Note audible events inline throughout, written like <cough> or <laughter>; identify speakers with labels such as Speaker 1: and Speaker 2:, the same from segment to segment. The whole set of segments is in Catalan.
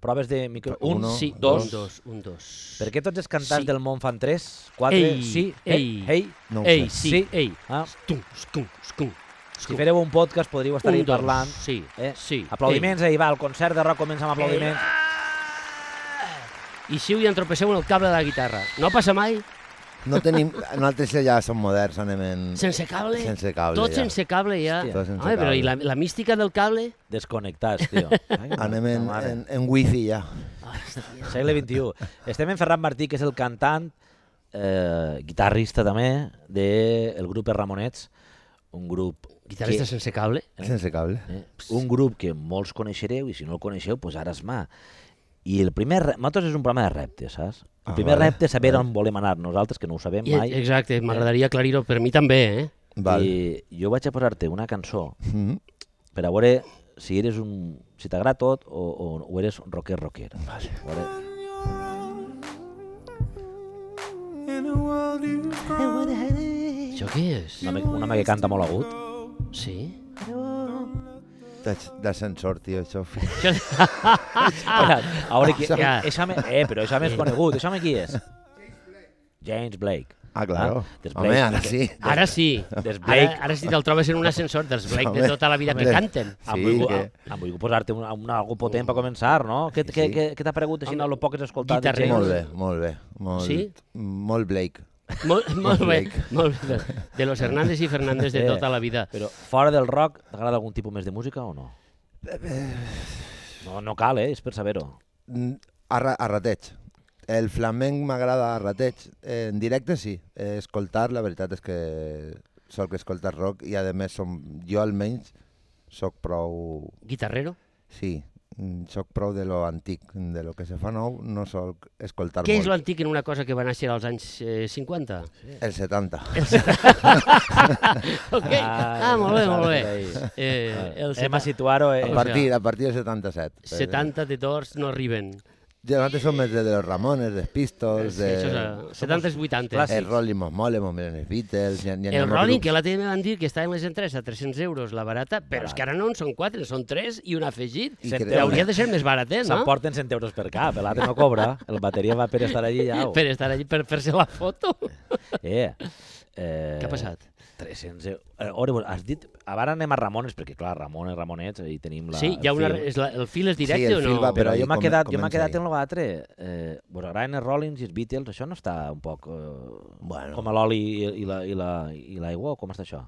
Speaker 1: proves de micro...
Speaker 2: Un,
Speaker 1: un, sí,
Speaker 2: dos.
Speaker 1: dos.
Speaker 2: Un, dos, un, dos.
Speaker 1: Per què tots els cantants
Speaker 2: Sí.
Speaker 1: del món fan tres, quatre,
Speaker 2: Ei,
Speaker 1: sí,
Speaker 2: ei.
Speaker 1: ei,
Speaker 3: No ho
Speaker 2: Ei,
Speaker 3: sé.
Speaker 2: sí,
Speaker 1: Sí.
Speaker 2: ei.
Speaker 1: Ah.
Speaker 2: Escum, escum, escum.
Speaker 1: Si fareu un podcast podríeu estar
Speaker 2: un,
Speaker 1: ahí
Speaker 2: dos.
Speaker 1: parlant.
Speaker 2: Sí,
Speaker 1: Eh?
Speaker 2: sí.
Speaker 1: Aplaudiments, ahir va, el concert de rock comença amb aplaudiments.
Speaker 2: Ei. I si hi entropesseu en el cable de la guitarra. No passa mai?
Speaker 3: No tenim... Nosaltres ja som moderns, anem en...
Speaker 2: Sense cable?
Speaker 3: Sense cable,
Speaker 2: Tot
Speaker 3: ja.
Speaker 2: sense cable ja.
Speaker 1: Hòstia.
Speaker 3: Tot sense
Speaker 2: Home, però
Speaker 3: cable.
Speaker 2: i la, la mística del cable?
Speaker 1: Desconnectats,
Speaker 2: <laughs>
Speaker 1: tio. Ai,
Speaker 3: Anem
Speaker 1: puta
Speaker 3: en,
Speaker 1: mare.
Speaker 3: en, en wifi ja.
Speaker 2: Hòstia.
Speaker 1: Segle XXI. Estem en Ferran Martí, que és el cantant, eh, guitarrista també, del el grup Els Ramonets, un grup
Speaker 2: Guitarrista
Speaker 1: que,
Speaker 2: sense cable?
Speaker 3: Sense cable.
Speaker 1: eh, un grup que molts coneixereu i si no el coneixeu, pues ara es mà. I el primer... re- Nosaltres és un programa de reptes, saps? El
Speaker 3: Ah,
Speaker 1: primer
Speaker 3: vale,
Speaker 1: repte és saber on volem anar nosaltres, que no ho sabem
Speaker 2: I,
Speaker 1: mai.
Speaker 2: exacte, m'agradaria aclarir-ho per mi també, eh?
Speaker 3: Val. I...
Speaker 1: I jo vaig a posar-te una cançó
Speaker 3: Mm.
Speaker 1: per a veure si eres un... si t'agrada tot o, o, o eres un rocker rocker. Vale. Veure...
Speaker 2: Això què és?
Speaker 1: Una, mica- un home que canta molt agut.
Speaker 2: Sí?
Speaker 3: T'has- D'ascensor, tio,
Speaker 2: <laughs>
Speaker 3: això.
Speaker 2: Això...
Speaker 1: Espera, a veure qui...
Speaker 2: Ja.
Speaker 1: Eh, això me... eh, però això més conegut. Això me qui és? James Blake.
Speaker 3: Ah, claro.
Speaker 1: Després,
Speaker 3: Home, ara sí.
Speaker 2: Ara sí.
Speaker 1: Des Blake.
Speaker 2: Ara, ara si te'l trobes en un ascensor dels Blake de
Speaker 3: Home,
Speaker 2: tota la vida que
Speaker 3: home.
Speaker 2: canten. Ah,
Speaker 1: Em
Speaker 3: Sí,
Speaker 1: vull,
Speaker 3: que-
Speaker 1: que... em vull posar-te una, una, algo potent per començar, no? Què què-
Speaker 3: sí.
Speaker 1: què- què t'ha paregut així,
Speaker 2: Home,
Speaker 1: no, el poc que has escoltat? de
Speaker 2: guitarrero.
Speaker 1: James?
Speaker 3: Molt bé, molt bé. Molt,
Speaker 2: Sí?
Speaker 3: Molt Blake.
Speaker 2: Molt, molt bé,
Speaker 3: Blake.
Speaker 2: molt bé. De los Hernández i Fernández de
Speaker 1: Eh,
Speaker 2: tota la vida.
Speaker 1: Però fora del rock, t'agrada algun tipus més de música o no? No, no cal, eh? És per saber-ho.
Speaker 3: Mm, A, ra- a rateig. El flamenc m'agrada a rateig. Eh, En directe sí. Eh, Escoltar, la veritat és que sóc escoltar rock i a més som, jo almenys sóc prou...
Speaker 2: Guitarrero?
Speaker 3: Sí, mm, sóc prou de lo antic, de lo que se fa nou, no sóc escoltar
Speaker 2: Què és
Speaker 3: molt.
Speaker 2: l'antic en una cosa que va néixer als anys eh, 50?
Speaker 3: El 70.
Speaker 2: Ok, ah, molt bé, molt bé.
Speaker 1: Ah.
Speaker 2: Eh, el
Speaker 1: Hem a
Speaker 2: 70,
Speaker 1: situar-ho... Eh?
Speaker 3: A
Speaker 2: O
Speaker 3: partir, a partir del 77. perquè
Speaker 2: 70 de tors no arriben.
Speaker 3: Ja nosaltres som més de, de los Ramones, dels Pistols,
Speaker 2: Sí,
Speaker 3: de...
Speaker 2: això és, eh, 70 és 80.
Speaker 1: clàssics.
Speaker 3: El Rolling Mole, Mos Millones Beatles... Hi ha, hi ha
Speaker 2: El
Speaker 3: molts
Speaker 2: Rolling,
Speaker 3: grups.
Speaker 2: que la tele me van dir que estava en les entrades a 300 euros la barata, però és que ara no en són 4, són 3 i un afegit.
Speaker 3: I
Speaker 2: I
Speaker 3: creu-
Speaker 2: hauria de ser més baratet, no?
Speaker 1: S'emporten 100 euros per cap, l'altre no cobra, el bateria va per estar allí ja.
Speaker 2: Per estar allí, per fer-se la foto.
Speaker 1: Eh, eh,
Speaker 2: Què ha passat?
Speaker 1: 300 euros. Eh, Ore, has dit... Ara anem a Ramones, perquè clar, Ramones, Ramonets, i tenim la...
Speaker 2: Sí, hi ha
Speaker 1: el
Speaker 2: una,
Speaker 1: fil.
Speaker 2: és la, el fil és directe
Speaker 3: el
Speaker 2: o
Speaker 3: fil
Speaker 2: no?
Speaker 3: va per
Speaker 1: Però
Speaker 3: ahí
Speaker 1: jo m'ha
Speaker 3: come-
Speaker 1: quedat, jo m'ha
Speaker 3: comença
Speaker 1: quedat
Speaker 3: ahí.
Speaker 1: en l'altre. Eh, vos agraden els Rollins i els Beatles? Això no està un poc eh,
Speaker 3: Bueno.
Speaker 1: com a l'oli i, i l'aigua? La, i la, i l'aigua, o com està això?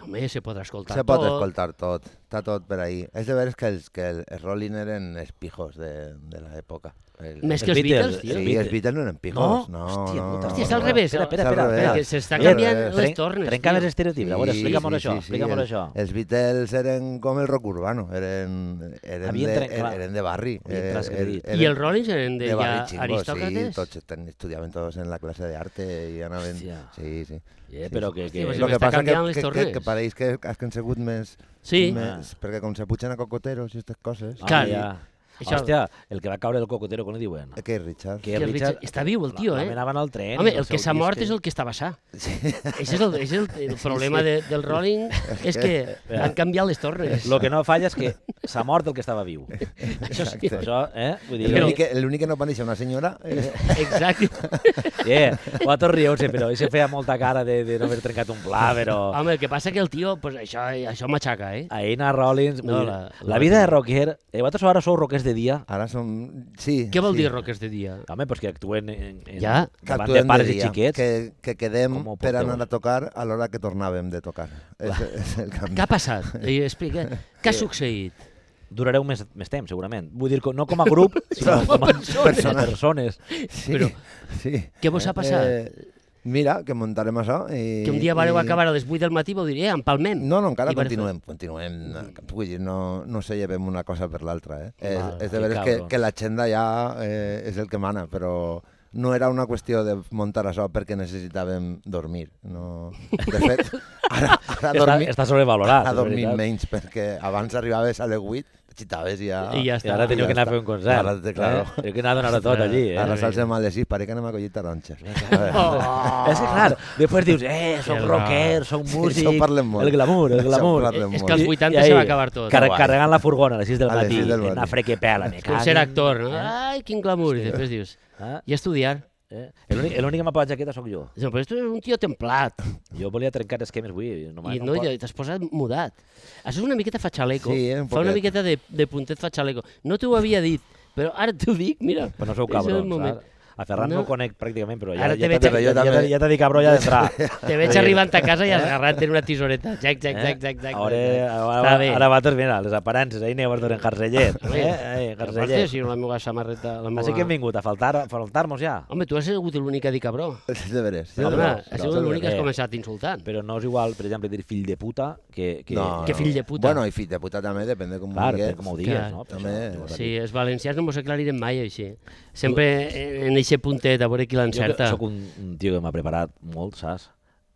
Speaker 2: Home, se podrà escoltar
Speaker 3: Se pot
Speaker 2: tot.
Speaker 3: escoltar tot, està tot per ahí. És de veres que els, que els Rolling eren els pijos de, de l'època. El...
Speaker 2: Més que els Beatles, tio.
Speaker 3: Sí, els Beatles no eren pijos. No,
Speaker 1: Hòstia,
Speaker 3: no,
Speaker 1: puta,
Speaker 3: no,
Speaker 2: Hòstia, és
Speaker 3: no,
Speaker 2: al
Speaker 3: no.
Speaker 2: revés.
Speaker 1: Espera, espera,
Speaker 3: És al
Speaker 1: espera,
Speaker 3: revés.
Speaker 1: espera.
Speaker 2: que Ah, s'està
Speaker 3: És al
Speaker 2: canviant
Speaker 3: revés.
Speaker 2: les tornes,
Speaker 1: Trencant
Speaker 2: tio.
Speaker 1: els estereotips. A veure, explica'm això, explica'm
Speaker 3: els,
Speaker 1: això.
Speaker 3: Els Beatles eren com el rock urbano, eren, eren,
Speaker 1: Havien
Speaker 3: de,
Speaker 1: trencat.
Speaker 3: eren, de barri.
Speaker 1: Havien
Speaker 3: eh,
Speaker 1: transgredit.
Speaker 2: I els Rollins eren de,
Speaker 3: de
Speaker 2: ja
Speaker 3: barri xingo, sí,
Speaker 2: aristòcrates?
Speaker 3: tots ten- estudiaven tots en la classe d'arte i anaven...
Speaker 1: Hòstia.
Speaker 3: Sí, sí.
Speaker 1: Eh, però que... que...
Speaker 2: Hòstia,
Speaker 3: Lo que
Speaker 2: m'està
Speaker 3: passa que,
Speaker 2: canviant les
Speaker 3: que, que,
Speaker 2: tornes.
Speaker 3: que pareix que has sigut més...
Speaker 2: Sí.
Speaker 3: Més, perquè com se pugen a cocoteros i aquestes coses...
Speaker 1: Ah,
Speaker 2: Clar.
Speaker 1: ja.
Speaker 2: Això-
Speaker 1: Hòstia, el que va caure del cocotero, com li diuen?
Speaker 3: Què, Eh, Richard? <laughs>
Speaker 1: Que
Speaker 2: Que el Richard... Està viu, el tio,
Speaker 1: la,
Speaker 2: eh?
Speaker 1: La anaven al tren.
Speaker 2: Home,
Speaker 1: i
Speaker 2: el que
Speaker 1: seu
Speaker 2: s'ha mort
Speaker 1: disc,
Speaker 2: és el que estava sa. Això és el, és el,
Speaker 3: <laughs>
Speaker 2: el problema
Speaker 3: sí.
Speaker 2: de,
Speaker 3: <laughs>
Speaker 2: del Rolling, és que han canviat les tornes.
Speaker 1: Lo que no falla és que s'ha mort el que estava viu. Això, sí. Això, eh? Vull dir,
Speaker 3: L'únic que, l'únic que no va néixer una senyora... Eh, <laughs>
Speaker 2: Exacte.
Speaker 1: Eh, vosaltres rieu-se, però això feia molta cara de, de no haver trencat un pla,
Speaker 3: Oh.
Speaker 1: però...
Speaker 2: Home, el que passa que el tio, pues, això, això matxaca,
Speaker 3: Ah,
Speaker 2: eh?
Speaker 1: A Ina Rollins...
Speaker 2: No,
Speaker 1: No, la,
Speaker 2: la-
Speaker 1: la, la vida de rocker... Eh, vosaltres ara sou rockers de dia?
Speaker 3: ara som... Sí.
Speaker 2: Què vol
Speaker 3: sí.
Speaker 2: dir rockers de dia?
Speaker 1: Home, pues que actuen en, en,
Speaker 2: Ja.
Speaker 3: Que
Speaker 1: davant de
Speaker 3: actuem
Speaker 1: pares
Speaker 3: de
Speaker 1: i
Speaker 3: dia,
Speaker 1: xiquets.
Speaker 3: Que, que quedem
Speaker 1: Com ho
Speaker 3: per
Speaker 1: porteu?
Speaker 3: anar a tocar a l'hora que tornàvem de tocar. És, és el canvi.
Speaker 2: Què ha passat? I
Speaker 3: <laughs>
Speaker 2: explica, què ha succeït?
Speaker 1: Durareu més, més temps, segurament. Vull dir, que no com a
Speaker 3: <laughs>
Speaker 1: grup, sinó
Speaker 2: Però
Speaker 1: com a
Speaker 2: persones.
Speaker 1: com a persones.
Speaker 3: Sí,
Speaker 2: Però-
Speaker 3: sí. Eh,
Speaker 2: Què vos ha passat?
Speaker 3: mira, que muntarem això i...
Speaker 2: Que un dia vareu
Speaker 3: i-
Speaker 2: acabar a les 8 del matí, vau dir, eh, empalmem.
Speaker 3: No, no, encara
Speaker 2: I vareu
Speaker 3: continuem, continuem. Vull dir, no, no se llevem una cosa per l'altra, eh? És,
Speaker 2: Val,
Speaker 3: és de
Speaker 1: que
Speaker 3: veres que,
Speaker 1: cabrons.
Speaker 3: que l'agenda ja eh, és el que mana, però no era una qüestió de muntar això perquè necessitàvem dormir. No... De
Speaker 2: <laughs>
Speaker 3: fet, ara, ara
Speaker 1: Està,
Speaker 3: dormir,
Speaker 1: està sobrevalorat.
Speaker 3: ara
Speaker 1: és
Speaker 3: dormim
Speaker 1: veritat.
Speaker 3: menys, perquè abans arribaves a les 8, Xitaves i ja...
Speaker 2: I ja
Speaker 1: I
Speaker 2: està.
Speaker 1: ara teniu
Speaker 3: Ja
Speaker 1: que anar a
Speaker 3: està.
Speaker 1: fer un concert.
Speaker 3: Ara, té- claro.
Speaker 1: Eh? Teniu que anar a donar-ho tot allí. Eh?
Speaker 3: A les salses malesis, pare que anem a collir taronxes.
Speaker 2: Oh!
Speaker 1: <laughs> És que, clar, després dius, eh, som
Speaker 2: Sí,
Speaker 1: rocker,
Speaker 3: <laughs>
Speaker 1: som
Speaker 3: Sí,
Speaker 1: músic,
Speaker 3: això ho parlem molt.
Speaker 1: el glamour, el
Speaker 3: Això ho
Speaker 1: glamour.
Speaker 3: parlem
Speaker 2: És
Speaker 3: molt.
Speaker 2: que als
Speaker 1: I-
Speaker 2: 80
Speaker 1: i
Speaker 2: se va
Speaker 1: ahí,
Speaker 2: acabar tot.
Speaker 1: car-
Speaker 2: Guai.
Speaker 1: carregant la furgona a les 6 del
Speaker 3: A les
Speaker 1: matí,
Speaker 3: sis del
Speaker 1: en una
Speaker 3: matí.
Speaker 2: <laughs>
Speaker 1: frequepela, me
Speaker 2: Com
Speaker 1: cago.
Speaker 2: ser actor,
Speaker 3: eh?
Speaker 2: no? Ai, quin glamour. I després dius,
Speaker 1: Ah,
Speaker 2: i estudiar.
Speaker 1: eh? L'únic l'únic que m'ha posat jaqueta sóc jo.
Speaker 2: Dius, però tu és un tio templat.
Speaker 1: Jo volia trencar esquemes avui. No,
Speaker 2: I no, i t'has posat mudat. Això és una miqueta fatxaleco.
Speaker 3: Sí, eh, un
Speaker 2: Fa una
Speaker 3: poquet.
Speaker 2: miqueta de, de puntet fatxaleco. No t'ho havia dit, però ara t'ho dic, mira.
Speaker 1: Però no sou
Speaker 2: és el
Speaker 1: cabrons,
Speaker 2: moment.
Speaker 1: saps? A Ferran no,
Speaker 2: No.
Speaker 1: el conec pràcticament, però ja,
Speaker 2: Ara
Speaker 1: ja,
Speaker 2: te veig
Speaker 1: t'ha-
Speaker 2: a-
Speaker 1: ja, ja, ja t'ha dit cabró ja d'entrar.
Speaker 2: <laughs> Te veig arribant a casa i agarrant en una tisoreta. Jack, jack,
Speaker 1: Eh?
Speaker 2: jack, jack, jack.
Speaker 1: Ara,
Speaker 2: Està
Speaker 1: ara,
Speaker 2: bé.
Speaker 1: ara vates, mira, les aparences, ahir aneu a veure en Garcellet. Eh? eh en
Speaker 2: Garceller.
Speaker 1: Garcellet.
Speaker 2: Sí, la meva samarreta... La meva...
Speaker 1: Així que hem vingut a faltar- a faltar-nos ja.
Speaker 2: Home, tu has sigut l'únic a dir cabró.
Speaker 3: <laughs> De veres.
Speaker 1: No,
Speaker 2: Home,
Speaker 1: però-
Speaker 2: has sigut
Speaker 1: però-
Speaker 2: l'únic que has
Speaker 1: eh.
Speaker 2: començat insultant.
Speaker 1: Però no és igual, per exemple, dir fill de puta que... que
Speaker 2: que fill de puta.
Speaker 3: Bueno, i fill de puta també, depèn de com
Speaker 1: Clar,
Speaker 3: vulguis.
Speaker 1: per com ho digues,
Speaker 2: Clar.
Speaker 1: no? Per
Speaker 3: També,
Speaker 1: això,
Speaker 3: sí,
Speaker 2: Sí, els valencians no mos aclarirem mai així. Sempre en- en eixe puntet, a veure qui
Speaker 1: Jo que
Speaker 2: l'encerta.
Speaker 1: sóc un, un tio que m'ha preparat molt, saps?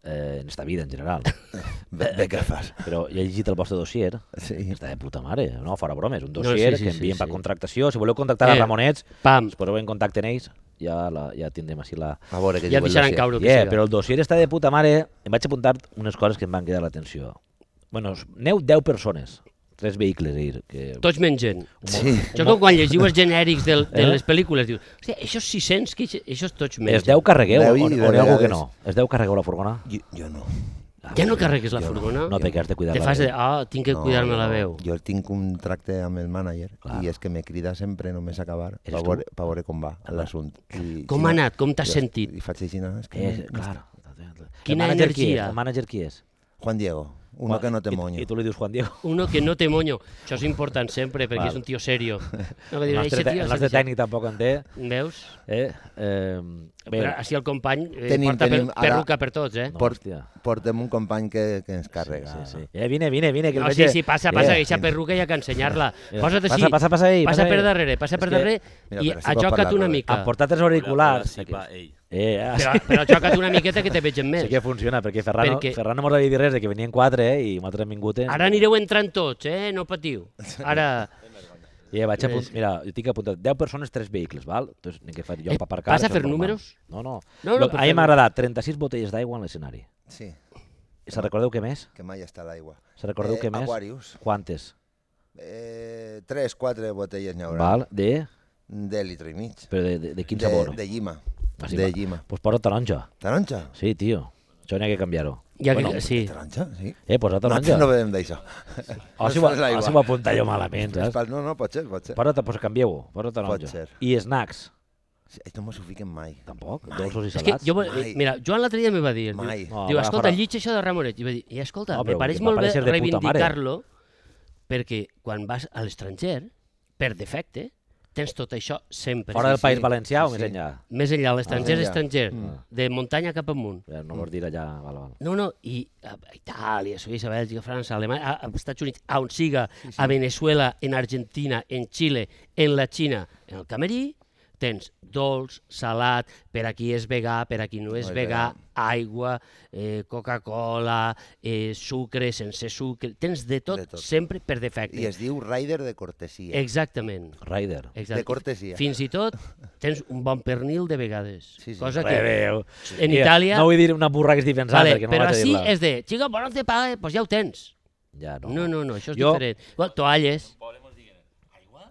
Speaker 1: Eh, en esta vida, en
Speaker 2: <laughs>
Speaker 1: general.
Speaker 3: <laughs> Bé, bé que fas.
Speaker 1: Però he llegit el vostre dossier,
Speaker 3: Sí.
Speaker 1: que està de puta mare, no? Fora bromes, un
Speaker 2: No,
Speaker 1: dossier
Speaker 2: sí, sí,
Speaker 1: que
Speaker 2: sí,
Speaker 1: envien
Speaker 2: sí.
Speaker 1: per contractació. Si voleu contactar
Speaker 2: Eh.
Speaker 1: a Ramonets,
Speaker 2: Pam,
Speaker 1: ens poseu en contacte amb ells, ja, la, ja tindrem així la...
Speaker 3: A veure què diu
Speaker 2: ja et
Speaker 3: el
Speaker 2: deixaran
Speaker 3: dossier.
Speaker 2: caure. el que
Speaker 1: Yeah,
Speaker 2: siga.
Speaker 1: però el dossier està de puta mare. Em vaig apuntar unes coses que em van cridar l'atenció. Bueno, aneu 10 persones, tres vehicles, és a dir, que...
Speaker 2: Tots mengen.
Speaker 3: Sí.
Speaker 2: Jo com quan llegiu els genèrics del, de
Speaker 1: Eh?
Speaker 2: les pel·lícules, dius, hòstia, això 600, que això, això tots mengen.
Speaker 1: Es deu carregueu,
Speaker 3: Deu
Speaker 1: o,
Speaker 3: i
Speaker 1: o
Speaker 3: de
Speaker 1: n'hi ha algú que
Speaker 3: vegades.
Speaker 1: no? Es deu carregueu la furgona? Eh,
Speaker 3: Jo, jo no.
Speaker 2: Ja no carregues la
Speaker 1: Jo
Speaker 2: furgona.
Speaker 1: No, perquè has de cuidar
Speaker 2: Te
Speaker 1: la
Speaker 2: fas
Speaker 1: veu.
Speaker 2: de, ah, tinc que
Speaker 3: No,
Speaker 2: cuidar-me la
Speaker 3: no.
Speaker 2: veu.
Speaker 3: Jo tinc un tracte amb el mànager
Speaker 1: Clar.
Speaker 3: i és que me crida sempre només acabar
Speaker 1: Eres
Speaker 3: pa
Speaker 1: tu?
Speaker 3: veure, pa veure com va l'assunt. I si
Speaker 2: Com
Speaker 3: no-
Speaker 2: ha anat? Com t'has
Speaker 3: jo-
Speaker 2: sentit?
Speaker 3: I faig així, no, és que...
Speaker 1: Eh,
Speaker 3: no-
Speaker 1: clar.
Speaker 2: Quina
Speaker 1: el manager Qui és?
Speaker 2: energia.
Speaker 1: El mànager qui és?
Speaker 3: Juan Diego, uno que no te
Speaker 1: I-
Speaker 3: moño.
Speaker 1: I, tu li dius Juan Diego.
Speaker 2: Uno que no té moño. Això és important sempre, perquè
Speaker 1: Val.
Speaker 2: és un
Speaker 1: <laughs>
Speaker 2: tio serio. No, que
Speaker 1: El
Speaker 2: dius,
Speaker 1: nostre,
Speaker 2: "Eixe
Speaker 1: te-
Speaker 2: tio
Speaker 1: el
Speaker 2: s'ha
Speaker 1: nostre
Speaker 2: deixat".
Speaker 1: tècnic tampoc en té.
Speaker 2: Veus?
Speaker 1: Eh? Eh, bé,
Speaker 2: Però així el company eh,
Speaker 3: Tenim-
Speaker 2: porta per,
Speaker 3: tenim ara-
Speaker 2: perruca per tots, eh?
Speaker 1: no,
Speaker 3: Port-
Speaker 1: hòstia.
Speaker 3: Portem un company que, que ens carrega.
Speaker 1: Sí, sí. Eh, vine, vine, vine, que el
Speaker 2: No,
Speaker 1: veig...
Speaker 2: sí, sí, passa, passa,
Speaker 1: Eh,
Speaker 2: que aquesta perruca hi ha que ensenyar-la.
Speaker 1: eh,
Speaker 2: Posa't així,
Speaker 1: Passa, passa, passa, ell,
Speaker 2: passa per
Speaker 1: ell.
Speaker 2: darrere, passa per
Speaker 1: És que-
Speaker 2: darrere
Speaker 3: Mira,
Speaker 2: i
Speaker 3: però si pot
Speaker 2: ajoca't
Speaker 3: parlar,
Speaker 2: una
Speaker 3: Robert.
Speaker 2: mica.
Speaker 1: Em portat els auriculars.
Speaker 4: Hola, hola, sí, va, ell.
Speaker 1: Eh, <laughs> ah,
Speaker 2: Però,
Speaker 1: sí.
Speaker 2: però ajoca't una miqueta que te vegem
Speaker 1: Sí
Speaker 2: més.
Speaker 1: que funciona, perquè Ferran, perquè...
Speaker 2: Perquè-
Speaker 1: Ferran no mos havia dit res de que venien quatre eh, i nosaltres hem vingut. Eh?
Speaker 2: Ara anireu entrant tots, eh? No patiu. Ara...
Speaker 1: I eh, vaig apunt...
Speaker 2: És-
Speaker 1: Mira, jo tinc apuntat 10 persones, 3 vehicles, val? Entonces, n'he que fer jo
Speaker 2: Eh,
Speaker 1: per aparcar.
Speaker 2: vas a
Speaker 1: això
Speaker 2: fer
Speaker 1: normal.
Speaker 2: números?
Speaker 1: No, no.
Speaker 2: No, no,
Speaker 1: no, no
Speaker 2: per
Speaker 1: a mi
Speaker 2: fer-
Speaker 1: m'ha agradat 36 botelles d'aigua en l'escenari.
Speaker 3: Sí, Eh,
Speaker 1: I se recordeu què més?
Speaker 3: que mai està a l'aigua. Eh,
Speaker 1: Se recordeu què més?
Speaker 3: Aquarius.
Speaker 1: Quantes?
Speaker 3: Eh, tres, quatre botelles n'hi haurà.
Speaker 1: Val? De...
Speaker 3: De litre i mig.
Speaker 1: Però de, de, de quin
Speaker 3: de,
Speaker 1: sabor?
Speaker 3: De llima.
Speaker 1: Ah, sí,
Speaker 3: de
Speaker 1: va.
Speaker 3: llima.
Speaker 1: Pues posa taronja.
Speaker 3: Taronja?
Speaker 1: Sí, tio. Això n'hi ha que canviar-ho.
Speaker 2: Ja que,
Speaker 1: Bueno,
Speaker 2: sí.
Speaker 3: Taronja, sí.
Speaker 1: Eh, posa taronja.
Speaker 3: Nosaltres no bevem d'això.
Speaker 1: o si ho,
Speaker 3: no és
Speaker 1: o
Speaker 3: l'aigua.
Speaker 1: si ho apunta jo malament,
Speaker 3: No,
Speaker 1: saps?
Speaker 3: no, pot ser, pot ser.
Speaker 1: Posa, pues canvieu-ho. Posa
Speaker 3: Pot
Speaker 1: taronja.
Speaker 3: ser.
Speaker 1: I snacks.
Speaker 3: Sí, això no m'ho fiquen mai.
Speaker 1: Tampoc. Dolços i
Speaker 2: És que
Speaker 1: salats.
Speaker 2: jo, vol-
Speaker 3: Mai.
Speaker 2: mira, Joan l'altre dia me va dir,
Speaker 3: Mai.
Speaker 2: diu,
Speaker 1: No,
Speaker 2: diu
Speaker 1: va,
Speaker 2: escolta,
Speaker 1: farà-
Speaker 2: llig això de Ramonet. I va dir, i escolta,
Speaker 1: No,
Speaker 2: me
Speaker 1: però
Speaker 2: pareix
Speaker 1: que
Speaker 2: molt
Speaker 1: va
Speaker 2: bé
Speaker 1: parèixer de puta mare.
Speaker 2: reivindicar-lo, perquè quan vas a l'estranger, per defecte, tens tot això sempre.
Speaker 1: Fora del Mm.
Speaker 3: sí,
Speaker 1: País
Speaker 3: sí,
Speaker 1: Valencià o
Speaker 3: sí,
Speaker 1: més
Speaker 3: sí.
Speaker 1: enllà?
Speaker 2: Més enllà, l'estranger
Speaker 3: Ah,
Speaker 2: és
Speaker 3: ja.
Speaker 1: eh.
Speaker 2: estranger, de muntanya cap amunt.
Speaker 1: Ja, No
Speaker 3: Mm.
Speaker 1: vols dir allà... Val, val.
Speaker 2: No, no, i a a Itàlia, Suïssa, Bèlgica, França, Alemanya, a- als Estats Units, a on siga, a Venezuela, en Argentina, en Xile, en la Xina, en el Camerí, tens dolç, salat, per aquí és vegà, per aquí no és
Speaker 3: és
Speaker 2: vegà, aigua, eh, Coca-Cola, eh, sucre, sense sucre, tens de tot,
Speaker 3: De tot.
Speaker 2: sempre per defecte.
Speaker 3: I es diu rider de cortesia.
Speaker 2: Exactament.
Speaker 1: Rider.
Speaker 2: Exacte.
Speaker 3: De cortesia.
Speaker 2: Fins i tot tens un bon pernil de vegades.
Speaker 3: Sí, sí.
Speaker 2: Cosa que...
Speaker 1: Rebeu.
Speaker 2: En Itàlia-
Speaker 1: No vull dir una burra que estic pensant,
Speaker 2: Vale,
Speaker 1: perquè no
Speaker 2: però
Speaker 1: vaig a
Speaker 2: així
Speaker 1: dir-la.
Speaker 2: és de, xico, però no te paga, doncs ja ho tens.
Speaker 1: Ja, no.
Speaker 2: No, no, no, això és
Speaker 1: Jo-
Speaker 2: diferent. Bueno, toalles.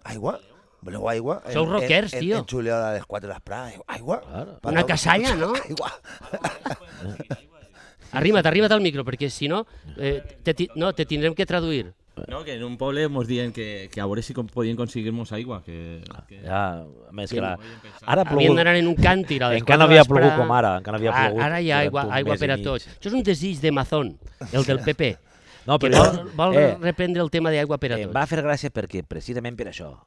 Speaker 3: Aigua? Voleu aigua?
Speaker 2: Sou
Speaker 3: En-
Speaker 2: rockers,
Speaker 3: en,
Speaker 2: tio.
Speaker 3: En, en Juliol a les 4 de les Prades. Aigua?
Speaker 1: Claro.
Speaker 3: Pareu-
Speaker 2: Una casalla, no?
Speaker 3: <laughs> Aigua.
Speaker 2: Arriba't, arriba't al micro, perquè si no, eh, te, ti- no, te tindrem que traduir.
Speaker 4: No, que en un poble mos diuen que, que a veure si com podien aconseguir-nos aigua. Que, que...
Speaker 1: Ja, a més que la... Ara ha
Speaker 2: Havien
Speaker 1: plogut.
Speaker 2: d'anar en un càntir a
Speaker 1: Encara
Speaker 2: les
Speaker 1: no
Speaker 2: quatre de
Speaker 1: havia
Speaker 2: vespre.
Speaker 1: plogut com ara, encara no havia
Speaker 2: Ara-
Speaker 1: plogut
Speaker 2: Ara hi ha
Speaker 1: durant
Speaker 2: aigua,
Speaker 1: un
Speaker 2: aigua
Speaker 1: mes i
Speaker 2: per a
Speaker 1: mig. Eh.
Speaker 2: tots. Això és un desig de Mazón, el del PP,
Speaker 1: No,
Speaker 2: que
Speaker 1: però
Speaker 2: vol, vol
Speaker 1: eh,
Speaker 2: reprendre el tema d'aigua per a
Speaker 1: em
Speaker 2: tots.
Speaker 1: va fer gràcia perquè, precisament per això,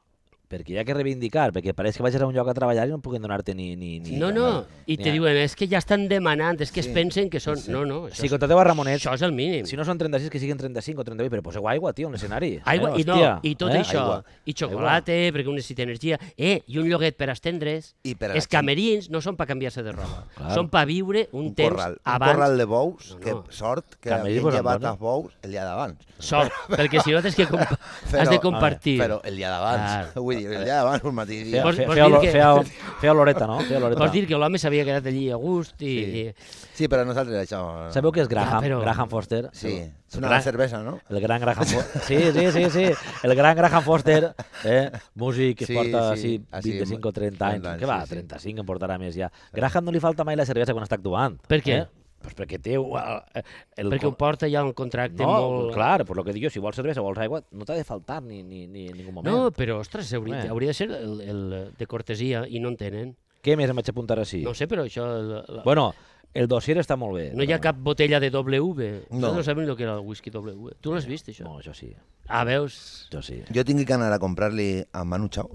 Speaker 1: perquè hi ha que reivindicar, perquè pareix que vagis a un lloc a treballar i no puguin donar-te ni, ni, ni...
Speaker 2: No, no, i
Speaker 1: ni
Speaker 2: te
Speaker 1: a-
Speaker 2: diuen, és que ja estan demanant, és que es
Speaker 3: Sí,
Speaker 2: pensen que són... No, no, això,
Speaker 1: Si
Speaker 2: és,
Speaker 1: contrateu a Ramonets,
Speaker 2: això és el mínim.
Speaker 1: si no són 36, que siguin 35 o 38, però poseu aigua, tio, en l'escenari.
Speaker 2: <laughs> Aigua,
Speaker 1: eh,
Speaker 2: i no,
Speaker 1: hòstia,
Speaker 2: i tot
Speaker 1: eh?
Speaker 2: això,
Speaker 1: Aigua.
Speaker 2: i xocolata, perquè un necessita energia, eh, i un lloguet per estendre's.
Speaker 3: I per a la
Speaker 2: Els
Speaker 3: gent.
Speaker 2: camerins no són per canviar-se de roba,
Speaker 1: Clar.
Speaker 2: són per viure un,
Speaker 3: un
Speaker 2: temps
Speaker 3: corral,
Speaker 2: abans.
Speaker 3: un corral de bous,
Speaker 2: No,
Speaker 3: que
Speaker 2: no.
Speaker 3: sort que
Speaker 1: També hi
Speaker 3: havien
Speaker 1: posen
Speaker 3: llevat
Speaker 1: dona.
Speaker 3: els bous el dia d'abans.
Speaker 2: Sort, perquè si no tens que comp- has
Speaker 3: <laughs> Però-
Speaker 2: de compartir.
Speaker 3: Però el dia d'abans,
Speaker 2: Clar.
Speaker 3: vull dir, el dia d'abans un matí.
Speaker 1: Feia,
Speaker 2: Vols-
Speaker 1: feia,
Speaker 2: vols
Speaker 1: feia,
Speaker 2: dir
Speaker 1: olor-
Speaker 2: que-
Speaker 1: feia, <laughs> feia oloreta, no? Feia oloreta.
Speaker 2: Vols dir que l'home s'havia quedat allí a gust i...
Speaker 3: Sí.
Speaker 2: i-
Speaker 3: Sí, però nosaltres això...
Speaker 1: Sabeu que és Graham,
Speaker 2: Ah, però-
Speaker 1: Graham Foster?
Speaker 3: Sí,
Speaker 1: El-
Speaker 3: és una
Speaker 1: Graham-
Speaker 3: cervesa, no?
Speaker 1: El gran Graham Foster. Sí, sí, sí, sí. El gran Graham Foster, eh? músic que
Speaker 3: Sí,
Speaker 1: sí, porta
Speaker 3: sí.
Speaker 1: sí,
Speaker 3: Ah, sí,
Speaker 1: 25 o 30 anys.
Speaker 3: trenta anys,
Speaker 1: Què va?
Speaker 3: sí, sí.
Speaker 1: 35 en portarà més ja. Graham no li falta mai la cervesa quan està actuant.
Speaker 2: Per què?
Speaker 1: Eh? Pues perquè té... uh, eh, El,
Speaker 2: perquè ho porta ja un contracte
Speaker 1: No,
Speaker 2: molt...
Speaker 1: clar, pues lo que dic jo, si vols cervesa o vols aigua, no t'ha de faltar ni, ni, ni en ningú moment.
Speaker 2: No, però, ostres, hauria,
Speaker 1: Home.
Speaker 2: hauria de ser el, el de cortesia i no en tenen.
Speaker 1: Què més em vaig apuntar així?
Speaker 2: No ho sé, però això... La, la,
Speaker 1: Bueno, el dossier està molt bé.
Speaker 2: no hi ha cap botella de W.
Speaker 3: No.
Speaker 2: No. no sabem el que era el whisky W. Tu l'has vist, això?
Speaker 1: No, jo sí,
Speaker 2: Ah, veus?
Speaker 1: jo sí.
Speaker 3: Jo tinc que anar a comprar-li a Manu Chao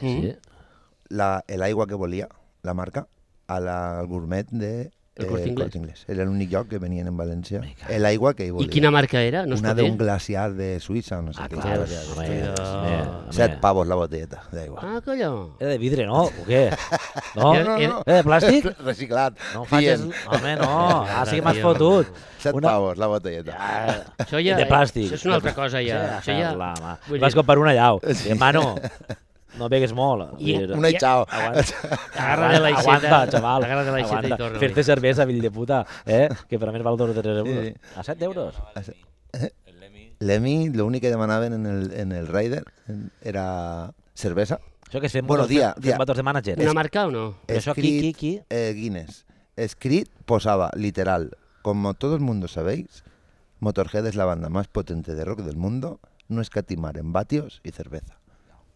Speaker 2: Mm.
Speaker 1: sí.
Speaker 3: la, el aigua que volia, la marca, a la, al gourmet de eh,
Speaker 2: El Corte Inglés.
Speaker 3: Inglés. Era l'únic lloc que venien en València.
Speaker 1: Me cago.
Speaker 3: El aigua que hi
Speaker 2: I
Speaker 3: volia.
Speaker 2: quina marca era? No
Speaker 3: eh?
Speaker 2: es
Speaker 3: Una
Speaker 2: pot dir?
Speaker 3: d'un glaciar de Suïssa, no sé
Speaker 1: Ah,
Speaker 3: què.
Speaker 1: clar,
Speaker 2: Hòstia,
Speaker 1: home, home,
Speaker 2: hòstia.
Speaker 1: home.
Speaker 3: Set pavos la botelleta d'aigua.
Speaker 2: Ah, colló.
Speaker 1: Era de vidre, no? O què?
Speaker 3: <laughs>
Speaker 1: No?
Speaker 2: Era- era-
Speaker 1: Eh, de plàstic?
Speaker 3: Reciclat.
Speaker 1: No em facis...
Speaker 3: Dient,
Speaker 1: Home, <laughs> no. Ah, sí que m'has
Speaker 2: Tio.
Speaker 1: fotut.
Speaker 3: <laughs> Set pavos la botelleta.
Speaker 1: Ah,
Speaker 2: Això ja...
Speaker 1: de plàstic.
Speaker 2: eh, Això és una altra cosa, ja.
Speaker 1: Sí,
Speaker 2: Això ja...
Speaker 1: la mà.
Speaker 2: vull
Speaker 1: Vas
Speaker 2: dir-
Speaker 1: comprar una llau. Sí.
Speaker 2: <laughs>
Speaker 1: Mano, no begues molt.
Speaker 2: I-
Speaker 1: Vull dir,
Speaker 3: Una i
Speaker 2: ja-
Speaker 3: xao.
Speaker 1: aguanta,
Speaker 2: <laughs> Agarra de la aixeta.
Speaker 1: Aguanta, xaval.
Speaker 2: Agarra de la aixeta i
Speaker 1: aguanta.
Speaker 2: torna.
Speaker 1: Fer-te cervesa, fill de puta, eh? que per a més val 2 o 3 euros.
Speaker 3: Sí.
Speaker 1: A 7 euros.
Speaker 3: L'Emi, l'únic que demanaven en el, en el Raider era cervesa.
Speaker 1: Això que es fem
Speaker 3: Bueno,
Speaker 1: motos-
Speaker 3: dia,
Speaker 1: fem
Speaker 3: dia.
Speaker 1: motos de manager.
Speaker 2: Una marca o no?
Speaker 1: Però això qui, qui, qui?
Speaker 3: Eh, Guinness. Escrit posaba, literal, como todo el mundo sabéis, Motorhead es la banda más potente de rock del mundo, no escatimar en vatios y cerveza.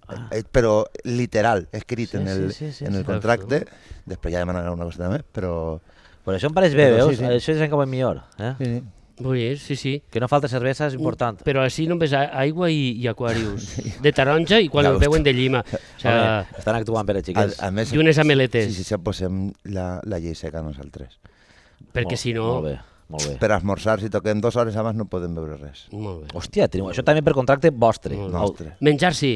Speaker 3: Eh, eh, pero literal, escrit
Speaker 1: Ah. Sí,
Speaker 3: en el,
Speaker 1: sí, sí, sí,
Speaker 3: en el
Speaker 2: sí.
Speaker 3: contracte. Després ja demanaran una cosa també, però...
Speaker 1: Però això em pareix bé,
Speaker 3: Però
Speaker 1: veus?
Speaker 3: sí, sí.
Speaker 1: Això és encara millor. Eh?
Speaker 3: Sí, sí.
Speaker 2: Vull dir, sí, sí.
Speaker 1: Que no falta cervesa és important.
Speaker 2: Uh, Però així només a- aigua i, i aquarius. De taronja i quan el
Speaker 3: D'agost.
Speaker 2: veuen de llima. O sea,
Speaker 1: Home, estan actuant per a
Speaker 3: A,
Speaker 1: xiquets.
Speaker 3: a més,
Speaker 2: I unes ameletes.
Speaker 3: Sí, sí, sí, posem la, la llei seca nosaltres.
Speaker 2: perquè
Speaker 1: Molt-
Speaker 2: si no...
Speaker 1: Molt bé, molt bé.
Speaker 3: Per esmorzar, si toquem dues hores abans no podem beure res.
Speaker 2: Molt bé.
Speaker 1: Hòstia, teniu, això també per contracte vostre. Au,
Speaker 2: Molt bé.
Speaker 3: Nostre.
Speaker 2: Menjar sí.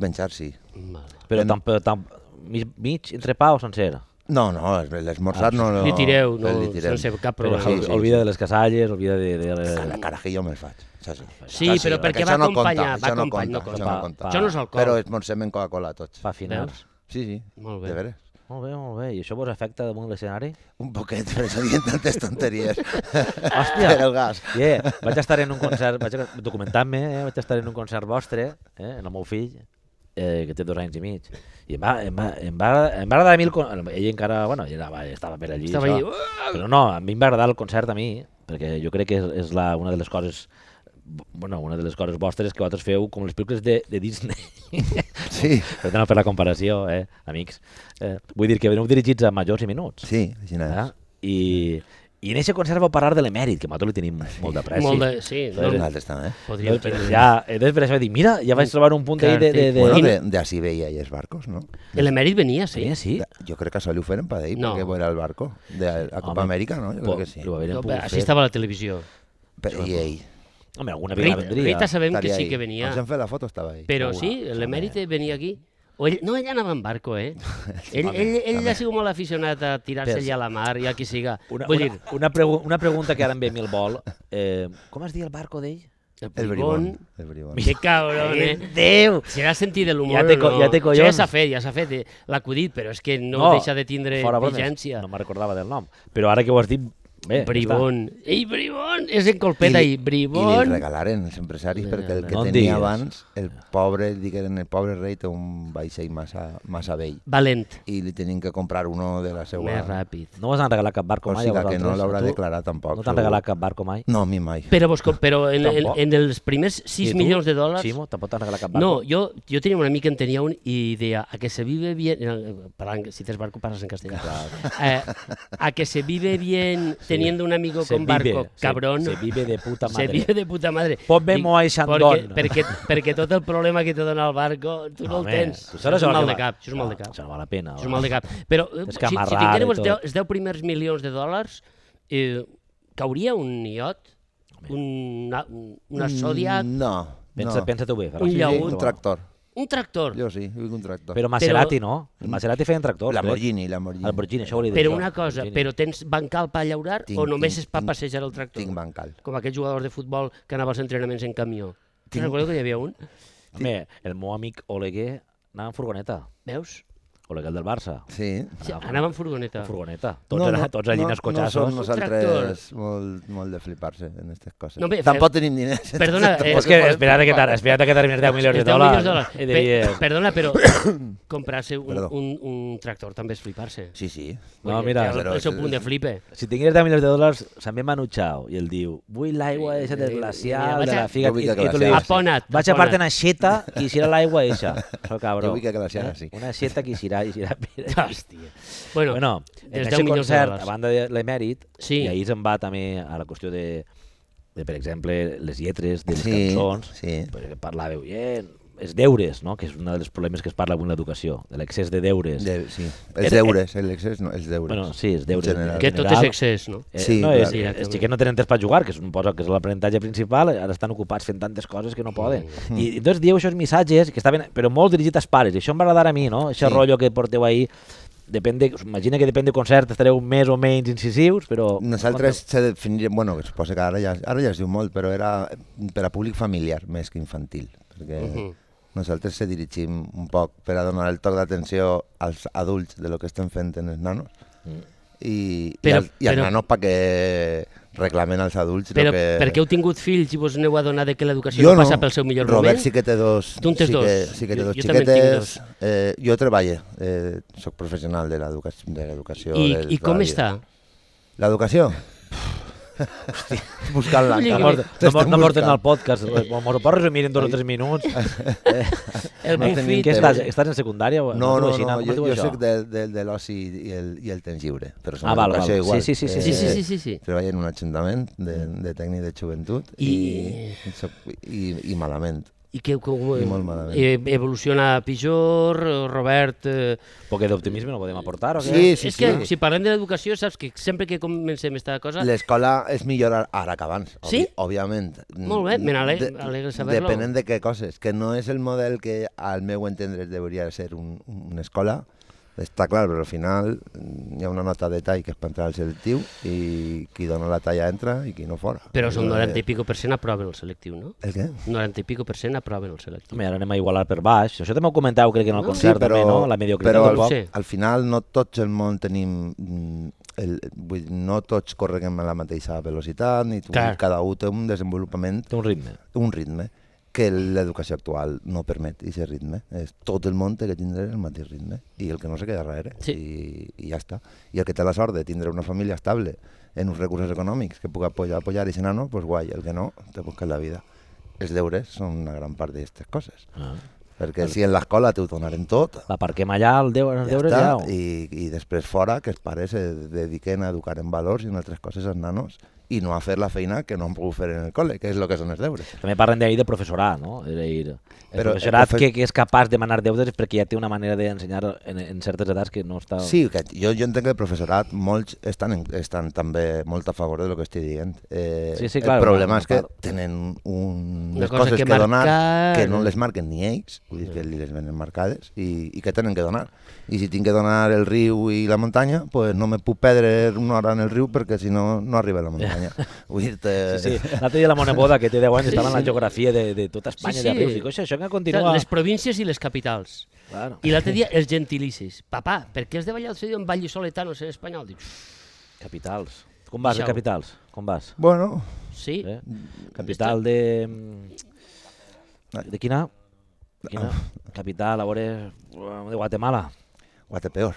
Speaker 3: Menjar, sí.
Speaker 2: Vale.
Speaker 1: Però tam, però tam, mig, mig entrepà o sencer?
Speaker 3: No, no,
Speaker 2: Ah,
Speaker 3: l'esmorzar no... no
Speaker 2: Li tireu, no,
Speaker 3: el li tirem.
Speaker 2: no sé, cap
Speaker 1: Però
Speaker 2: problema.
Speaker 3: sí, sí,
Speaker 1: olvida de les casalles, olvida de... de,
Speaker 3: La
Speaker 1: de...
Speaker 3: carajillo me'l faig. Això sí.
Speaker 2: Sí,
Speaker 3: Això
Speaker 2: però perquè
Speaker 3: això
Speaker 2: va acompanyar, va
Speaker 3: això no compta,
Speaker 2: acompanyar, no
Speaker 3: això
Speaker 1: compta.
Speaker 3: no compta.
Speaker 1: Pa-
Speaker 2: Això no és alcohol.
Speaker 3: Però esmorzem en Coca-Cola tots.
Speaker 1: Fa finar.
Speaker 2: Veus?
Speaker 3: Sí, sí.
Speaker 2: Molt bé.
Speaker 3: De veres.
Speaker 1: Molt bé, molt bé. I això vos afecta damunt
Speaker 3: <laughs>
Speaker 1: l'escenari?
Speaker 3: Un poquet, però se diuen tantes
Speaker 2: <laughs>
Speaker 3: tonteries.
Speaker 1: Hòstia!
Speaker 3: El gas.
Speaker 1: Yeah, vaig estar en un concert, vaig a- documentant-me, eh? vaig estar en un concert vostre, eh? en el meu fill, eh, que té dos anys i mig, i em va, em va, em va, em va agradar a mi el concert, ell encara, bueno, ell era, estava per allí,
Speaker 2: Estava
Speaker 1: això.
Speaker 2: allí, uh,
Speaker 1: però no, a mi em va agradar el concert a mi, perquè jo crec que és, és la, una de les coses bueno, una de les coses vostres que vosaltres feu com les pel·lícules de, de Disney. <laughs>
Speaker 3: Sí,
Speaker 1: Perdó no per la comparació, eh, amics. Eh, vull dir que veniu dirigits a majors i minuts.
Speaker 3: sí, així
Speaker 1: Eh?
Speaker 3: n'és.
Speaker 2: Ah,
Speaker 1: I, I en aquest concert vau parlar de l'emèrit, que nosaltres li tenim molt de pressa.
Speaker 2: Molt de... Sí,
Speaker 3: Però
Speaker 2: no,
Speaker 3: nosaltres Doncs també.
Speaker 2: podríem tenir...
Speaker 1: Ja, eh, després vaig dir, mira, ja vaig trobar un punt ahí de... de, de...
Speaker 3: Bueno,
Speaker 1: Bueno,
Speaker 3: de, de así veia i els barcos, no?
Speaker 2: L'emèrit venia, sí.
Speaker 1: Sí, sí.
Speaker 3: De- Jo crec que això li ho feren per d'ahir,
Speaker 2: No. Pues,
Speaker 3: perquè era el barco, de a Copa
Speaker 1: Home,
Speaker 3: Amèrica, no? Jo
Speaker 1: po-
Speaker 3: crec que sí.
Speaker 1: Ho havíem
Speaker 2: No,
Speaker 1: pogut
Speaker 2: però
Speaker 1: fer.
Speaker 2: així estava la televisió.
Speaker 3: Però, I ell.
Speaker 1: Home, alguna vegada
Speaker 2: Rita,
Speaker 1: vendria.
Speaker 2: Rita sabem que
Speaker 3: estaria
Speaker 2: sí
Speaker 3: ahí.
Speaker 2: que venia,
Speaker 3: Ens han fet la foto, estava ahí.
Speaker 2: però
Speaker 3: Home,
Speaker 2: sí, l'emèrit venia aquí. O ell, no, ell anava en barco,
Speaker 1: <laughs>
Speaker 2: eh? Ell,
Speaker 3: Home,
Speaker 2: ell, ell ha sigut molt aficionat a tirar-se
Speaker 1: Pes.
Speaker 2: allà a la mar i a qui siga.
Speaker 1: Una,
Speaker 2: Vull
Speaker 1: una,
Speaker 2: dir,
Speaker 1: una, pregu una pregunta que ara em ve a mi el vol. Eh, com es diu el barco d'ell?
Speaker 3: El bribón. El bribón.
Speaker 2: <laughs> Que cabron, eh?
Speaker 1: Déu!
Speaker 2: Serà sentit de l'humor
Speaker 1: Ja té
Speaker 2: o
Speaker 1: co-
Speaker 2: no?
Speaker 1: ja té collons.
Speaker 2: Això ja s'ha fet, ja s'ha fet, eh, l'acudit, però és que no, deixa de tindre
Speaker 1: fora bromes,
Speaker 2: vigència.
Speaker 1: No me'n recordava del nom. Però ara que ho has dit, bé, ja està.
Speaker 2: bribón. Ei, bribón! És en colpeta
Speaker 3: li- I
Speaker 2: i,
Speaker 3: li
Speaker 2: bribón.
Speaker 3: regalaren els empresaris perquè el que
Speaker 1: No en diguis.
Speaker 3: tenia abans, el pobre, digueren, el pobre rei té un vaixell massa, massa vell
Speaker 2: Valent.
Speaker 3: i li tenien que comprar uno de la seva...
Speaker 2: Més ràpid.
Speaker 1: No vos han regalat cap barco
Speaker 3: o
Speaker 1: mai
Speaker 3: sigui
Speaker 1: a
Speaker 3: que
Speaker 1: vosaltres? eh?
Speaker 3: no l'haurà
Speaker 1: Tu
Speaker 3: declarat tampoc.
Speaker 1: No t'han
Speaker 3: segur.
Speaker 1: regalat cap barco mai?
Speaker 3: No, a mi mai.
Speaker 2: Però, vos, com- però en, en,
Speaker 1: Tampoc.
Speaker 2: en els primers
Speaker 1: I
Speaker 2: 6
Speaker 1: tu,
Speaker 2: milions de dòlars...
Speaker 1: Ximo, tampoc t'han regalat cap barco?
Speaker 2: No, jo, jo tenia una mica, en tenia un, i deia, a que se vive bien... eh, Parlant, si tens barco, parles en castellà. Eh, a que se vive bien... teniendo un amigo
Speaker 1: Se
Speaker 2: con
Speaker 1: vive,
Speaker 2: barco,
Speaker 1: se-
Speaker 2: cabrón,
Speaker 1: Se vive de puta
Speaker 2: se
Speaker 1: madre.
Speaker 2: vive de puta madre.
Speaker 1: Ponme
Speaker 2: Dic,
Speaker 1: Moai
Speaker 2: Perquè,
Speaker 1: Sandón.
Speaker 2: perquè, perquè tot el problema que te dona el barco, tu no, el tens.
Speaker 1: Tu
Speaker 2: Això
Speaker 1: saps
Speaker 2: és
Speaker 1: el
Speaker 2: un
Speaker 1: que
Speaker 2: mal de
Speaker 1: va-
Speaker 2: cap, això és un mal de cap.
Speaker 1: Això no val la pena.
Speaker 2: Això és
Speaker 1: va.
Speaker 2: un mal de cap. Però eh,
Speaker 1: Tens
Speaker 2: si,
Speaker 1: que
Speaker 2: si
Speaker 1: amarrar i
Speaker 2: tinguéreu els,
Speaker 1: tot.
Speaker 2: 10, els 10 primers milions de dòlars, eh, cauria un iot? Una, una Zodiac?
Speaker 3: Mm,
Speaker 1: Mm.
Speaker 3: No.
Speaker 1: Pensa,
Speaker 3: no.
Speaker 1: pensa-t'ho bé. Ferran.
Speaker 2: Un
Speaker 3: Sí, sí,
Speaker 2: llaüt.
Speaker 3: un tractor.
Speaker 2: Un tractor?
Speaker 3: Jo sí, vull un tractor.
Speaker 1: Però Maserati, no? El Maserati feien tractors.
Speaker 3: Mm. Lamborghini,
Speaker 1: crec.
Speaker 3: Lamborghini.
Speaker 1: ¿eh? Lamborghini, això volia dir.
Speaker 2: Però
Speaker 1: jo,
Speaker 2: una cosa,
Speaker 1: Lamborghini.
Speaker 2: però tens bancal per llaurar
Speaker 3: Tinc-
Speaker 2: o només
Speaker 3: tinc-
Speaker 2: és per
Speaker 3: tinc-
Speaker 2: passejar el tractor?
Speaker 3: Tinc bancal.
Speaker 2: Com aquell jugador de futbol que anava als entrenaments en camió. Tinc...
Speaker 3: Tinc-
Speaker 2: Recordo que hi havia un,
Speaker 1: Home, el meu amic Oleguer anava en furgoneta.
Speaker 2: veus?
Speaker 1: Oleguer el del Barça.
Speaker 3: Sí.
Speaker 2: Sí, anava en furgoneta.
Speaker 1: En furgoneta. Tots, no, tots allí en els
Speaker 3: No,
Speaker 1: cotxassos.
Speaker 3: som
Speaker 2: Tractor.
Speaker 3: nosaltres molt, molt de flipar-se en aquestes coses.
Speaker 2: No, bé,
Speaker 3: Tampoc
Speaker 2: Fer-
Speaker 3: tenim diners.
Speaker 2: Perdona, eh,
Speaker 1: és que espera't que, tar- espera't que termines 10 milions de eh,
Speaker 2: Els 10
Speaker 1: dòlars.
Speaker 2: milions de dòlars.
Speaker 1: I
Speaker 2: Pe-
Speaker 1: diries,
Speaker 2: Perdona,
Speaker 3: <coughs>
Speaker 2: però comprar-se un,
Speaker 3: Perdó.
Speaker 2: un, un tractor també és flipar-se.
Speaker 3: Sí, sí.
Speaker 1: No,
Speaker 2: Vull dir,
Speaker 1: mira,
Speaker 2: té el,
Speaker 3: però
Speaker 2: el seu
Speaker 3: és-
Speaker 2: punt de flipe.
Speaker 1: si tingués 10 milions de dòlars, se'n ve Manu Chao i el diu, vull l'aigua eixa del
Speaker 2: Sí, mira,
Speaker 1: glacial,
Speaker 2: vaig
Speaker 1: de
Speaker 2: a-
Speaker 1: la figa,
Speaker 3: Jo vull
Speaker 1: i,
Speaker 3: que
Speaker 1: i tu li
Speaker 3: glacial.
Speaker 1: dius,
Speaker 2: Apona't,
Speaker 1: vaig a part
Speaker 2: apona't.
Speaker 1: una xeta que hi serà l'aigua eixa. Això, cabró. eh?
Speaker 3: Jo vull que glacial, sí.
Speaker 1: Una xeta que hi serà, hi serà.
Speaker 2: Hòstia. Bueno,
Speaker 1: Bueno,
Speaker 2: dels
Speaker 1: en
Speaker 2: 10
Speaker 1: aquest
Speaker 2: milions de
Speaker 1: concert,
Speaker 2: dòlars.
Speaker 1: a banda de l'emèrit,
Speaker 2: Sí.
Speaker 1: i ahir se'n va també a la qüestió de, de per exemple, les lletres de les
Speaker 3: Sí,
Speaker 1: cançons,
Speaker 3: sí.
Speaker 1: perquè parlàveu, eh, els deures, no? que és un dels problemes que es parla avui en l'educació, de l'excés de deures.
Speaker 3: De, sí.
Speaker 1: Eh,
Speaker 3: Els deures, el excés no, els deures.
Speaker 1: Bueno, sí, els deures.
Speaker 3: En general.
Speaker 2: que
Speaker 1: en
Speaker 2: tot és
Speaker 1: general.
Speaker 2: excés, no?
Speaker 1: Eh,
Speaker 3: Sí,
Speaker 1: no,
Speaker 3: clar.
Speaker 1: és,
Speaker 2: Sí,
Speaker 1: els
Speaker 2: exactament.
Speaker 1: xiquets no tenen temps per jugar, que suposo que és l'aprenentatge principal, ara estan ocupats fent tantes coses
Speaker 3: Mm.
Speaker 1: que no poden. I, i doncs dieu aquests missatges, que estaven, però molt dirigits als pares, i això em va agradar a mi, no? Aquest
Speaker 3: Sí.
Speaker 1: rotllo que porteu ahir, depèn de, us imagina que depèn de concert, estareu més o menys incisius, però...
Speaker 3: Nosaltres se definiríem, bueno, que suposa que ara ja, ara ja es diu molt, però era per a públic familiar més que infantil, perquè
Speaker 2: Mhm.
Speaker 3: nosaltres se dirigim un poc per a donar el toc d'atenció als adults de lo que estem fent en els nanos i,
Speaker 2: Mm. Però-
Speaker 3: i, als, i als
Speaker 2: però-
Speaker 3: nanos perquè reclamen als adults
Speaker 2: Però
Speaker 3: lo que...
Speaker 2: perquè heu tingut fills i vos aneu a donar de que l'educació no, passa pel seu millor
Speaker 3: Robert
Speaker 2: moment?
Speaker 3: sí que té dos.
Speaker 2: Tu en tens
Speaker 3: sí que,
Speaker 2: dos.
Speaker 3: Sí que té
Speaker 2: Jo-
Speaker 3: dos
Speaker 2: jo també en tinc
Speaker 3: xiquetes.
Speaker 2: dos.
Speaker 3: Eh, jo treballo, eh, soc professional de l'educació. De l'educació
Speaker 2: I,
Speaker 3: del
Speaker 2: I com
Speaker 3: treball.
Speaker 2: està?
Speaker 3: L'educació? Buscant la
Speaker 1: No,
Speaker 2: Lliga.
Speaker 1: mor-
Speaker 3: cama.
Speaker 1: no, mor- no porten el podcast, m'ho pots resumir en dos o tres minuts?
Speaker 2: El
Speaker 3: No
Speaker 2: meu
Speaker 3: tenim
Speaker 2: fill...
Speaker 1: Què
Speaker 3: Té-
Speaker 1: estàs, estàs en secundària? o-
Speaker 3: No,
Speaker 1: es diu
Speaker 3: no,
Speaker 1: així,
Speaker 3: no,
Speaker 1: com es
Speaker 3: jo,
Speaker 1: diu
Speaker 3: jo
Speaker 1: això?
Speaker 3: soc de, de, de l'oci i, el, i el temps lliure, però som
Speaker 1: Ah, val,
Speaker 3: educació
Speaker 1: val.
Speaker 3: igual. Eh,
Speaker 1: Sí, sí, sí,
Speaker 2: Sí, sí, sí, sí, sí.
Speaker 3: Treballo en un ajuntament de, de tècnic de joventut i, i, soc- i, i malament.
Speaker 2: I, que, com,
Speaker 3: I molt malament.
Speaker 2: eh, evoluciona pitjor, eh, Robert... Eh,
Speaker 1: Un poc d'optimisme no podem aportar? O què?
Speaker 3: Sí, eh.
Speaker 2: és que si parlem de l'educació, saps que sempre que comencem esta cosa...
Speaker 3: L'escola és millor ara- ara que abans, obvi-
Speaker 2: Sí?
Speaker 3: òbviament.
Speaker 2: Molt bé, me n'ale-
Speaker 3: De-
Speaker 2: m'alegra saber-lo.
Speaker 3: Depenent de què coses, que no és el model que al meu entendre hauria de ser un, una escola, està clar, però al final mm, hi ha una nota de tall que és per entrar al selectiu i qui dona la talla entra i qui no fora.
Speaker 2: Però Ah. és un
Speaker 3: Eh,
Speaker 2: 90 i pico per cent aproven el selectiu, no?
Speaker 3: El què?
Speaker 2: 90 i pico per cent aproven el selectiu.
Speaker 1: Home, ara anem a igualar per baix. Això també ho comentau, crec que en el concert, també, no? La mediocritat.
Speaker 3: però
Speaker 1: un
Speaker 3: al,
Speaker 1: poc.
Speaker 2: Sí.
Speaker 3: al final no tots el món tenim mm, el, vull, dir, no tots corren a la mateixa velocitat, ni vull dir,
Speaker 2: Clar.
Speaker 3: cada un té un desenvolupament
Speaker 1: Té un ritme.
Speaker 3: un ritme que l'educació actual no permet aquest ritme. És tot el món té que tindre el mateix ritme i el que no se queda ¿eh? darrere.
Speaker 2: Sí.
Speaker 3: I, I ja està. I el que té la sort de tindre una família estable en uns recursos econòmics que puc apoyar, apoyar i si no, no, pues guai. El que no, te busques la vida. Els deures són una gran part d'aquestes coses.
Speaker 1: Ah.
Speaker 3: Perquè si en l'escola t'ho donaren tot,
Speaker 1: La parquem allà, el deu, els
Speaker 3: ja
Speaker 1: deures
Speaker 3: està.
Speaker 1: ja... o-
Speaker 3: I, I després fora, que els pares se dediquen a educar en valors i en altres coses als nanos i no a fer la feina que no han pogut fer en el col·le, que és el que són els deures.
Speaker 1: També parlen d'ahir de professorat, no? És a dir, el
Speaker 3: Però el
Speaker 1: professorat
Speaker 3: profe-
Speaker 1: que, que és capaç de manar deures és perquè ja té una manera d'ensenyar en, en certes edats que no està...
Speaker 3: Sí, que jo, jo entenc que el professorat, molts estan, en- estan també molt a favor de lo que estic dient. Eh,
Speaker 1: Sí, sí, clar,
Speaker 3: el problema
Speaker 1: una-
Speaker 3: és que
Speaker 1: una part.
Speaker 3: tenen un,
Speaker 2: Una
Speaker 3: unes
Speaker 2: cosa
Speaker 3: coses
Speaker 2: que
Speaker 3: que, donar
Speaker 2: marcar.
Speaker 3: que no
Speaker 1: eh.
Speaker 3: les marquen ni ells, vull dir que li les venen marcades i, i que tenen que donar. I si tinc que donar el riu i la muntanya, pues no me puc perdre una hora en el riu perquè si no, no arriba a la muntanya.
Speaker 1: <laughs>
Speaker 3: <laughs> Vull dir-te...
Speaker 1: Sí, sí.
Speaker 3: eh.
Speaker 1: L'altre dia la Mona Boda, que té 10 anys, estava en la geografia de, de tota Espanya,
Speaker 2: Sí,
Speaker 1: sí, sí.
Speaker 2: sí.
Speaker 1: de rius. Dic, "Oixa, això que continua...
Speaker 2: Les províncies i les capitals.
Speaker 1: Claro.
Speaker 2: I l'altre dia els gentilicis. Papà, per què has de ballar el seu en Valli Soletano ser espanyol? Dic,
Speaker 1: Capitals. Com vas,
Speaker 2: Deixa-ho.
Speaker 1: de capitals? Com vas?
Speaker 3: Bueno,
Speaker 2: sí,
Speaker 1: Eh?
Speaker 3: Mm,
Speaker 1: Capital de...
Speaker 3: Ah.
Speaker 1: De quina? quina? Capital, a veure... De Guatemala.
Speaker 3: Guatepeor.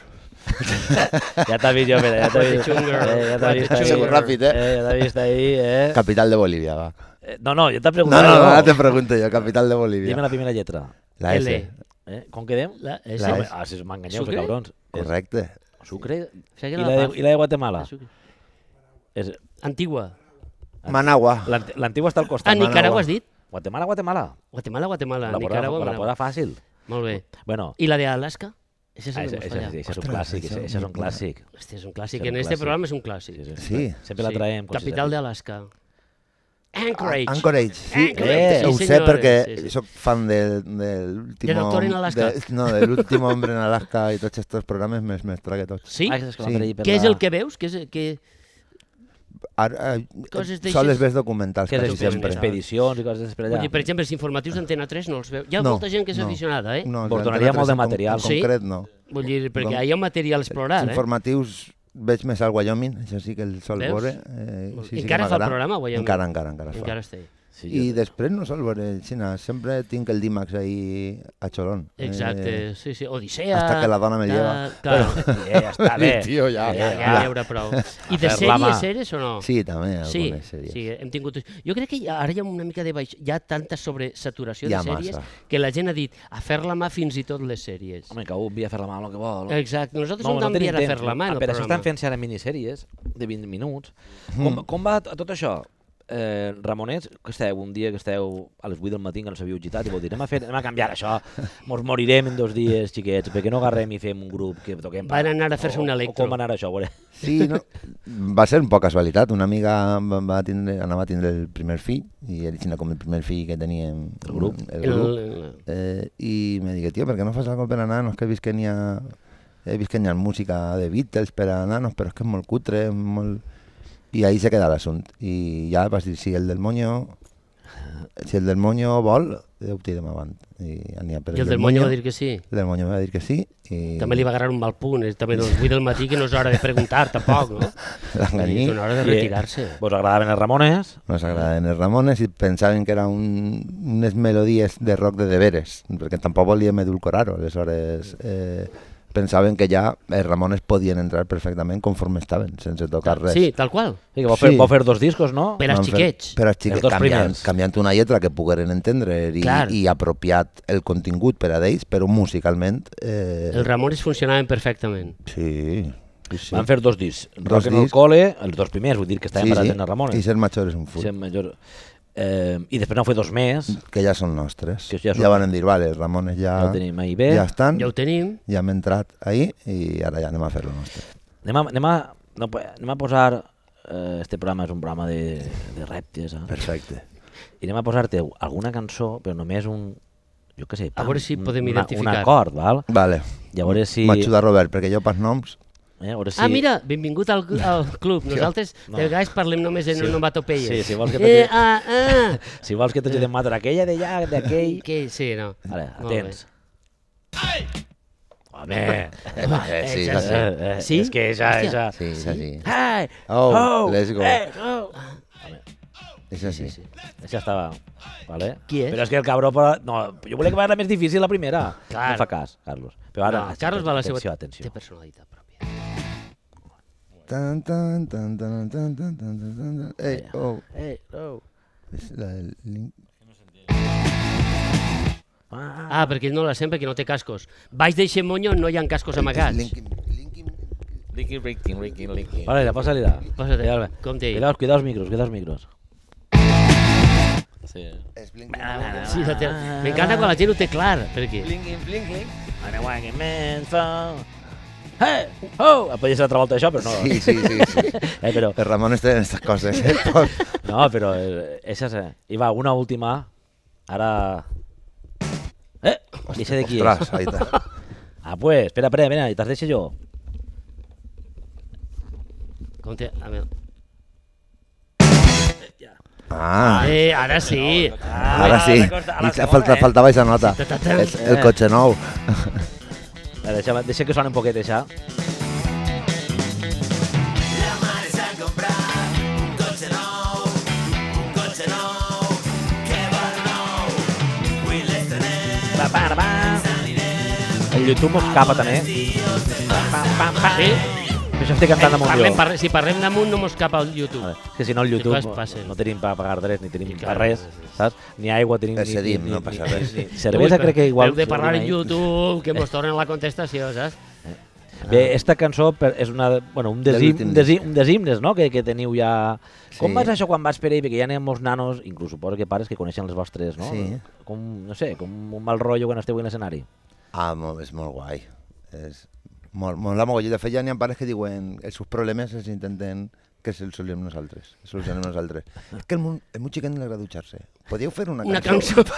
Speaker 1: Ja t'ha vist jo, Pere, ja t'ha vist.
Speaker 2: Guatechunga.
Speaker 1: Eh, ja t'ha vist ahí.
Speaker 3: Guatechunga. Ràpid, eh?
Speaker 1: eh? Ja t'ha vist ahí, eh?
Speaker 3: Capital de Bolívia, va.
Speaker 1: Eh, No, no, jo t'ha
Speaker 3: No, no,
Speaker 1: preguntat.
Speaker 3: no,
Speaker 1: jo.
Speaker 3: ara te pregunto jo, capital de
Speaker 1: Dime
Speaker 3: Bolívia.
Speaker 1: la primera lletra.
Speaker 3: La S.
Speaker 2: L.
Speaker 1: Eh? Com quedem?
Speaker 2: La, és,
Speaker 3: La
Speaker 1: Home,
Speaker 3: S.
Speaker 1: Ah, si us m'enganyeu,
Speaker 2: Sucre?
Speaker 1: que cabrons.
Speaker 3: Correcte.
Speaker 1: Sucre?
Speaker 2: Sé
Speaker 1: I
Speaker 2: que
Speaker 1: la, de, I la de Guatemala?
Speaker 2: Sucre.
Speaker 1: És,
Speaker 2: Antigua.
Speaker 3: Managua.
Speaker 1: l'ant- L'antigua està al
Speaker 2: Ah,
Speaker 1: costat.
Speaker 2: Nicaragua has dit?
Speaker 1: Guatemala, Guatemala.
Speaker 2: Guatemala, Guatemala,
Speaker 1: La posa,
Speaker 2: Nicaragua,
Speaker 1: la
Speaker 2: Managua.
Speaker 1: posa fàcil.
Speaker 2: Molt bé.
Speaker 1: Bueno,
Speaker 2: I la d'Alaska? Això és,
Speaker 1: ah,
Speaker 2: el
Speaker 1: és,
Speaker 2: que
Speaker 1: és, és,
Speaker 2: hemos fallado.
Speaker 1: és, un
Speaker 3: Ostres,
Speaker 1: clàssic, és,
Speaker 3: això-
Speaker 1: és un clàssic.
Speaker 2: Hòstia, és un clàssic.
Speaker 1: és un
Speaker 2: En este
Speaker 1: clàssic.
Speaker 2: programa és un clàssic.
Speaker 1: Sí,
Speaker 3: Sí.
Speaker 1: Sempre la
Speaker 2: Sí.
Speaker 1: traiem. com si
Speaker 2: Capital
Speaker 1: sempre-
Speaker 2: d'Alaska. Anchorage.
Speaker 3: Anchorage, sí.
Speaker 2: Anchorage,
Speaker 1: Eh,
Speaker 3: Ho
Speaker 2: sí,
Speaker 3: sé
Speaker 2: senyores,
Speaker 3: perquè
Speaker 2: sí, sí.
Speaker 3: sóc fan del, del último...
Speaker 2: Doctor en Alaska.
Speaker 3: de- no, de l'último hombre en Alaska i tots aquests programes me'ls me trague tots.
Speaker 2: Sí?
Speaker 1: Ah, és que
Speaker 3: Sí.
Speaker 1: l'altre ahir per
Speaker 2: Què és
Speaker 1: la-
Speaker 2: el que veus? Què és, que...
Speaker 3: Ara, eh,
Speaker 2: Coses
Speaker 3: són
Speaker 2: d'aixes-
Speaker 3: les més documentals,
Speaker 1: Què és
Speaker 3: quasi
Speaker 1: això?
Speaker 3: sempre.
Speaker 1: Expedicions i coses d'aquestes per allà.
Speaker 2: Vull dir, per exemple, els informatius d'Antena 3 no els veu. Hi ha
Speaker 3: No,
Speaker 2: molta gent que és
Speaker 3: no.
Speaker 2: aficionada, eh?
Speaker 3: No,
Speaker 1: Vos
Speaker 3: durant
Speaker 1: donaria
Speaker 3: la
Speaker 1: molt de
Speaker 3: tres en con-
Speaker 1: material.
Speaker 3: En
Speaker 2: Sí?
Speaker 3: concret, no.
Speaker 2: Vull dir, perquè
Speaker 3: Com-
Speaker 2: hi ha material a explorar,
Speaker 3: Els
Speaker 2: eh?
Speaker 3: informatius veig més al Wyoming, això sí que el sol
Speaker 2: Veus?
Speaker 3: veure. Eh,
Speaker 2: Molt
Speaker 3: sí,
Speaker 2: bé.
Speaker 3: sí
Speaker 2: Encara
Speaker 3: que
Speaker 2: fa el
Speaker 3: m'agrada.
Speaker 2: programa, Wyoming?
Speaker 3: Encara, encara, encara, es fa.
Speaker 2: Encara està ahí.
Speaker 1: Sí,
Speaker 3: I
Speaker 1: jo-
Speaker 3: després no sol veure Xina, sempre tinc el Dimax ahí a Cholón. Eh,
Speaker 2: Exacte, sí, sí. Odissea...
Speaker 3: hasta que la dona me
Speaker 2: tal,
Speaker 3: lleva.
Speaker 2: Clar,
Speaker 1: Eh, ja està bé.
Speaker 3: tio, ja.
Speaker 2: ja, ja n'hi haurà prou. I de
Speaker 1: fer la mà.
Speaker 2: sèries, sèries o no?
Speaker 3: Sí, també,
Speaker 2: sí,
Speaker 3: algunes sèries.
Speaker 2: sí, hem tingut... Jo crec que hi ha- ara hi ha una mica de baix... Hi ha tanta sobresaturació
Speaker 3: Hi
Speaker 2: de
Speaker 3: ha
Speaker 2: sèries
Speaker 3: massa.
Speaker 2: que la gent ha dit a fer la mà fins i tot les sèries.
Speaker 1: Home, que un via a fer la mà amb el que
Speaker 2: Eh,
Speaker 1: vol.
Speaker 2: Exacte, nosaltres no, hem
Speaker 1: tenim
Speaker 2: d'enviar a
Speaker 1: temps,
Speaker 2: fer la mà en
Speaker 1: Ah,
Speaker 2: el
Speaker 1: per això
Speaker 2: programa.
Speaker 1: estan fent ara minissèries de 20 minuts.
Speaker 3: Mm.
Speaker 1: Com, com va tot això? Eh, Ramonets, que esteu un dia que esteu a les 8 del matí que no s'havíeu gitat i vau dir anem a, fer, anem a canviar això, mos morirem en dos dies, xiquets, perquè no agarrem i fem un grup que toquem...
Speaker 2: Van anar a fer-se
Speaker 1: O-
Speaker 2: un electro.
Speaker 1: O com va anar això? A veure.
Speaker 3: Sí, no. va ser un poc casualitat. Una amiga va va tindre, anava a tindre el primer fill i ell tindrà com el primer fill que teníem. El
Speaker 1: grup.
Speaker 3: El,
Speaker 2: El,
Speaker 3: grup.
Speaker 2: el,
Speaker 3: Eh, I me digué, tio, per què no fas alguna cosa per a nanos? Que he vist que n'hi ha, he vist que n'hi ha música de Beatles per a nanos, però és que és molt cutre, és molt... I ahí se queda l'assumpte. I ja vas dir, pues, si el del moño... Si el del moño vol, eh, ho tirem avant. I, anirà per
Speaker 2: I el del Monyo va dir que sí.
Speaker 3: El del moño va dir que sí. I...
Speaker 2: També li va agarrar un mal punt, eh? també a les 8 del matí que no és hora de preguntar,
Speaker 3: <laughs>
Speaker 2: tampoc,
Speaker 1: <laughs>
Speaker 2: no?
Speaker 3: L'enganyí.
Speaker 2: És una hora de retirar-se.
Speaker 1: Vos agradaven els Ramones?
Speaker 3: Nos agraden els Ramones i pensaven que eren un, unes melodies de rock de deberes, perquè tampoc volíem edulcorar-ho, aleshores eh, pensaven que ja els Ramones podien entrar perfectament conforme estaven, sense tocar res.
Speaker 2: Sí, tal qual.
Speaker 1: Sí, que vau fer,
Speaker 3: Sí.
Speaker 1: vau fer dos discos, no?
Speaker 2: Per als
Speaker 3: Van fer-
Speaker 2: xiquets.
Speaker 3: Per als
Speaker 1: Els
Speaker 3: xiquets,
Speaker 1: dos
Speaker 3: canviant,
Speaker 1: primers.
Speaker 3: canviant una lletra que pogueren entendre i,
Speaker 2: Clar.
Speaker 3: i apropiat el contingut per a ells, però musicalment... Eh,
Speaker 2: Els Ramones funcionaven perfectament.
Speaker 3: Sí, sí, sí.
Speaker 1: Van fer dos discs.
Speaker 3: Dos
Speaker 1: Rock en el
Speaker 3: discs.
Speaker 1: cole, els dos primers, vull dir que estaven
Speaker 3: sí,
Speaker 1: sí,
Speaker 3: sí.
Speaker 1: en els Ramones.
Speaker 3: I ser major és un furt.
Speaker 1: Ser major. Eh, I després n'heu fet dos més,
Speaker 3: Que ja són nostres.
Speaker 1: Que ja
Speaker 3: ja,
Speaker 1: són-
Speaker 3: van dir, vale, els Ramones ja,
Speaker 1: ja ho tenim ahí bé.
Speaker 3: ja estan.
Speaker 2: Ja ho tenim.
Speaker 3: ja hem entrat ahir i ara ja anem a fer-lo nostre.
Speaker 1: Anem a, anem a, no, po- anem a posar... Eh, este programa és un programa de, de rèptils, eh?
Speaker 3: Perfecte.
Speaker 1: I anem a posar-te alguna cançó, però només un... Jo què sé,
Speaker 2: A veure si
Speaker 1: un-
Speaker 2: podem
Speaker 1: una-
Speaker 2: identificar.
Speaker 1: Un acord, val?
Speaker 3: Vale.
Speaker 1: I a veure si...
Speaker 3: M'ajuda Robert, perquè jo pels noms...
Speaker 1: Eh, a veure si...
Speaker 2: Ah, mira, benvingut al,
Speaker 1: <laughs>
Speaker 2: al club. Nosaltres
Speaker 1: No.
Speaker 2: de vegades parlem només en
Speaker 1: Sí.
Speaker 2: onomatopeies.
Speaker 1: Sí, si vols que
Speaker 2: eh,
Speaker 1: t'ajude.
Speaker 2: ah, ah.
Speaker 1: Si vols que t'ajudem a matar aquella d'allà, d'aquell...
Speaker 2: Que, sí, no.
Speaker 1: Ara,
Speaker 2: Molt bé.
Speaker 1: atents. Home! Eh,
Speaker 3: Eh, sí,
Speaker 2: ja
Speaker 3: sí.
Speaker 2: sé.
Speaker 1: eh,
Speaker 2: Sí?
Speaker 1: És que ja,
Speaker 2: Hòstia.
Speaker 1: ja...
Speaker 3: Sí, és així.
Speaker 1: Hey!
Speaker 3: Oh, let's go.
Speaker 1: Eh, oh.
Speaker 3: És així.
Speaker 2: sí.
Speaker 1: Això estava... Vale?
Speaker 2: Qui és?
Speaker 1: Però és que el cabró... Però... No, jo volia que va la més difícil la primera.
Speaker 2: Clar.
Speaker 1: No fa cas, Carlos. Però ara...
Speaker 2: no, Carlos va a la seva...
Speaker 1: atenció, Atenció,
Speaker 2: Té personalitat pròpia.
Speaker 3: Tan, tan, tan, tan, tan, tan, tan, tan, tan, tan. Ei, oh.
Speaker 2: Eh, no.
Speaker 3: És la del link.
Speaker 1: Ah,
Speaker 2: Ah, perquè ell no la sent perquè no té cascos. Baix d'eixe monyo no hi ha cascos amagats.
Speaker 3: Linkin, Linkin,
Speaker 4: Ricky, Ricky, Ricky, Ricky.
Speaker 1: vale, la posa li la.
Speaker 2: Posa-te,
Speaker 1: Cuidado, eh.
Speaker 2: com t'he dit.
Speaker 1: Cuidado, cuidado els micros, cuidado els micros.
Speaker 4: Sí.
Speaker 3: és Linkin,
Speaker 1: Ah,
Speaker 3: Linkin.
Speaker 2: Ah. Sí, la té... M'encanta quan la gent ho té clar, perquè...
Speaker 4: Blinking, blinking.
Speaker 1: I want a man for... Hey! Oh! Podria ser altra volta això, però no.
Speaker 3: Sí, sí, sí. sí.
Speaker 1: <laughs> Eh, però...
Speaker 3: Els Ramones tenen aquestes coses. Eh? <laughs> Tot.
Speaker 1: No, però... Eh, esa és... eh. I va, una última. Ara... Eh! I sé de qui és.
Speaker 3: Ostres, ahí està.
Speaker 1: Ah, pues, espera, espera, espera, i te'ls deixo jo.
Speaker 2: Com té... A veure...
Speaker 3: Ah,
Speaker 2: Eh, ara sí.
Speaker 3: ara sí.
Speaker 1: la costa- a la
Speaker 3: I
Speaker 1: segona,
Speaker 3: falta,
Speaker 1: eh?
Speaker 3: faltava aquesta nota.
Speaker 2: Ta-ta-tan.
Speaker 3: És el cotxe nou.
Speaker 1: Eh, Deixa, deixa que soni un poquet, això. La mare s'ha comprat un cotxe nou, un cotxe nou, que vol nou. Vull estrenar. Pa, pa, pa. El YouTube mos capa, també. Pa, pa, pa.
Speaker 2: Sí?
Speaker 1: Però Això estic cantant Ah. damunt
Speaker 2: Eh, Parlem,
Speaker 1: jo.
Speaker 2: parlem, si parlem damunt no mos cap al YouTube.
Speaker 1: Vale, És que si no el
Speaker 2: Que
Speaker 1: YouTube
Speaker 2: coses passen.
Speaker 1: no tenim per pagar drets, ni tenim
Speaker 2: I
Speaker 1: per
Speaker 2: clar,
Speaker 1: res,
Speaker 2: sí, sí.
Speaker 1: saps? Ni aigua tenim, ni,
Speaker 3: Excedim,
Speaker 1: ni,
Speaker 3: no
Speaker 1: ni-
Speaker 3: passa
Speaker 1: ni-
Speaker 3: res.
Speaker 1: <laughs> ni cervesa
Speaker 2: Heu de-
Speaker 1: crec que igual...
Speaker 2: Heu de
Speaker 1: si ho
Speaker 2: parlar
Speaker 1: tenim
Speaker 2: en
Speaker 1: ahí.
Speaker 2: YouTube, que mos tornen la contestació, saps?
Speaker 1: Bé, esta cançó per- és una, bueno, un, dels
Speaker 3: De
Speaker 1: him,
Speaker 3: l'últim
Speaker 1: un, dels, hi-
Speaker 3: Ah. disc.
Speaker 1: un dels himnes no? que, que teniu ja... Sí. Com
Speaker 3: Sí.
Speaker 1: vas això quan vas per ahí? Perquè ja n'hi ha molts nanos, inclús suposo que pares que coneixen les vostres, no?
Speaker 3: Sí.
Speaker 1: Com, no sé, com un mal rotllo quan esteu en l'escenari.
Speaker 3: Ah, mo- és molt guai. És molt, molt la mogolló. De fet, ja n'hi ha pares que diuen els seus problemes els intenten que se'ls solucionem nosaltres. Els solucionem
Speaker 1: <laughs>
Speaker 3: nosaltres. És que el món, el meu xiquet no li agrada dutxar-se. Podíeu fer una, <laughs>
Speaker 2: Una cançó. <laughs>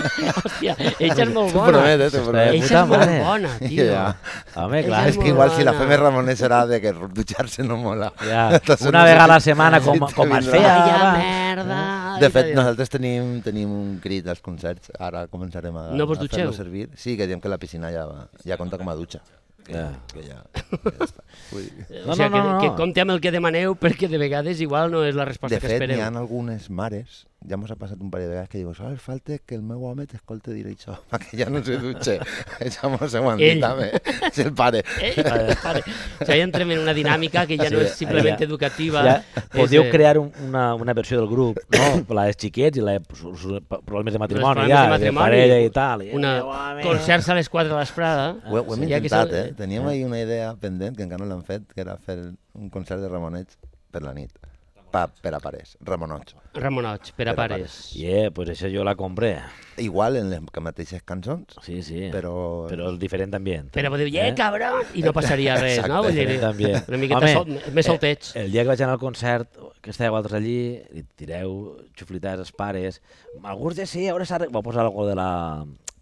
Speaker 2: Hòstia, ella és molt
Speaker 3: T'ho
Speaker 2: bona.
Speaker 3: promet, eh, t'ho promet.
Speaker 1: Eixa Puta
Speaker 2: Ella és molt
Speaker 1: mare.
Speaker 3: <laughs>
Speaker 2: bona, tio.
Speaker 3: Ja.
Speaker 1: Home,
Speaker 2: Ella
Speaker 1: clar.
Speaker 2: és
Speaker 3: És que igual si la
Speaker 2: bona.
Speaker 3: fem Ramonet serà de que dutxar-se no mola.
Speaker 1: Ja,
Speaker 3: <laughs> Entonces,
Speaker 1: una
Speaker 3: no sé
Speaker 1: vegada a la
Speaker 3: si- <laughs>
Speaker 1: setmana,
Speaker 3: si
Speaker 1: com,
Speaker 3: te
Speaker 1: com es
Speaker 3: vindrà.
Speaker 1: feia.
Speaker 2: Vaya
Speaker 1: va.
Speaker 2: merda.
Speaker 3: De
Speaker 2: Ai,
Speaker 3: fet,
Speaker 2: Déu.
Speaker 3: nosaltres tenim, tenim un crit als concerts. Ara començarem a,
Speaker 2: No vos
Speaker 3: a
Speaker 2: dutxeu?
Speaker 3: fer-lo servir. Sí, que diem que la piscina ja, va, ja compta com a dutxa. Que,
Speaker 1: Ja.
Speaker 3: que ja, que ja està. Vull dir.
Speaker 1: No,
Speaker 2: o sigui,
Speaker 1: no, no, no.
Speaker 2: que, que compte amb el que demaneu, <laughs> perquè de vegades igual no és la resposta
Speaker 3: De
Speaker 2: que
Speaker 3: fet, n'hi ha
Speaker 2: espereu.
Speaker 3: algunes mares, ja mos ha passat un parell de vegades que diuen «Sol, falta que el meu home t'escolte dir això, <laughs> que ja no se dutxe».
Speaker 2: <laughs>
Speaker 3: Això mos ho han dit,
Speaker 2: Ell.
Speaker 3: també. <laughs> És el pare.
Speaker 2: Eh? <laughs> Pare, o sigui, entrem en una dinàmica que ja no
Speaker 1: Sí,
Speaker 2: és simplement
Speaker 1: ja.
Speaker 2: educativa.
Speaker 1: Ja, podíeu
Speaker 2: és eh, de-
Speaker 1: crear un, una, una versió del grup, no? la dels xiquets i la de su- su- problemes de matrimoni, ja, de, parella i tal. I,
Speaker 2: Una
Speaker 1: eh, home.
Speaker 2: concerts a les 4 de l'esprada.
Speaker 3: Ho, ho hem
Speaker 2: Ja que
Speaker 3: intentat,
Speaker 2: són-
Speaker 3: eh? Teníem ahir una idea pendent, que encara no l'han fet, que era fer un concert de Ramonets per la nit. Pa, per a pares, Ramonots.
Speaker 2: Ramonots, per a
Speaker 3: Per a
Speaker 2: pares.
Speaker 1: Yeah, pues això jo la compré.
Speaker 3: Igual en les mateixes cançons,
Speaker 1: Sí, sí.
Speaker 3: però...
Speaker 1: però és diferent ambient.
Speaker 2: Però podeu dir, eh, cabrón, i no passaria res, no? Vull dir,
Speaker 1: Diferent ambient.
Speaker 2: una miqueta
Speaker 1: Home, Eh.
Speaker 2: sol, més solteig.
Speaker 1: El dia que vaig anar al concert, que estàveu altres allí, i tireu xuflitats als pares. Alguns de sí, a veure, s'ha re- vau posar alguna de la,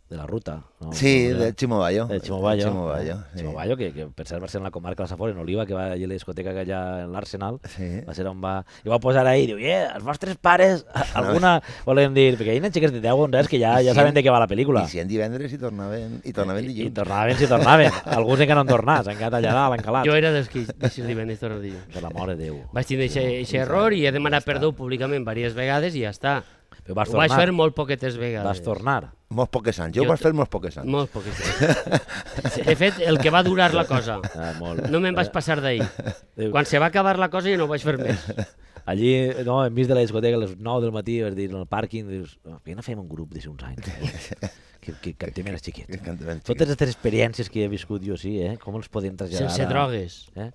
Speaker 1: de la ruta. No?
Speaker 3: Sí,
Speaker 1: Com era?
Speaker 3: de Chimo Bayo.
Speaker 1: De Chimobayo.
Speaker 3: De Chimo Bayo,
Speaker 1: no?
Speaker 3: sí.
Speaker 1: Chimobayo, que, que per cert va ser en la comarca de la Safor, en Oliva, que va allí a la discoteca que hi ha en l'Arsenal.
Speaker 3: Sí.
Speaker 1: Va ser on va... I va posar ahí, diu, yeah, els vostres
Speaker 3: <laughs>
Speaker 1: pares, a- alguna volen dir... Perquè hi ha xiques de 10 o 11 anys que ja, ja ah, saben de què va la pel·lícula.
Speaker 3: I si en divendres i tornaven, i tornaven
Speaker 1: I, i
Speaker 3: dilluns.
Speaker 1: tornaven, si
Speaker 3: <laughs>
Speaker 1: tornaven. Alguns encara no han tornat, s'han quedat allà
Speaker 2: <laughs>
Speaker 1: dalt, encalats.
Speaker 2: Jo era dels que deixis divendres tot el dia.
Speaker 1: Per la mare de Déu.
Speaker 2: Vaig tindre
Speaker 1: Mm,
Speaker 2: aquest error i he demanat perdó públicament diverses vegades i ja està.
Speaker 1: Però vas
Speaker 2: Ho vaig
Speaker 1: tornar.
Speaker 2: fer molt poquetes vegades.
Speaker 1: Vas tornar.
Speaker 3: Molts poques anys. Jo,
Speaker 2: Jo
Speaker 3: ho vaig
Speaker 2: t-
Speaker 3: fer molts poques <laughs> anys.
Speaker 2: Molt poquetes. De fet, el que va durar la cosa.
Speaker 1: Ah, molt.
Speaker 2: No me'n vaig passar d'ahir.
Speaker 1: Déu.
Speaker 2: Quan se va acabar la cosa jo no ho vaig fer més.
Speaker 1: Allí, no, hem vist de la discoteca a les 9 del matí, vas dir, en el pàrquing, dius, "Oh, per què no fem un grup de uns anys?
Speaker 3: <laughs>
Speaker 1: que, que cantem els xiquets.
Speaker 3: Que canten els
Speaker 1: Totes aquestes experiències que he viscut jo, sí, eh? Com els podem traslladar?
Speaker 2: Sense
Speaker 1: a-
Speaker 2: drogues.
Speaker 1: Eh?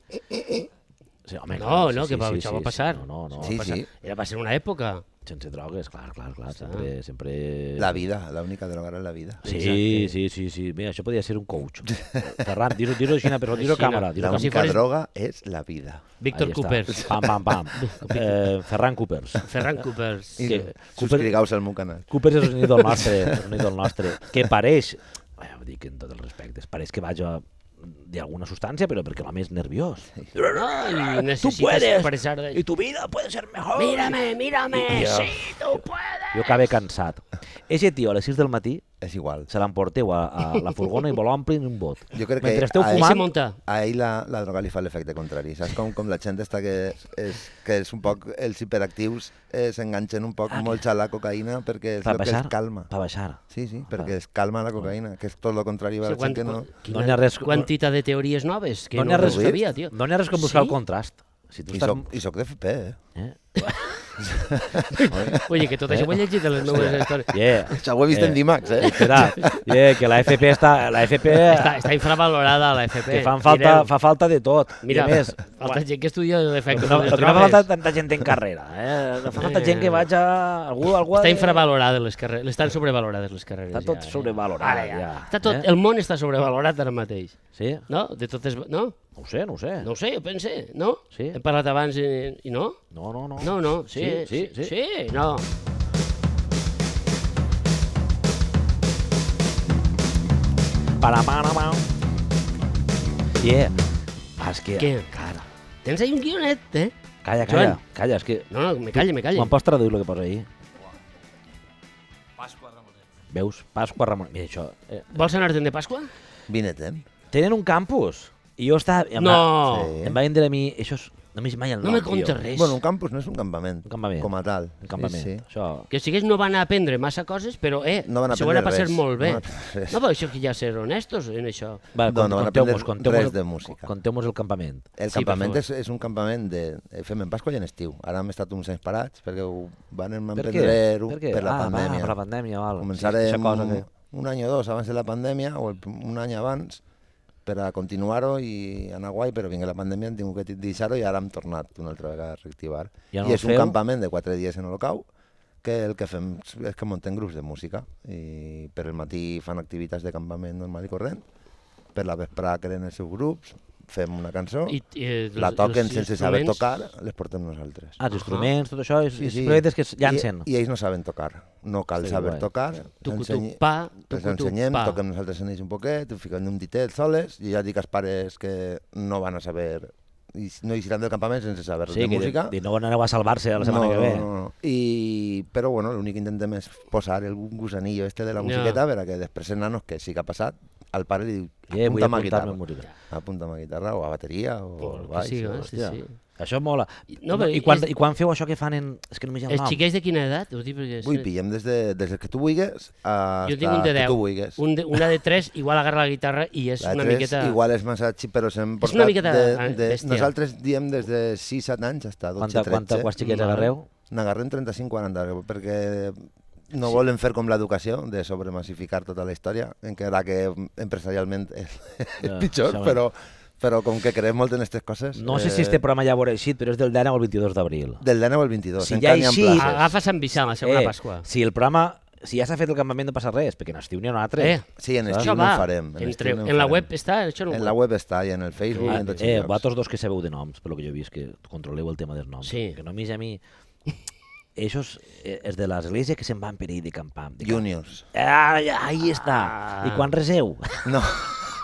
Speaker 1: Sí, home,
Speaker 2: No,
Speaker 1: clar,
Speaker 2: no, que va- això va passar.
Speaker 1: No, no, no.
Speaker 3: Sí,
Speaker 1: va
Speaker 3: sí.
Speaker 2: Era va ser una època.
Speaker 1: passar. Sense drogues, clar, clar, clar. Sempre... sempre...
Speaker 3: La vida, l'única droga era la vida.
Speaker 1: Sí,
Speaker 2: Exacte.
Speaker 1: sí, sí, sí. Mira, això podria ser un coach. Ferran, dir-ho dir així, però dir-ho a
Speaker 2: Així, no.
Speaker 1: càmera. Dir-ho a
Speaker 2: Com si
Speaker 3: L'única
Speaker 2: fores-
Speaker 3: droga és la vida.
Speaker 2: Víctor
Speaker 1: Ahí està.
Speaker 2: Coopers.
Speaker 1: <laughs> Pam, pam, pam. eh, Ferran Coopers.
Speaker 2: Ferran Coopers.
Speaker 3: I
Speaker 1: Que-
Speaker 3: Subscrigueu-se al meu canal.
Speaker 1: Coopers és un ídol nostre, és un ídol nostre, que pareix, eh, ho dic en tots els respectes, pareix que vaig a d'alguna substància, però perquè l'home és nerviós.
Speaker 2: No, i
Speaker 1: Ah, Tu
Speaker 2: necessites
Speaker 1: puedes,
Speaker 2: expressar de...
Speaker 1: i tu vida puede ser mejor.
Speaker 2: Mírame, mírame,
Speaker 1: Ja.
Speaker 2: sí, tu puedes.
Speaker 1: Jo acabé cansat. Eixe tio a les 6 del matí
Speaker 3: És igual.
Speaker 1: se l'emporteu a, a la furgona i vol omplir un bot.
Speaker 3: Jo crec que
Speaker 1: Mentre esteu
Speaker 3: a ell-
Speaker 2: I se
Speaker 1: fumant,
Speaker 2: munta.
Speaker 3: A ell la, la droga li fa l'efecte contrari. Saps com, com la gent està que és, és, que és un poc... Els hiperactius eh, s'enganxen un poc
Speaker 1: Ah,
Speaker 3: molt a la cocaïna perquè és
Speaker 1: pa
Speaker 3: el que
Speaker 1: baixar,
Speaker 3: els calma.
Speaker 1: pa baixar.
Speaker 3: Sí,
Speaker 1: Ah,
Speaker 3: sí, perquè es calma la cocaïna, que és tot el contrari.
Speaker 2: O
Speaker 3: va
Speaker 2: sigui,
Speaker 3: la gent que
Speaker 2: quan-
Speaker 3: no...
Speaker 2: quina
Speaker 1: No n'hi ha res-
Speaker 2: Quantitat de teories noves que
Speaker 1: No
Speaker 2: no,
Speaker 1: n'hi ha
Speaker 2: no
Speaker 1: res-
Speaker 2: sabia, tio.
Speaker 1: No n'hi ha res com buscar
Speaker 2: Sí?
Speaker 1: el contrast. Si tu
Speaker 3: I
Speaker 1: estàs...
Speaker 3: soc, I soc de FP, eh?
Speaker 1: Eh?
Speaker 2: Oye, que tot això ho he llegit de
Speaker 1: <laughs>
Speaker 2: les meves històries.
Speaker 1: Yeah.
Speaker 3: <laughs> Això ho he vist en Dimax, eh?
Speaker 1: Espera, yeah, eh, que la FP està... La FP...
Speaker 2: Està, està infravalorada la FP.
Speaker 1: Eh. que fan falta,
Speaker 2: Mireu,
Speaker 1: fa falta de tot.
Speaker 2: Mira,
Speaker 1: I a més,
Speaker 2: falta gent que estudia l'efecte
Speaker 1: no, el
Speaker 2: de les
Speaker 1: que no fa
Speaker 2: drogues.
Speaker 1: falta tanta gent en carrera, eh? No fa falta gent que vaig a... Algú, algú... ha
Speaker 2: Està
Speaker 1: de-
Speaker 2: infravalorada les carreres, estan sobrevalorades les carreres.
Speaker 1: Està tot
Speaker 2: ja, eh?
Speaker 1: sobrevalorat,
Speaker 2: Ara
Speaker 1: ja,
Speaker 2: Està tot,
Speaker 1: eh?
Speaker 2: El món està sobrevalorat ara mateix,
Speaker 1: Sí?
Speaker 2: no? De totes... No?
Speaker 1: No ho sé, no ho sé.
Speaker 2: No ho sé, jo pensé, no?
Speaker 1: Sí.
Speaker 2: Hem parlat abans i, i no?
Speaker 1: No, no, no.
Speaker 2: No, no, sí,
Speaker 1: sí, sí. sí.
Speaker 2: sí no.
Speaker 1: Panamà. Yeah. Ah, és que...
Speaker 2: Què?
Speaker 1: Cara.
Speaker 2: Tens ahí un guionet, eh?
Speaker 1: Calla, calla.
Speaker 2: Joan.
Speaker 1: Calla, és que...
Speaker 2: No, no, me calle, me calle.
Speaker 1: Me'n pots traduir el que posa ahí? Pasqua Ramonet. Veus? Pasqua Ramonet. Mira, això... Eh.
Speaker 2: Vols anar-te'n de Pasqua?
Speaker 3: Vine't, eh?
Speaker 1: Tenen un campus. I jo estava... em
Speaker 2: No.
Speaker 1: va-
Speaker 3: Sí.
Speaker 1: Em va vendre a mi... Això és... No m'he vist mai el
Speaker 2: No
Speaker 1: nom,
Speaker 2: me
Speaker 1: tio.
Speaker 2: contes res.
Speaker 3: Bueno, un campus no és un campament.
Speaker 1: Un campament.
Speaker 3: Com a tal.
Speaker 1: Un campament.
Speaker 3: Sí, sí.
Speaker 1: Això...
Speaker 2: Que sigués no van a aprendre massa coses, però eh,
Speaker 3: No van a
Speaker 2: s'ho van a
Speaker 3: aprendre
Speaker 2: passar
Speaker 3: res,
Speaker 2: molt
Speaker 3: no
Speaker 2: bé.
Speaker 3: van a aprendre res.
Speaker 2: No, però això que ja ser honestos en això.
Speaker 1: Va,
Speaker 3: No, no van aprendre res de
Speaker 1: el-
Speaker 3: música.
Speaker 1: Conteu-nos el campament.
Speaker 3: El
Speaker 2: Sí, per
Speaker 3: campament
Speaker 2: favor.
Speaker 3: és, és un campament de... eh, Fem en Pasqua i en estiu. Ara hem estat uns anys parats perquè ho van
Speaker 1: Per què?
Speaker 3: emprendre
Speaker 1: Per què?
Speaker 3: per la
Speaker 1: ah, Va,
Speaker 3: pandèmia.
Speaker 1: per la pandèmia, val. Sí,
Speaker 3: Començarem
Speaker 1: aquesta cosa que...
Speaker 3: un any o dos abans de la pandèmia o el, un any abans per a continuar-ho i anar guai, però vinga la pandèmia hem tingut que deixar-ho i ara hem tornat una altra vegada a reactivar.
Speaker 1: I ara el
Speaker 3: I és un
Speaker 1: feu?
Speaker 3: campament de quatre dies en Holocau, que el que fem és que muntem grups de música i per el matí fan activitats de campament normal i corrent, per la vesprada creen els seus grups, fem una cançó,
Speaker 2: I, eh,
Speaker 3: la
Speaker 2: els-
Speaker 3: toquen
Speaker 2: els
Speaker 3: sense saber
Speaker 2: instruments-
Speaker 3: tocar, les portem nosaltres.
Speaker 1: Ah, els
Speaker 2: Ahà.
Speaker 1: instruments, tot això, és,
Speaker 3: Sí,
Speaker 1: és
Speaker 3: sí.
Speaker 1: projectes que es llancen.
Speaker 3: I, I ells no saben tocar. No cal
Speaker 1: Estaria
Speaker 3: saber
Speaker 1: guai.
Speaker 3: tocar.
Speaker 2: Tucutup,
Speaker 3: ensenyi-
Speaker 2: pa,
Speaker 3: els
Speaker 2: tucutup,
Speaker 3: ensenyem,
Speaker 2: pa.
Speaker 3: toquem nosaltres en ells un poquet, ho fiquem un ditet soles, i ja dic als pares que no van a saber, i no hi seran del campament sense saber
Speaker 1: sí,
Speaker 3: de
Speaker 1: que
Speaker 3: música.
Speaker 1: di- di- no aneu a salvar-se la setmana
Speaker 3: no,
Speaker 1: que ve.
Speaker 3: No, no, no. I, però bueno, l'únic que intentem és posar el gusanillo este de la
Speaker 2: Ja.
Speaker 3: musiqueta per a que després els nanos que sí que ha passat, al pare li diu,
Speaker 1: Eh, vull
Speaker 3: apunta'm a
Speaker 1: apuntar-me
Speaker 3: guitarra.
Speaker 1: a música.
Speaker 3: Apunta'm a guitarra o a bateria o
Speaker 2: Por
Speaker 3: al
Speaker 2: lo que
Speaker 3: baix.
Speaker 2: siga,
Speaker 3: o-
Speaker 2: sí,
Speaker 3: hòstia.
Speaker 2: sí.
Speaker 1: Això mola. I,
Speaker 2: No,
Speaker 1: no,
Speaker 2: però
Speaker 1: I, quan,
Speaker 2: és-
Speaker 1: I quan feu això que fan en... És que només hi ha el
Speaker 2: Els
Speaker 1: nom.
Speaker 2: xiquets de quina edat? Ho dic perquè...
Speaker 3: Vull, pillem des de, des de que tu vulguis a
Speaker 2: jo tinc un de
Speaker 3: que
Speaker 2: 10.
Speaker 3: tu vulguis.
Speaker 2: Un de, una de 3 igual agarra la guitarra i és
Speaker 3: La
Speaker 2: una
Speaker 3: tres
Speaker 2: miqueta...
Speaker 3: Igual és massa xip, però s'hem portat...
Speaker 2: miqueta
Speaker 3: de, de,
Speaker 2: bèstia.
Speaker 3: nosaltres diem des de 6-7 anys fins a 12-13.
Speaker 1: Quanta, quanta, quants xiquets
Speaker 2: Vale.
Speaker 1: agarreu?
Speaker 3: N'agarrem 35-40, perquè no volen fer com l'educació, de sobremassificar tota la història, encara que empresarialment és, és
Speaker 1: Ja,
Speaker 3: <laughs> pitjor,
Speaker 1: segurament.
Speaker 3: però, però com que creem molt en aquestes coses... eh,
Speaker 1: No sé si este programa ja veurà així, però és del 10 al 22 d'abril.
Speaker 3: Del 19 al 22,
Speaker 1: Si ja
Speaker 3: encara n'hi ha
Speaker 1: així-
Speaker 3: places.
Speaker 2: Agafa Sant Vicent, la segona
Speaker 1: Eh,
Speaker 2: Pasqua.
Speaker 1: Si el programa... Si ja s'ha fet el campament no passa res, perquè en estiu n'hi ha un altre.
Speaker 2: Eh,
Speaker 3: Sí, en
Speaker 2: això
Speaker 3: estiu no
Speaker 2: va.
Speaker 3: ho farem.
Speaker 2: En,
Speaker 3: estiu
Speaker 2: Entre,
Speaker 3: no ho
Speaker 2: en la
Speaker 3: farem.
Speaker 2: web està, això no
Speaker 3: En la web està, i en el Facebook,
Speaker 1: Ah,
Speaker 3: i en tots
Speaker 1: eh,
Speaker 3: els llocs.
Speaker 1: vosaltres dos que sabeu de noms, pel que jo he vist, que controleu el tema dels noms.
Speaker 2: Sí.
Speaker 1: Que només a mi... Eixos eh, és de l'església que se'n van per ahir de campam. De camp.
Speaker 3: Juniors.
Speaker 1: Ah, ja, ahí està.
Speaker 2: Ah.
Speaker 1: I quan reseu?
Speaker 3: <laughs> No,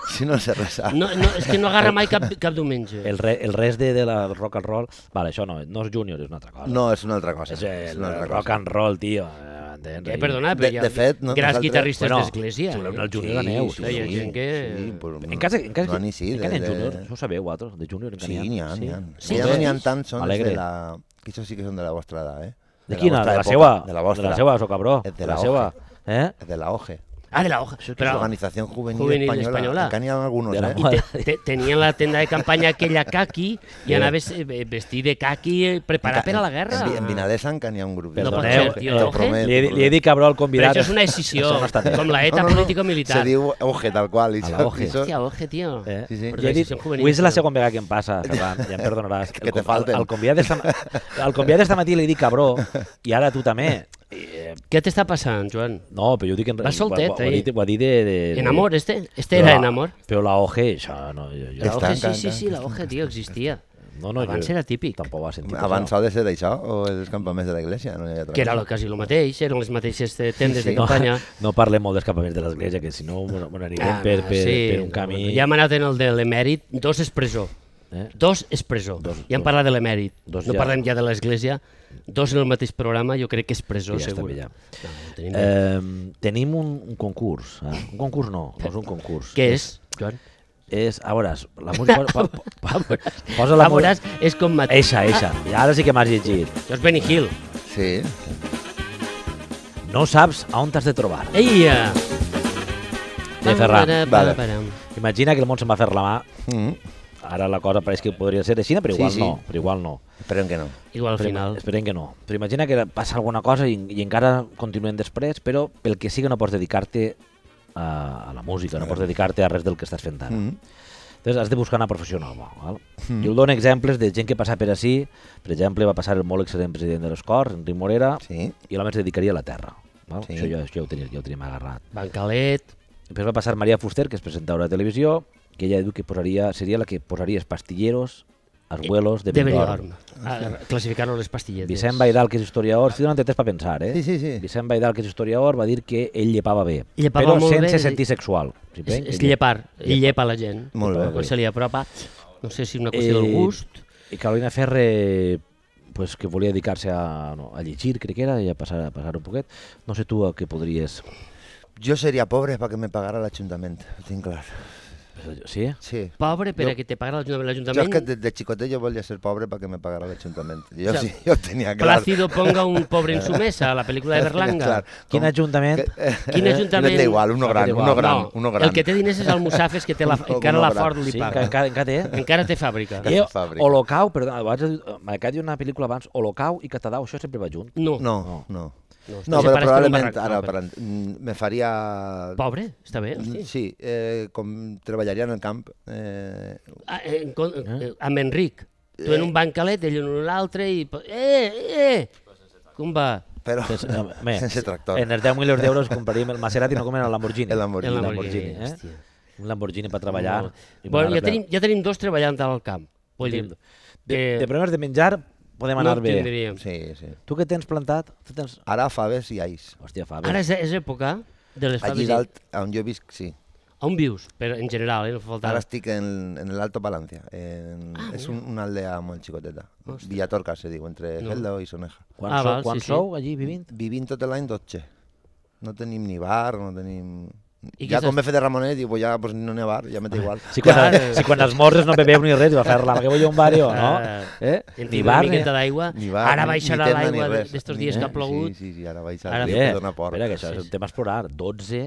Speaker 3: si no sé resar.
Speaker 2: No, no, és que no agarra mai cap, cap diumenge.
Speaker 1: El, re, el res de, de la del rock and roll... Vale, això no, no és junior, és una altra cosa.
Speaker 3: No, és una altra cosa.
Speaker 1: és el,
Speaker 3: una altra
Speaker 1: rock
Speaker 3: cosa.
Speaker 1: and roll, tio. eh, Entens?
Speaker 2: Eh,
Speaker 1: Ahí.
Speaker 2: perdona, però
Speaker 3: De-
Speaker 2: hi ha
Speaker 3: de fet, no-
Speaker 2: grans
Speaker 3: nosaltres-
Speaker 2: guitarristes
Speaker 1: Bueno,
Speaker 2: d'església. eh?
Speaker 1: si voleu anar al junior,
Speaker 2: Sí,
Speaker 1: aneu,
Speaker 2: Sí,
Speaker 1: sí,
Speaker 2: hi ha
Speaker 1: sí.
Speaker 2: gent que...
Speaker 3: Sí, però
Speaker 1: En casa, en casa,
Speaker 3: no, ni eh. sí,
Speaker 1: en
Speaker 3: de-
Speaker 1: casa de...
Speaker 3: de-
Speaker 1: junior, això ho sabeu, vosaltres, de junior en
Speaker 3: Sí, n'hi ha, n'hi ha.
Speaker 2: Sí,
Speaker 3: Sí, ja no n'hi ha
Speaker 2: sí.
Speaker 3: tants, són
Speaker 1: Alegre.
Speaker 3: de la... Que això sí que són de la vostra edat, eh?
Speaker 1: De quina? De
Speaker 3: vostra
Speaker 1: la
Speaker 3: època,
Speaker 1: seva?
Speaker 3: De la vostra.
Speaker 1: De la seva, so cabró.
Speaker 3: És de
Speaker 1: De
Speaker 3: la
Speaker 1: la seva. Eh?
Speaker 3: És de la OGE.
Speaker 2: Ah, de la hoja.
Speaker 3: Però...
Speaker 2: Però
Speaker 3: Organizació Juvenil,
Speaker 2: Juvenil
Speaker 3: Espanyola.
Speaker 2: Espanyola.
Speaker 3: Encara n'hi ha algunos,
Speaker 1: De la
Speaker 3: eh?
Speaker 1: moda.
Speaker 2: te- te- tenien la tenda de campanya aquella caqui i anaves eh, vestit de caqui eh, preparat per a la guerra.
Speaker 3: En, Vi- en Vinadesa encara n'hi ha un grup.
Speaker 2: No pot
Speaker 1: Perdoneu,
Speaker 2: ser,
Speaker 1: eh,
Speaker 2: tio, de Oje?
Speaker 1: li, he- li he dit cabró al
Speaker 2: Però
Speaker 1: convidat.
Speaker 2: això és una decisió,
Speaker 1: Això no està bé.
Speaker 2: com la ETA político-militar.
Speaker 3: Se diu OGE, tal qual.
Speaker 1: A
Speaker 3: I
Speaker 1: la
Speaker 3: això-
Speaker 1: OGE.
Speaker 3: i això-
Speaker 2: Hòstia, oje, tio.
Speaker 1: Eh?
Speaker 3: Sí, sí.
Speaker 1: Li
Speaker 2: Però
Speaker 1: he dit,
Speaker 2: decisió juvenil,
Speaker 1: avui és la
Speaker 2: però-
Speaker 1: segona vegada que em
Speaker 3: <laughs>
Speaker 1: passa, Ferran, ja em perdonaràs.
Speaker 3: Que te
Speaker 1: com-
Speaker 3: falten.
Speaker 1: El, convidat d'esta
Speaker 3: <laughs>
Speaker 1: ma- el convidat d'esta matí li dic cabró, i ara tu també. I, eh,
Speaker 2: Què t'està passant, Joan?
Speaker 1: No, però jo dic... En,
Speaker 2: Vas
Speaker 1: ho,
Speaker 2: soltet,
Speaker 1: ho, ho, ha
Speaker 2: ahí.
Speaker 1: dit, ho ha dit de... de, de
Speaker 2: En amor, este? Este
Speaker 1: Però
Speaker 2: era
Speaker 1: la-
Speaker 2: en amor.
Speaker 1: Però la OG, això no... Jo, jo,
Speaker 2: La
Speaker 3: Està,
Speaker 2: hoja, sí,
Speaker 3: encara,
Speaker 2: sí, sí, la hoja, tio, existia.
Speaker 1: no, no,
Speaker 2: Abans
Speaker 1: jo,
Speaker 2: era típic.
Speaker 1: Tampoc va sentir.
Speaker 3: Abans ha de ser això o els campaments de l'església? No hi ha altra
Speaker 2: que era
Speaker 3: cosa.
Speaker 2: lo, quasi el mateix, eren les mateixes eh, tendes
Speaker 3: sí.
Speaker 2: de
Speaker 1: no,
Speaker 2: campanya.
Speaker 1: no parlem molt dels campaments de l'església, que si no bueno, bueno, anirem
Speaker 2: Ah,
Speaker 1: Eh, per, per,
Speaker 2: sí,
Speaker 1: per un camí...
Speaker 2: Ja hem anat en el de l'emèrit, dos és presó.
Speaker 1: Eh?
Speaker 2: Dos és presó.
Speaker 1: Dos-
Speaker 2: ja hem
Speaker 1: dos.
Speaker 2: parlat de l'emèrit. No
Speaker 1: Dos ja.
Speaker 2: parlem ja de l'església. Dos en el mateix programa, jo crec que és presó,
Speaker 1: Ja està
Speaker 2: segur.
Speaker 1: bé, ja.
Speaker 2: No, ho tenim bé.
Speaker 1: Eh, tenim un, un concurs. Ah, un concurs no, no és un concurs.
Speaker 2: Què és, Joan?
Speaker 1: És, a veure, la
Speaker 2: <laughs>
Speaker 1: música... Po, po, po, po, posa la
Speaker 2: Ah, veuràs, és com... Mat...
Speaker 1: Eixa, eixa. I ara sí que m'has llegit.
Speaker 2: Això és Benny Hill.
Speaker 3: Sí.
Speaker 1: No saps a on t'has de trobar.
Speaker 2: Eia!
Speaker 1: De Ferran.
Speaker 3: Vale.
Speaker 1: Imagina que el món se'n va fer la mà.
Speaker 3: Mm.
Speaker 1: Ara la cosa pareix que podria ser així, però
Speaker 3: Sí,
Speaker 1: igual
Speaker 3: sí.
Speaker 1: no. Però igual no.
Speaker 3: Esperem que no.
Speaker 2: Igual al
Speaker 1: Però
Speaker 2: final.
Speaker 1: Esperem que no. Però imagina que passa alguna cosa i, i encara continuem després, però pel que sigui no pots dedicar-te a, a la música, no pots dedicar-te a res del que estàs fent ara.
Speaker 3: Mm.
Speaker 1: Llavors has de buscar una professió nova. Val? Jo dono exemples de gent que passa per així. Per exemple, va passar el molt excel·lent president de les Corts, Enric Morera,
Speaker 3: Sí.
Speaker 1: i l'home es dedicaria a la terra. Val?
Speaker 3: Sí.
Speaker 1: Això ja, això ja, ho tenim, ja ho tenim agarrat.
Speaker 2: Bancalet,
Speaker 1: Després va passar Maria Fuster, que és presentadora de televisió, que ella diu que posaria, seria la que posaria els pastilleros, els vuelos de,
Speaker 2: de
Speaker 1: Benidorm.
Speaker 2: Benidorm. Ah, Classificar-ho a les pastilletes.
Speaker 1: Vicent Baidal, que és historiador, estic donant temps per pensar, eh?
Speaker 3: Sí, sí, sí.
Speaker 1: Vicent Baidal, que és historiador, va dir que ell llepava bé,
Speaker 2: Llepava
Speaker 1: però
Speaker 2: molt bé,
Speaker 1: sense
Speaker 2: és a dir-
Speaker 1: sentir sexual. Sí,
Speaker 2: És,
Speaker 1: ben?
Speaker 2: és
Speaker 1: Que lle-
Speaker 2: llepar, i llepa la gent.
Speaker 3: Molt bé.
Speaker 2: Quan se li apropa, no sé si una qüestió
Speaker 1: Eh,
Speaker 2: del gust,
Speaker 1: I Carolina Ferre, pues, que volia dedicar-se a, no, a llegir, crec que era, i a passar, a passar un poquet. No sé tu a què podries...
Speaker 3: Jo seria pobre perquè me pagara l'Ajuntament, ho tinc clar.
Speaker 1: Sí?
Speaker 3: Sí.
Speaker 2: pobre per
Speaker 3: jo-
Speaker 2: a que te pagui
Speaker 3: Jo
Speaker 2: l'Ajuntament.
Speaker 3: és que
Speaker 2: l'Ajuntament
Speaker 3: de, de xicotet jo volia ser pobre perquè me pagara l'Ajuntament. Jo,
Speaker 2: O sea,
Speaker 3: sí, jo ho tenia clar. <laughs>
Speaker 2: Plácido ponga un pobre en su mesa, la pel·lícula de Berlanga.
Speaker 3: Clar,
Speaker 1: Quin
Speaker 3: com-
Speaker 1: ajuntament...
Speaker 3: que- eh,
Speaker 2: Quin ajuntament-
Speaker 3: <laughs> No té igual, uno
Speaker 1: No
Speaker 3: gran,
Speaker 1: té igual.
Speaker 3: uno gran,
Speaker 2: No,
Speaker 3: uno gran.
Speaker 2: el que té diners és el Musafes, que té la,
Speaker 3: Uno-
Speaker 2: encara
Speaker 3: uno
Speaker 2: la
Speaker 3: gran.
Speaker 2: Ford li
Speaker 1: Sí,
Speaker 2: paga.
Speaker 1: encara, encara, encara té, eh?
Speaker 2: Encara té fàbrica.
Speaker 1: Jo,
Speaker 3: fàbrica.
Speaker 1: Holocau, perdó, abans, m'ha quedat una pel·lícula abans, Holocau i Catadau, això sempre va junt.
Speaker 2: No.
Speaker 3: No, no.
Speaker 2: No,
Speaker 3: No, però
Speaker 2: separes per un
Speaker 3: probablement
Speaker 2: barranc,
Speaker 3: ara
Speaker 2: no, però-
Speaker 3: per- mm, me faria...
Speaker 2: Pobre, està bé.
Speaker 3: Mm,
Speaker 2: hosti.
Speaker 3: Sí, eh, com treballaria en el camp. Eh,
Speaker 2: Ah, eh, en con- eh, amb Enric. Tu en un bancalet, ell en un altre i... po- Eh, eh! Com va?
Speaker 3: però
Speaker 1: Pues, eh,
Speaker 3: <laughs>
Speaker 1: home, bé,
Speaker 3: sense tractor.
Speaker 1: En els 10 milions d'euros compraríem el Maserati, no com el Lamborghini.
Speaker 3: El Lamborghini.
Speaker 1: El
Speaker 2: El
Speaker 1: Lamborghini,
Speaker 2: Lamborghini,
Speaker 1: eh?
Speaker 2: hòstia.
Speaker 1: Un Lamborghini per treballar.
Speaker 2: Molt.
Speaker 1: i
Speaker 2: Bueno,
Speaker 1: anar
Speaker 2: ja
Speaker 1: a
Speaker 2: tenim, ja tenim dos treballant al camp. Vull dir,
Speaker 1: Tenim De,
Speaker 2: eh,
Speaker 1: de problemes de menjar podem anar
Speaker 2: no
Speaker 1: bé.
Speaker 2: tindríem.
Speaker 3: Sí, sí.
Speaker 1: Tu què tens plantat? Tu tens...
Speaker 3: Ara faves i ais.
Speaker 1: Hòstia, Fabi.
Speaker 2: Ara és, és època de les
Speaker 3: Allí
Speaker 2: faves.
Speaker 3: dalt, on jo visc, sí.
Speaker 2: On vius? Però en general, eh? no fa falta...
Speaker 3: Ara estic en, en l'Alto Palancia. En, ah, és un, una aldea molt xicoteta. Villatorca, se diu, entre
Speaker 2: No.
Speaker 3: no. Geldo i Soneja.
Speaker 1: Quan,
Speaker 2: Ah,
Speaker 1: sou,
Speaker 2: val,
Speaker 1: quan
Speaker 2: sí, sí.
Speaker 1: sou allí vivint?
Speaker 3: Vivim tot l'any 12. No tenim ni bar, no tenim...
Speaker 2: I
Speaker 3: I ja
Speaker 2: què
Speaker 3: com
Speaker 2: estàs-
Speaker 3: he fet de Ramonet, dic, pues ja pues, no n'hi ha bar, ja m'és igual.
Speaker 1: Si quan,
Speaker 2: Clar.
Speaker 1: si quan esmorzes no bebeu ni res, va fer-la, perquè vull a un bar jo, no?
Speaker 2: Ah,
Speaker 1: Eh?
Speaker 2: en
Speaker 1: Ni
Speaker 2: tinc
Speaker 1: bar,
Speaker 2: una
Speaker 1: ni...
Speaker 2: miqueta d'aigua.
Speaker 3: Ni bar,
Speaker 2: Ara
Speaker 3: ni-
Speaker 2: baixarà
Speaker 3: ni tenda, ni
Speaker 2: l'aigua de-
Speaker 3: res.
Speaker 2: d'estos
Speaker 3: Ni-
Speaker 2: dies que ha
Speaker 3: eh?
Speaker 2: plogut.
Speaker 3: Sí, sí, sí, ara baixarà.
Speaker 2: Ara
Speaker 3: Ara
Speaker 1: Bé,
Speaker 3: yeah. dona por.
Speaker 1: espera, que això
Speaker 2: Sí,
Speaker 1: és
Speaker 2: sí.
Speaker 1: un tema a explorar. 12,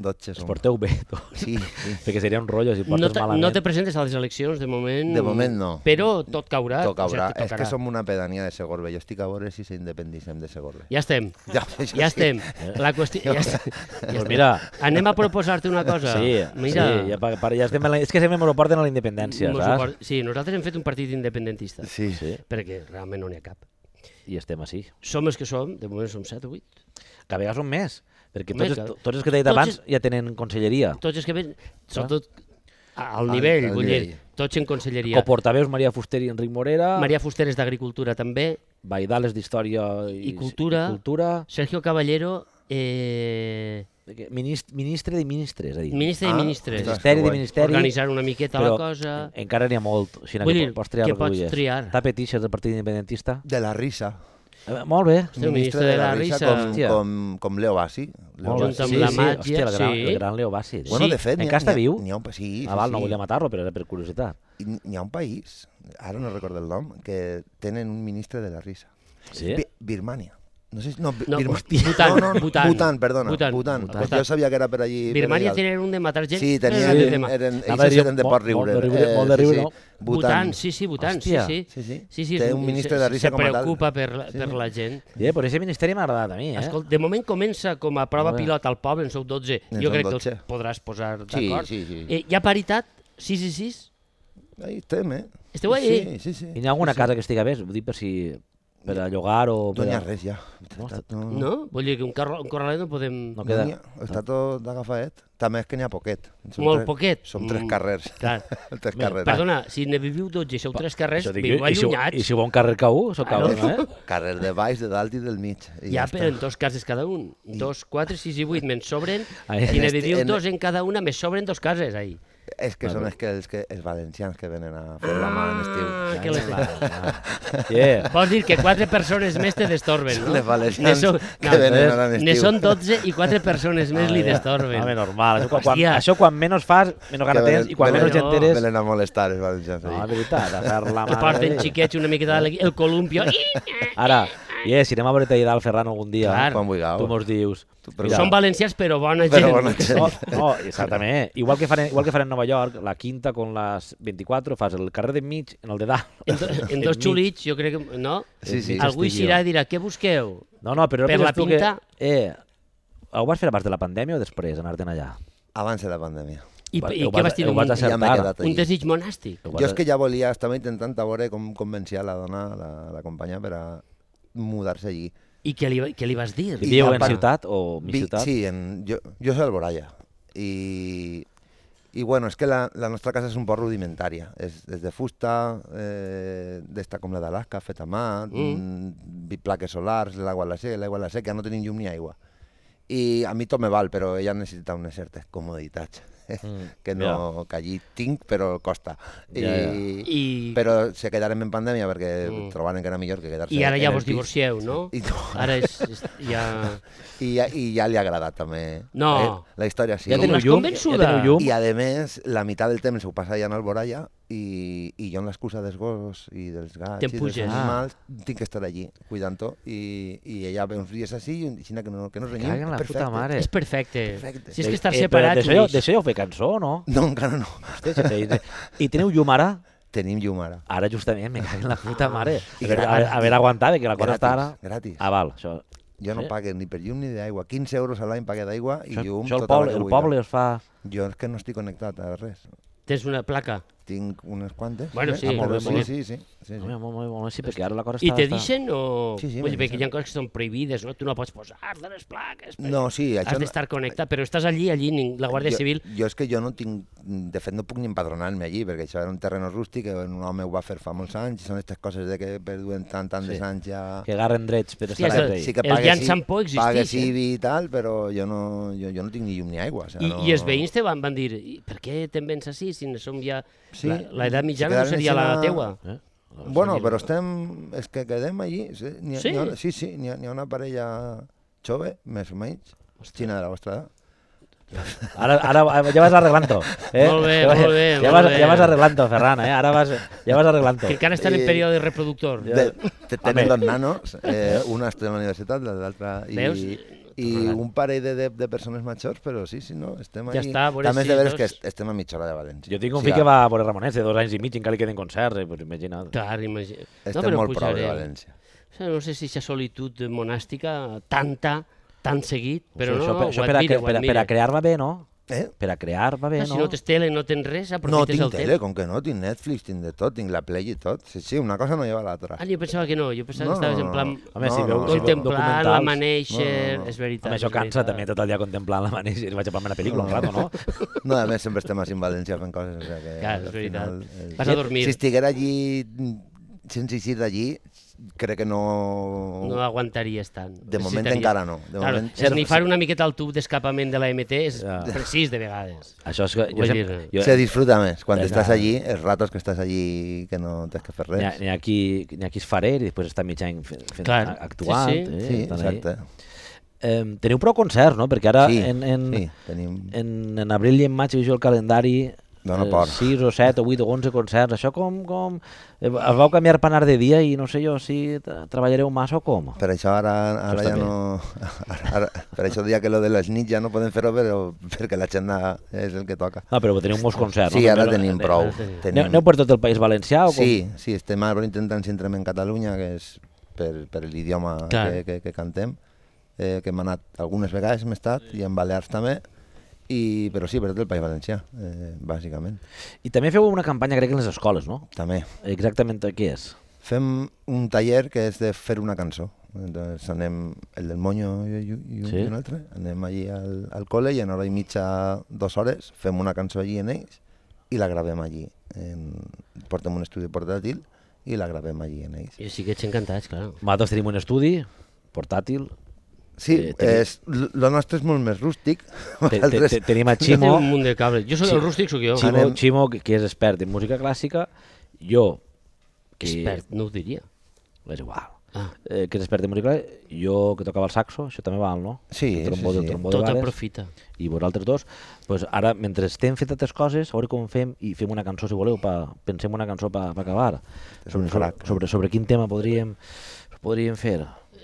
Speaker 3: 12
Speaker 1: es
Speaker 3: som.
Speaker 1: porteu bé, <laughs> 12.
Speaker 2: <laughs>
Speaker 3: Sí, sí.
Speaker 1: Perquè seria un rotllo si
Speaker 2: No
Speaker 1: portes
Speaker 2: te,
Speaker 1: malament.
Speaker 2: no te presentes a les eleccions de moment.
Speaker 3: De moment, no.
Speaker 2: Però tot caurà.
Speaker 3: Toca,
Speaker 2: O sigui,
Speaker 3: haurà.
Speaker 2: te
Speaker 3: és
Speaker 2: tocarà.
Speaker 3: que som una pedania de Segorbe. Jo estic a veure si s'independitzem de Segorbe.
Speaker 2: Ja estem.
Speaker 3: <laughs> Ja,
Speaker 2: Ja estem. La qüestió...
Speaker 3: <laughs>
Speaker 2: Ja estem. Ja
Speaker 1: Pues
Speaker 2: estem.
Speaker 1: Doncs mira,
Speaker 2: Anem a proposar-te una cosa.
Speaker 1: sí,
Speaker 2: mira,
Speaker 1: sí, ja, pa, pa, ja estem en la, és que sempre m'ho porten a la independència,
Speaker 2: mos ho
Speaker 1: saps?
Speaker 2: por- sí, nosaltres hem fet un partit independentista,
Speaker 3: Sí.
Speaker 1: Sí,
Speaker 2: perquè realment no n'hi ha cap.
Speaker 1: i estem així.
Speaker 2: Som els que som, de moment som 7 o 8.
Speaker 1: Que a vegades són més, perquè
Speaker 2: Més,
Speaker 1: tots,
Speaker 2: clar.
Speaker 1: els- tots els que t'he dit
Speaker 2: Tots
Speaker 1: abans
Speaker 2: els-
Speaker 1: ja tenen conselleria.
Speaker 2: Tots els que ven, sobretot a- al nivell,
Speaker 3: Ah. al
Speaker 2: vull dir,
Speaker 3: nivell.
Speaker 2: tots en conselleria.
Speaker 1: Coportaveus Maria Fuster i Enric
Speaker 3: Ah.
Speaker 1: Morera,
Speaker 2: Maria Fuster és d'Agricultura també,
Speaker 1: Baidales d'Història i,
Speaker 2: I Cultura.
Speaker 1: i cultura
Speaker 2: Sergio Caballero, eh,
Speaker 1: que minist- ministre de ministres, és a dir,
Speaker 2: ministre i
Speaker 3: Ah,
Speaker 2: ministres.
Speaker 1: ministeri
Speaker 3: ostres, que
Speaker 1: de
Speaker 3: guai.
Speaker 1: ministeri,
Speaker 2: Organitzar una miqueta
Speaker 1: però
Speaker 2: la cosa...
Speaker 3: eh,
Speaker 1: en- encara n'hi ha molt, o sigui,
Speaker 2: Vull
Speaker 1: que
Speaker 2: dir,
Speaker 1: po- pots triar
Speaker 2: que
Speaker 1: el que
Speaker 2: pots
Speaker 1: vulguis.
Speaker 2: triar.
Speaker 1: Tapet Ixes del Partit Independentista.
Speaker 3: De la risa.
Speaker 1: Eh, molt bé.
Speaker 2: Hòstia, el ministre de la risa.
Speaker 3: com,
Speaker 1: Hòstia.
Speaker 3: com, com Leo Bassi. Leo
Speaker 1: Molt bé.
Speaker 2: Junta amb la màgia,
Speaker 1: hòstia, el gran,
Speaker 2: sí.
Speaker 1: el gran Leo Bassi.
Speaker 3: Bueno,
Speaker 2: Sí.
Speaker 3: de fet, n'hi ha-
Speaker 1: Encara està
Speaker 3: n'hi ha-
Speaker 1: viu?
Speaker 3: N'hi ha un país. Sí,
Speaker 1: Ah, val, no
Speaker 3: sí.
Speaker 1: volia matar-lo, però era per curiositat.
Speaker 3: I N'hi ha un país, ara no recordo el nom, que tenen un ministre de la risa.
Speaker 1: Sí?
Speaker 3: Bi- Birmània. No sé si... No, Bi-
Speaker 2: No,
Speaker 3: Birma-
Speaker 2: hòstia.
Speaker 3: <laughs>
Speaker 2: Bhutan,
Speaker 3: no, no,
Speaker 2: Bhutan.
Speaker 3: Bhutan, perdona.
Speaker 2: Bhutan.
Speaker 3: Bhutan. Bhutan.
Speaker 2: Bhutan.
Speaker 3: Pues jo sabia que era per allí.
Speaker 2: Birmània
Speaker 3: per allà.
Speaker 2: tenen un de matar gent.
Speaker 3: Sí,
Speaker 2: però
Speaker 3: tenien,
Speaker 2: era
Speaker 1: Sí.
Speaker 2: de tema.
Speaker 3: eren,
Speaker 1: Anava a
Speaker 3: ells
Speaker 1: dir
Speaker 3: eren de
Speaker 1: molt-
Speaker 3: port Eh,
Speaker 1: molt
Speaker 3: riure.
Speaker 1: de riure, molt de riure, no?
Speaker 2: Votant, sí, sí, votant, sí,
Speaker 1: Hòstia.
Speaker 2: sí.
Speaker 3: Sí, sí.
Speaker 2: sí, sí
Speaker 3: Té
Speaker 2: és-
Speaker 3: un ministre
Speaker 2: se-
Speaker 3: de risa
Speaker 2: se
Speaker 3: com a tal.
Speaker 2: preocupa per, la, per la gent.
Speaker 1: Eh, però aquest ministeri m'ha agradat a mi, eh?
Speaker 2: Escolta, de moment comença com a prova
Speaker 1: Molt bé.
Speaker 2: pilot al poble, en sou 12.
Speaker 3: En
Speaker 2: jo
Speaker 3: som
Speaker 2: crec
Speaker 3: 12.
Speaker 2: que us podràs posar
Speaker 3: Sí,
Speaker 2: d'acord.
Speaker 3: sí, sí.
Speaker 2: Eh, hi ha paritat? 6 i 6?
Speaker 3: Ahí estem, eh?
Speaker 2: Esteu ahí?
Speaker 3: Sí, sí, sí.
Speaker 1: I n'hi ha alguna casa que estiga bé? Ho dic per si... Per a llogar o...
Speaker 3: No
Speaker 1: Per
Speaker 3: n'hi
Speaker 1: a...
Speaker 3: ha res, ja. No, no.
Speaker 2: No? Vull dir que un, carro, un corralet no podem...
Speaker 1: No
Speaker 3: Mm. No
Speaker 1: queda.
Speaker 3: n'hi ha. Està tot agafaet. També és que n'hi ha poquet. Som
Speaker 2: Molt
Speaker 3: tres-
Speaker 2: poquet.
Speaker 3: Som
Speaker 2: Mm,
Speaker 3: tres carrers.
Speaker 2: clar.
Speaker 3: <laughs> tres carrers.
Speaker 2: Perdona, si ne viviu 12 i sou 3 carrers,
Speaker 1: Això dic
Speaker 2: viu
Speaker 1: jo, I si, ho- I
Speaker 2: allunyats.
Speaker 1: si ho va un carrer cau, sóc
Speaker 2: Ah, no?
Speaker 1: cabrón, eh?
Speaker 3: <laughs> Carrer de baix, de dalt i del mig. I
Speaker 2: Ja, però
Speaker 3: està.
Speaker 2: en dos cases cada un. Dos, quatre, sis i vuit, me'n sobren.
Speaker 1: Ai.
Speaker 2: Si
Speaker 1: En
Speaker 2: ne
Speaker 3: este-
Speaker 2: viviu
Speaker 3: <laughs> en-
Speaker 2: dos en cada una, me sobren dos cases, ahí.
Speaker 3: És que són els, que, els, que, els valencians que venen a fer la mà en
Speaker 2: Ah,
Speaker 3: estiu.
Speaker 2: que les...
Speaker 1: Yeah.
Speaker 2: Vols dir que quatre persones més te destorben, no?
Speaker 3: <laughs> Les valencians que venen ara en
Speaker 2: Ne
Speaker 3: estiu.
Speaker 2: són 12 i quatre persones més li destorben.
Speaker 1: Ah, Home, normal. Això quan, quan,
Speaker 2: Hòstia.
Speaker 1: això quan menys fas, menys gana tens, i quan
Speaker 2: venen-
Speaker 1: menys
Speaker 2: venen-
Speaker 1: gent eres...
Speaker 3: Venen a molestar els valencians.
Speaker 1: No,
Speaker 3: ahí.
Speaker 1: és
Speaker 3: <laughs>
Speaker 1: veritat, a fer la
Speaker 2: Que
Speaker 1: mare...
Speaker 3: eh?
Speaker 2: porten
Speaker 1: de-
Speaker 2: xiquets una miqueta de el
Speaker 3: <laughs>
Speaker 2: columpio.
Speaker 1: Ara, yeah, si anem a veure-te allà al Ferran algun dia,
Speaker 2: Clar.
Speaker 3: Quan vulgueu.
Speaker 1: tu mos dius...
Speaker 3: però-
Speaker 1: mira,
Speaker 2: Són valencians però bona gent. <laughs>
Speaker 3: Però bona gent.
Speaker 1: No, no, exactament. Igual que, farem, igual que farem a Nova York, la quinta con les 24, fas el carrer de mig en el de dalt.
Speaker 2: En, do, en
Speaker 3: <laughs>
Speaker 2: dos
Speaker 1: Enmig.
Speaker 2: xulits, jo crec que... No?
Speaker 3: Sí, sí.
Speaker 2: Algú hi
Speaker 1: Estigui.
Speaker 2: serà i dirà, què busqueu?
Speaker 1: No, no, però no
Speaker 2: Per
Speaker 1: penses
Speaker 2: la
Speaker 1: tu
Speaker 2: pinta?
Speaker 1: Que, eh, ho vas fer abans de la pandèmia o després, anar-te'n allà?
Speaker 3: Abans de la pandèmia.
Speaker 2: I,
Speaker 1: Ho va-
Speaker 2: i
Speaker 1: ho
Speaker 2: què
Speaker 1: vas-
Speaker 2: vas tenir?
Speaker 1: ho vas
Speaker 2: Un,
Speaker 1: acertar.
Speaker 3: Ja m'he quedat
Speaker 2: un
Speaker 3: ahí.
Speaker 2: desig monàstic?
Speaker 1: Ho
Speaker 3: Jo
Speaker 1: vas-
Speaker 3: és que ja volia, estava intentant a veure com convencia la dona, la, la companya, per a mudar-se allí.
Speaker 2: I què li, va- què li vas dir?
Speaker 3: I
Speaker 1: Vivíeu
Speaker 3: ja
Speaker 1: en
Speaker 3: par-
Speaker 1: ciutat o mi
Speaker 3: Vi-
Speaker 1: ciutat?
Speaker 3: Sí, en, jo, jo soy Alboraya. I, i bueno, és que la, la nostra casa és un poc rudimentària. És, és de fusta, eh, d'esta com la d'Alaska, feta a mà, mm. vi- plaques solars, l'aigua a la seca, l'aigua a la seca, no tenim llum ni aigua. I a mi tot me val, però ella necessita unes certes comoditats <laughs> que no que allí tinc, però costa. I,
Speaker 1: Ja, ja.
Speaker 2: I-
Speaker 3: Però se quedarem en pandèmia perquè
Speaker 2: Mm.
Speaker 3: mm. trobarem que era millor que quedar-se
Speaker 2: I ara
Speaker 3: en
Speaker 2: ja
Speaker 3: el
Speaker 2: vos
Speaker 3: pis.
Speaker 2: divorcieu, no?
Speaker 3: I no.
Speaker 2: Ara és, és ja...
Speaker 3: I ja, i ja li ha agradat també.
Speaker 2: No.
Speaker 3: Eh, la història <laughs> sí.
Speaker 1: Ja
Speaker 2: teniu
Speaker 1: teniu
Speaker 2: l'has
Speaker 1: llum? Ja
Speaker 2: convençuda?
Speaker 1: teniu llum?
Speaker 3: I a més, la meitat del temps ho passa allà en Alboraya i, i jo amb l'excusa dels gossos i dels gats
Speaker 2: Te'n
Speaker 3: i dels
Speaker 2: puges.
Speaker 3: animals tinc que estar allí cuidant-ho i, i ella ve uns dies així i un xina que no, que no renyim.
Speaker 1: Caguen la
Speaker 3: perfecte.
Speaker 1: puta mare.
Speaker 2: És perfecte.
Speaker 3: Perfecte.
Speaker 2: Si és que estar
Speaker 1: Eh, però
Speaker 2: separats...
Speaker 1: D'això ja,
Speaker 2: Lluís.
Speaker 1: d'això ja ho fer cançó, no?
Speaker 3: No, encara no. <laughs>
Speaker 1: Hòstia, si feia- I teniu llum ara?
Speaker 3: Tenim llum ara.
Speaker 1: Ara justament, me cago en la puta mare.
Speaker 3: I
Speaker 1: Haver,
Speaker 3: gratis.
Speaker 1: haver, haver aguantat, que la cosa
Speaker 3: Gratis,
Speaker 1: està ara...
Speaker 3: gratis.
Speaker 1: Ah, val, això...
Speaker 3: Jo no
Speaker 1: Sí.
Speaker 3: pague ni per llum ni d'aigua. 15 euros a l'any pague d'aigua i
Speaker 1: Això,
Speaker 3: llum
Speaker 1: això el,
Speaker 3: tota la
Speaker 1: poble,
Speaker 3: que
Speaker 1: el
Speaker 3: vulgui.
Speaker 1: poble es fa...
Speaker 3: Jo és que no estic connectat a res.
Speaker 2: Tens una placa
Speaker 3: Tinc unes quantes.
Speaker 2: Bueno, sí,
Speaker 3: ah,
Speaker 1: molt
Speaker 3: però
Speaker 1: bé,
Speaker 3: sí,
Speaker 1: molt bé.
Speaker 3: sí, sí, sí,
Speaker 1: Home,
Speaker 3: sí.
Speaker 1: molt, molt, molt, sí, perquè ara la cosa
Speaker 2: i
Speaker 1: està...
Speaker 2: te
Speaker 1: està-
Speaker 2: deixen o...
Speaker 3: Sí, sí,
Speaker 2: Vull
Speaker 3: me
Speaker 2: dir, perquè hi ha
Speaker 3: deixen.
Speaker 2: coses que són prohibides, no? Tu no pots posar de les plaques. perquè
Speaker 3: No, sí,
Speaker 2: Has
Speaker 3: això... no-
Speaker 2: d'estar connectat, però estàs allí, allí, ning- la Guàrdia
Speaker 3: jo,
Speaker 2: Civil...
Speaker 3: Jo és que jo no tinc... De fet, no puc ni empadronar-me allí, perquè això era un terreno rústic que un home ho va fer fa molts anys, i són aquestes coses de que perduen tant, tant
Speaker 1: Sí.
Speaker 3: de anys ja...
Speaker 1: Que agarren drets per
Speaker 2: Hòstia,
Speaker 1: estar
Speaker 2: això-
Speaker 1: sempre ahí.
Speaker 2: sí el Jan Sampo existeix,
Speaker 3: Pagues
Speaker 2: eh?
Speaker 3: IBI i tal, però jo no, jo, jo no tinc ni llum ni aigua. O
Speaker 2: I,
Speaker 3: sigui, no...
Speaker 2: I els veïns te van, van dir, "I per què te'n vens així si no som ja...
Speaker 3: Sí,
Speaker 2: la, la edat mitjana no
Speaker 3: quedaren
Speaker 2: seria la
Speaker 3: així una-
Speaker 2: teua.
Speaker 1: Eh?
Speaker 3: Bueno, però estem... És que quedem allí. Sí, n'hi ha,
Speaker 2: Sí?
Speaker 3: n'hi ha, sí, sí n'hi ha, n'hi ha una parella jove, més o menys, xina de la vostra edat.
Speaker 1: Ara, ara ja vas arreglant-ho. Eh?
Speaker 2: Molt bé,
Speaker 1: ja vas,
Speaker 2: molt bé,
Speaker 1: Ja
Speaker 2: molt
Speaker 1: vas,
Speaker 2: bé.
Speaker 1: ja vas arreglant-ho, Ferran, eh? Ara vas, ja vas arreglant-ho.
Speaker 2: Que encara estan en
Speaker 3: I-
Speaker 2: període reproductor.
Speaker 1: Ja.
Speaker 3: De, te- tenen
Speaker 1: Home.
Speaker 3: dos
Speaker 2: <laughs>
Speaker 3: nanos, eh, una està a la universitat, la- l'altra... I,
Speaker 2: Veus?
Speaker 3: I un parell de, de, de persones majors, però sí, sí, no, estem
Speaker 2: Ja
Speaker 3: ahí.
Speaker 2: està, a veure
Speaker 3: També
Speaker 2: si
Speaker 3: és de veres
Speaker 2: dos-
Speaker 3: que est- estem a mitja hora de València.
Speaker 1: Jo tinc un
Speaker 3: Sí,
Speaker 1: fill que va a veure Ramonets de dos anys i mig i encara li queden concerts, eh? pues imagina't.
Speaker 2: Clar, imagina.
Speaker 3: Estem molt prou de València.
Speaker 2: No sé si aquesta solitud monàstica, tanta, tan seguit, però
Speaker 1: això,
Speaker 2: no, no,
Speaker 1: per, això
Speaker 2: ho
Speaker 1: per, a,
Speaker 2: admire,
Speaker 1: cre-
Speaker 2: ho
Speaker 1: per, a, per a
Speaker 2: admire.
Speaker 1: crear va bé, no?
Speaker 3: Eh?
Speaker 1: Per a crear va bé,
Speaker 2: Ah,
Speaker 1: no?
Speaker 2: Si no tens tele, no tens res,
Speaker 3: No,
Speaker 2: aprofites
Speaker 3: tinc
Speaker 2: el
Speaker 3: tele,
Speaker 2: tele.
Speaker 3: com que no, tinc Netflix, tinc de tot, tinc la Play i tot. Sí, sí, una cosa no lleva a l'altra.
Speaker 2: Ah, jo pensava que no, jo pensava
Speaker 3: No,
Speaker 2: que estaves
Speaker 3: no,
Speaker 2: en
Speaker 3: no,
Speaker 2: plan...
Speaker 3: no.
Speaker 1: Home, si
Speaker 3: No,
Speaker 1: veus
Speaker 3: no, no.
Speaker 2: contemplar la
Speaker 1: documentals-
Speaker 2: Manéixer,
Speaker 3: No, no, no.
Speaker 2: és veritat.
Speaker 1: Home, això
Speaker 2: és
Speaker 1: cansa
Speaker 2: veritat.
Speaker 1: també tot el dia contemplant la manera i vaig a una pel·lícula, un
Speaker 3: No,
Speaker 1: rato,
Speaker 3: no.
Speaker 1: no?
Speaker 3: No, a més, sempre estem així en València fent coses. O sigui que,
Speaker 2: Clar, és
Speaker 3: al
Speaker 2: veritat.
Speaker 3: final, eh,
Speaker 2: Vas a dormir.
Speaker 3: Si estiguera allí mm, sense eixir d'allí, crec que no...
Speaker 2: No aguantaries tant.
Speaker 3: De moment
Speaker 2: Necessitaries-
Speaker 3: encara no. De
Speaker 2: Claro,
Speaker 3: moment-
Speaker 2: esnifar una miqueta al tub d'escapament de la MT és
Speaker 1: Ja.
Speaker 2: precís de vegades.
Speaker 1: <laughs> Això és que... Jo
Speaker 2: Vull
Speaker 1: sempre,
Speaker 2: dir-
Speaker 1: jo,
Speaker 3: Se disfruta més quan
Speaker 1: Ja.
Speaker 3: estàs allí, els ratos que estàs allí que no tens que fer res.
Speaker 1: N'hi ha, n'hi ha qui, n'hi ha qui es faré i després està mig any fent, fent
Speaker 2: Clar,
Speaker 1: a- actuant.
Speaker 2: sí, sí.
Speaker 1: Eh,
Speaker 3: Sí,
Speaker 1: estan ahí.
Speaker 3: exacte.
Speaker 1: Eh, teniu prou concerts, no? Perquè ara
Speaker 3: Sí,
Speaker 1: Ah, en, en,
Speaker 3: sí, tenim-
Speaker 1: en, en abril i en maig veig jo el calendari
Speaker 3: Dóna por.
Speaker 1: 6 o 7 o 8 o 11 concerts. Això com... com eh, es vau canviar per anar de dia i no sé jo si tra- treballareu massa o com.
Speaker 3: Per això ara, ara
Speaker 1: Això
Speaker 3: ja
Speaker 1: està
Speaker 3: no... <laughs> Ara, ara, per això dia que lo de les nits ja no podem fer-ho, però perquè l'agenda és el que toca.
Speaker 1: No, Ah, però teniu molts concerts.
Speaker 3: Sí,
Speaker 1: no?
Speaker 3: ara
Speaker 1: També,
Speaker 3: tenim
Speaker 1: eh, eh,
Speaker 3: prou.
Speaker 1: Aneu,
Speaker 3: Tenim...
Speaker 1: aneu per tot el País Valencià o com?
Speaker 3: Sí, sí, estem ara intentant centrar en Catalunya, que és per, per l'idioma
Speaker 2: Clar.
Speaker 3: que, que, que cantem, eh, que hem anat algunes vegades, hem estat, i en Balears també, i, però sí, per tot el País Valencià, eh, bàsicament,
Speaker 1: I també feu una campanya, crec, en les escoles, no?
Speaker 3: també.
Speaker 1: Exactament què és?
Speaker 3: Fem un taller que és de fer una cançó. Entonces anem, el del Moño i, i, i, un,
Speaker 1: Sí.
Speaker 3: i un altre, anem allí al, al col·le i en hora i mitja, dues hores, fem una cançó allí en ells i la gravem allí. En, portem un estudi portàtil i la gravem allí en ells.
Speaker 2: Jo sí que ets encantats, clar.
Speaker 1: Nosaltres tenim un estudi portàtil.
Speaker 3: Sí,
Speaker 1: Eh, tenim-
Speaker 3: és, lo nostre és molt més rústic. <laughs>
Speaker 1: Te, te, te, tenim a Ximo,
Speaker 2: Té un munt de cables. Jo soc el rústic, sóc jo.
Speaker 1: Ximo,
Speaker 3: Anem.
Speaker 1: Ximo, que que és expert en música clàssica, jo, que
Speaker 2: Expert, no ho diria.
Speaker 1: és igual,
Speaker 2: Ah.
Speaker 1: eh, que és expert en música clàssica, jo que tocava el saxo, això també val, no?
Speaker 3: Sí,
Speaker 1: el trombó,
Speaker 3: sí,
Speaker 1: El
Speaker 3: sí.
Speaker 1: trombó
Speaker 2: Tot
Speaker 1: de Bales,
Speaker 2: aprofita.
Speaker 1: i vosaltres dos, pues ara, mentre estem fent altres coses, a veure com fem, i fem una cançó, si voleu, pa, pensem una cançó per pa acabar. Sobre, sobre, sobre, sobre quin tema podríem, podríem fer.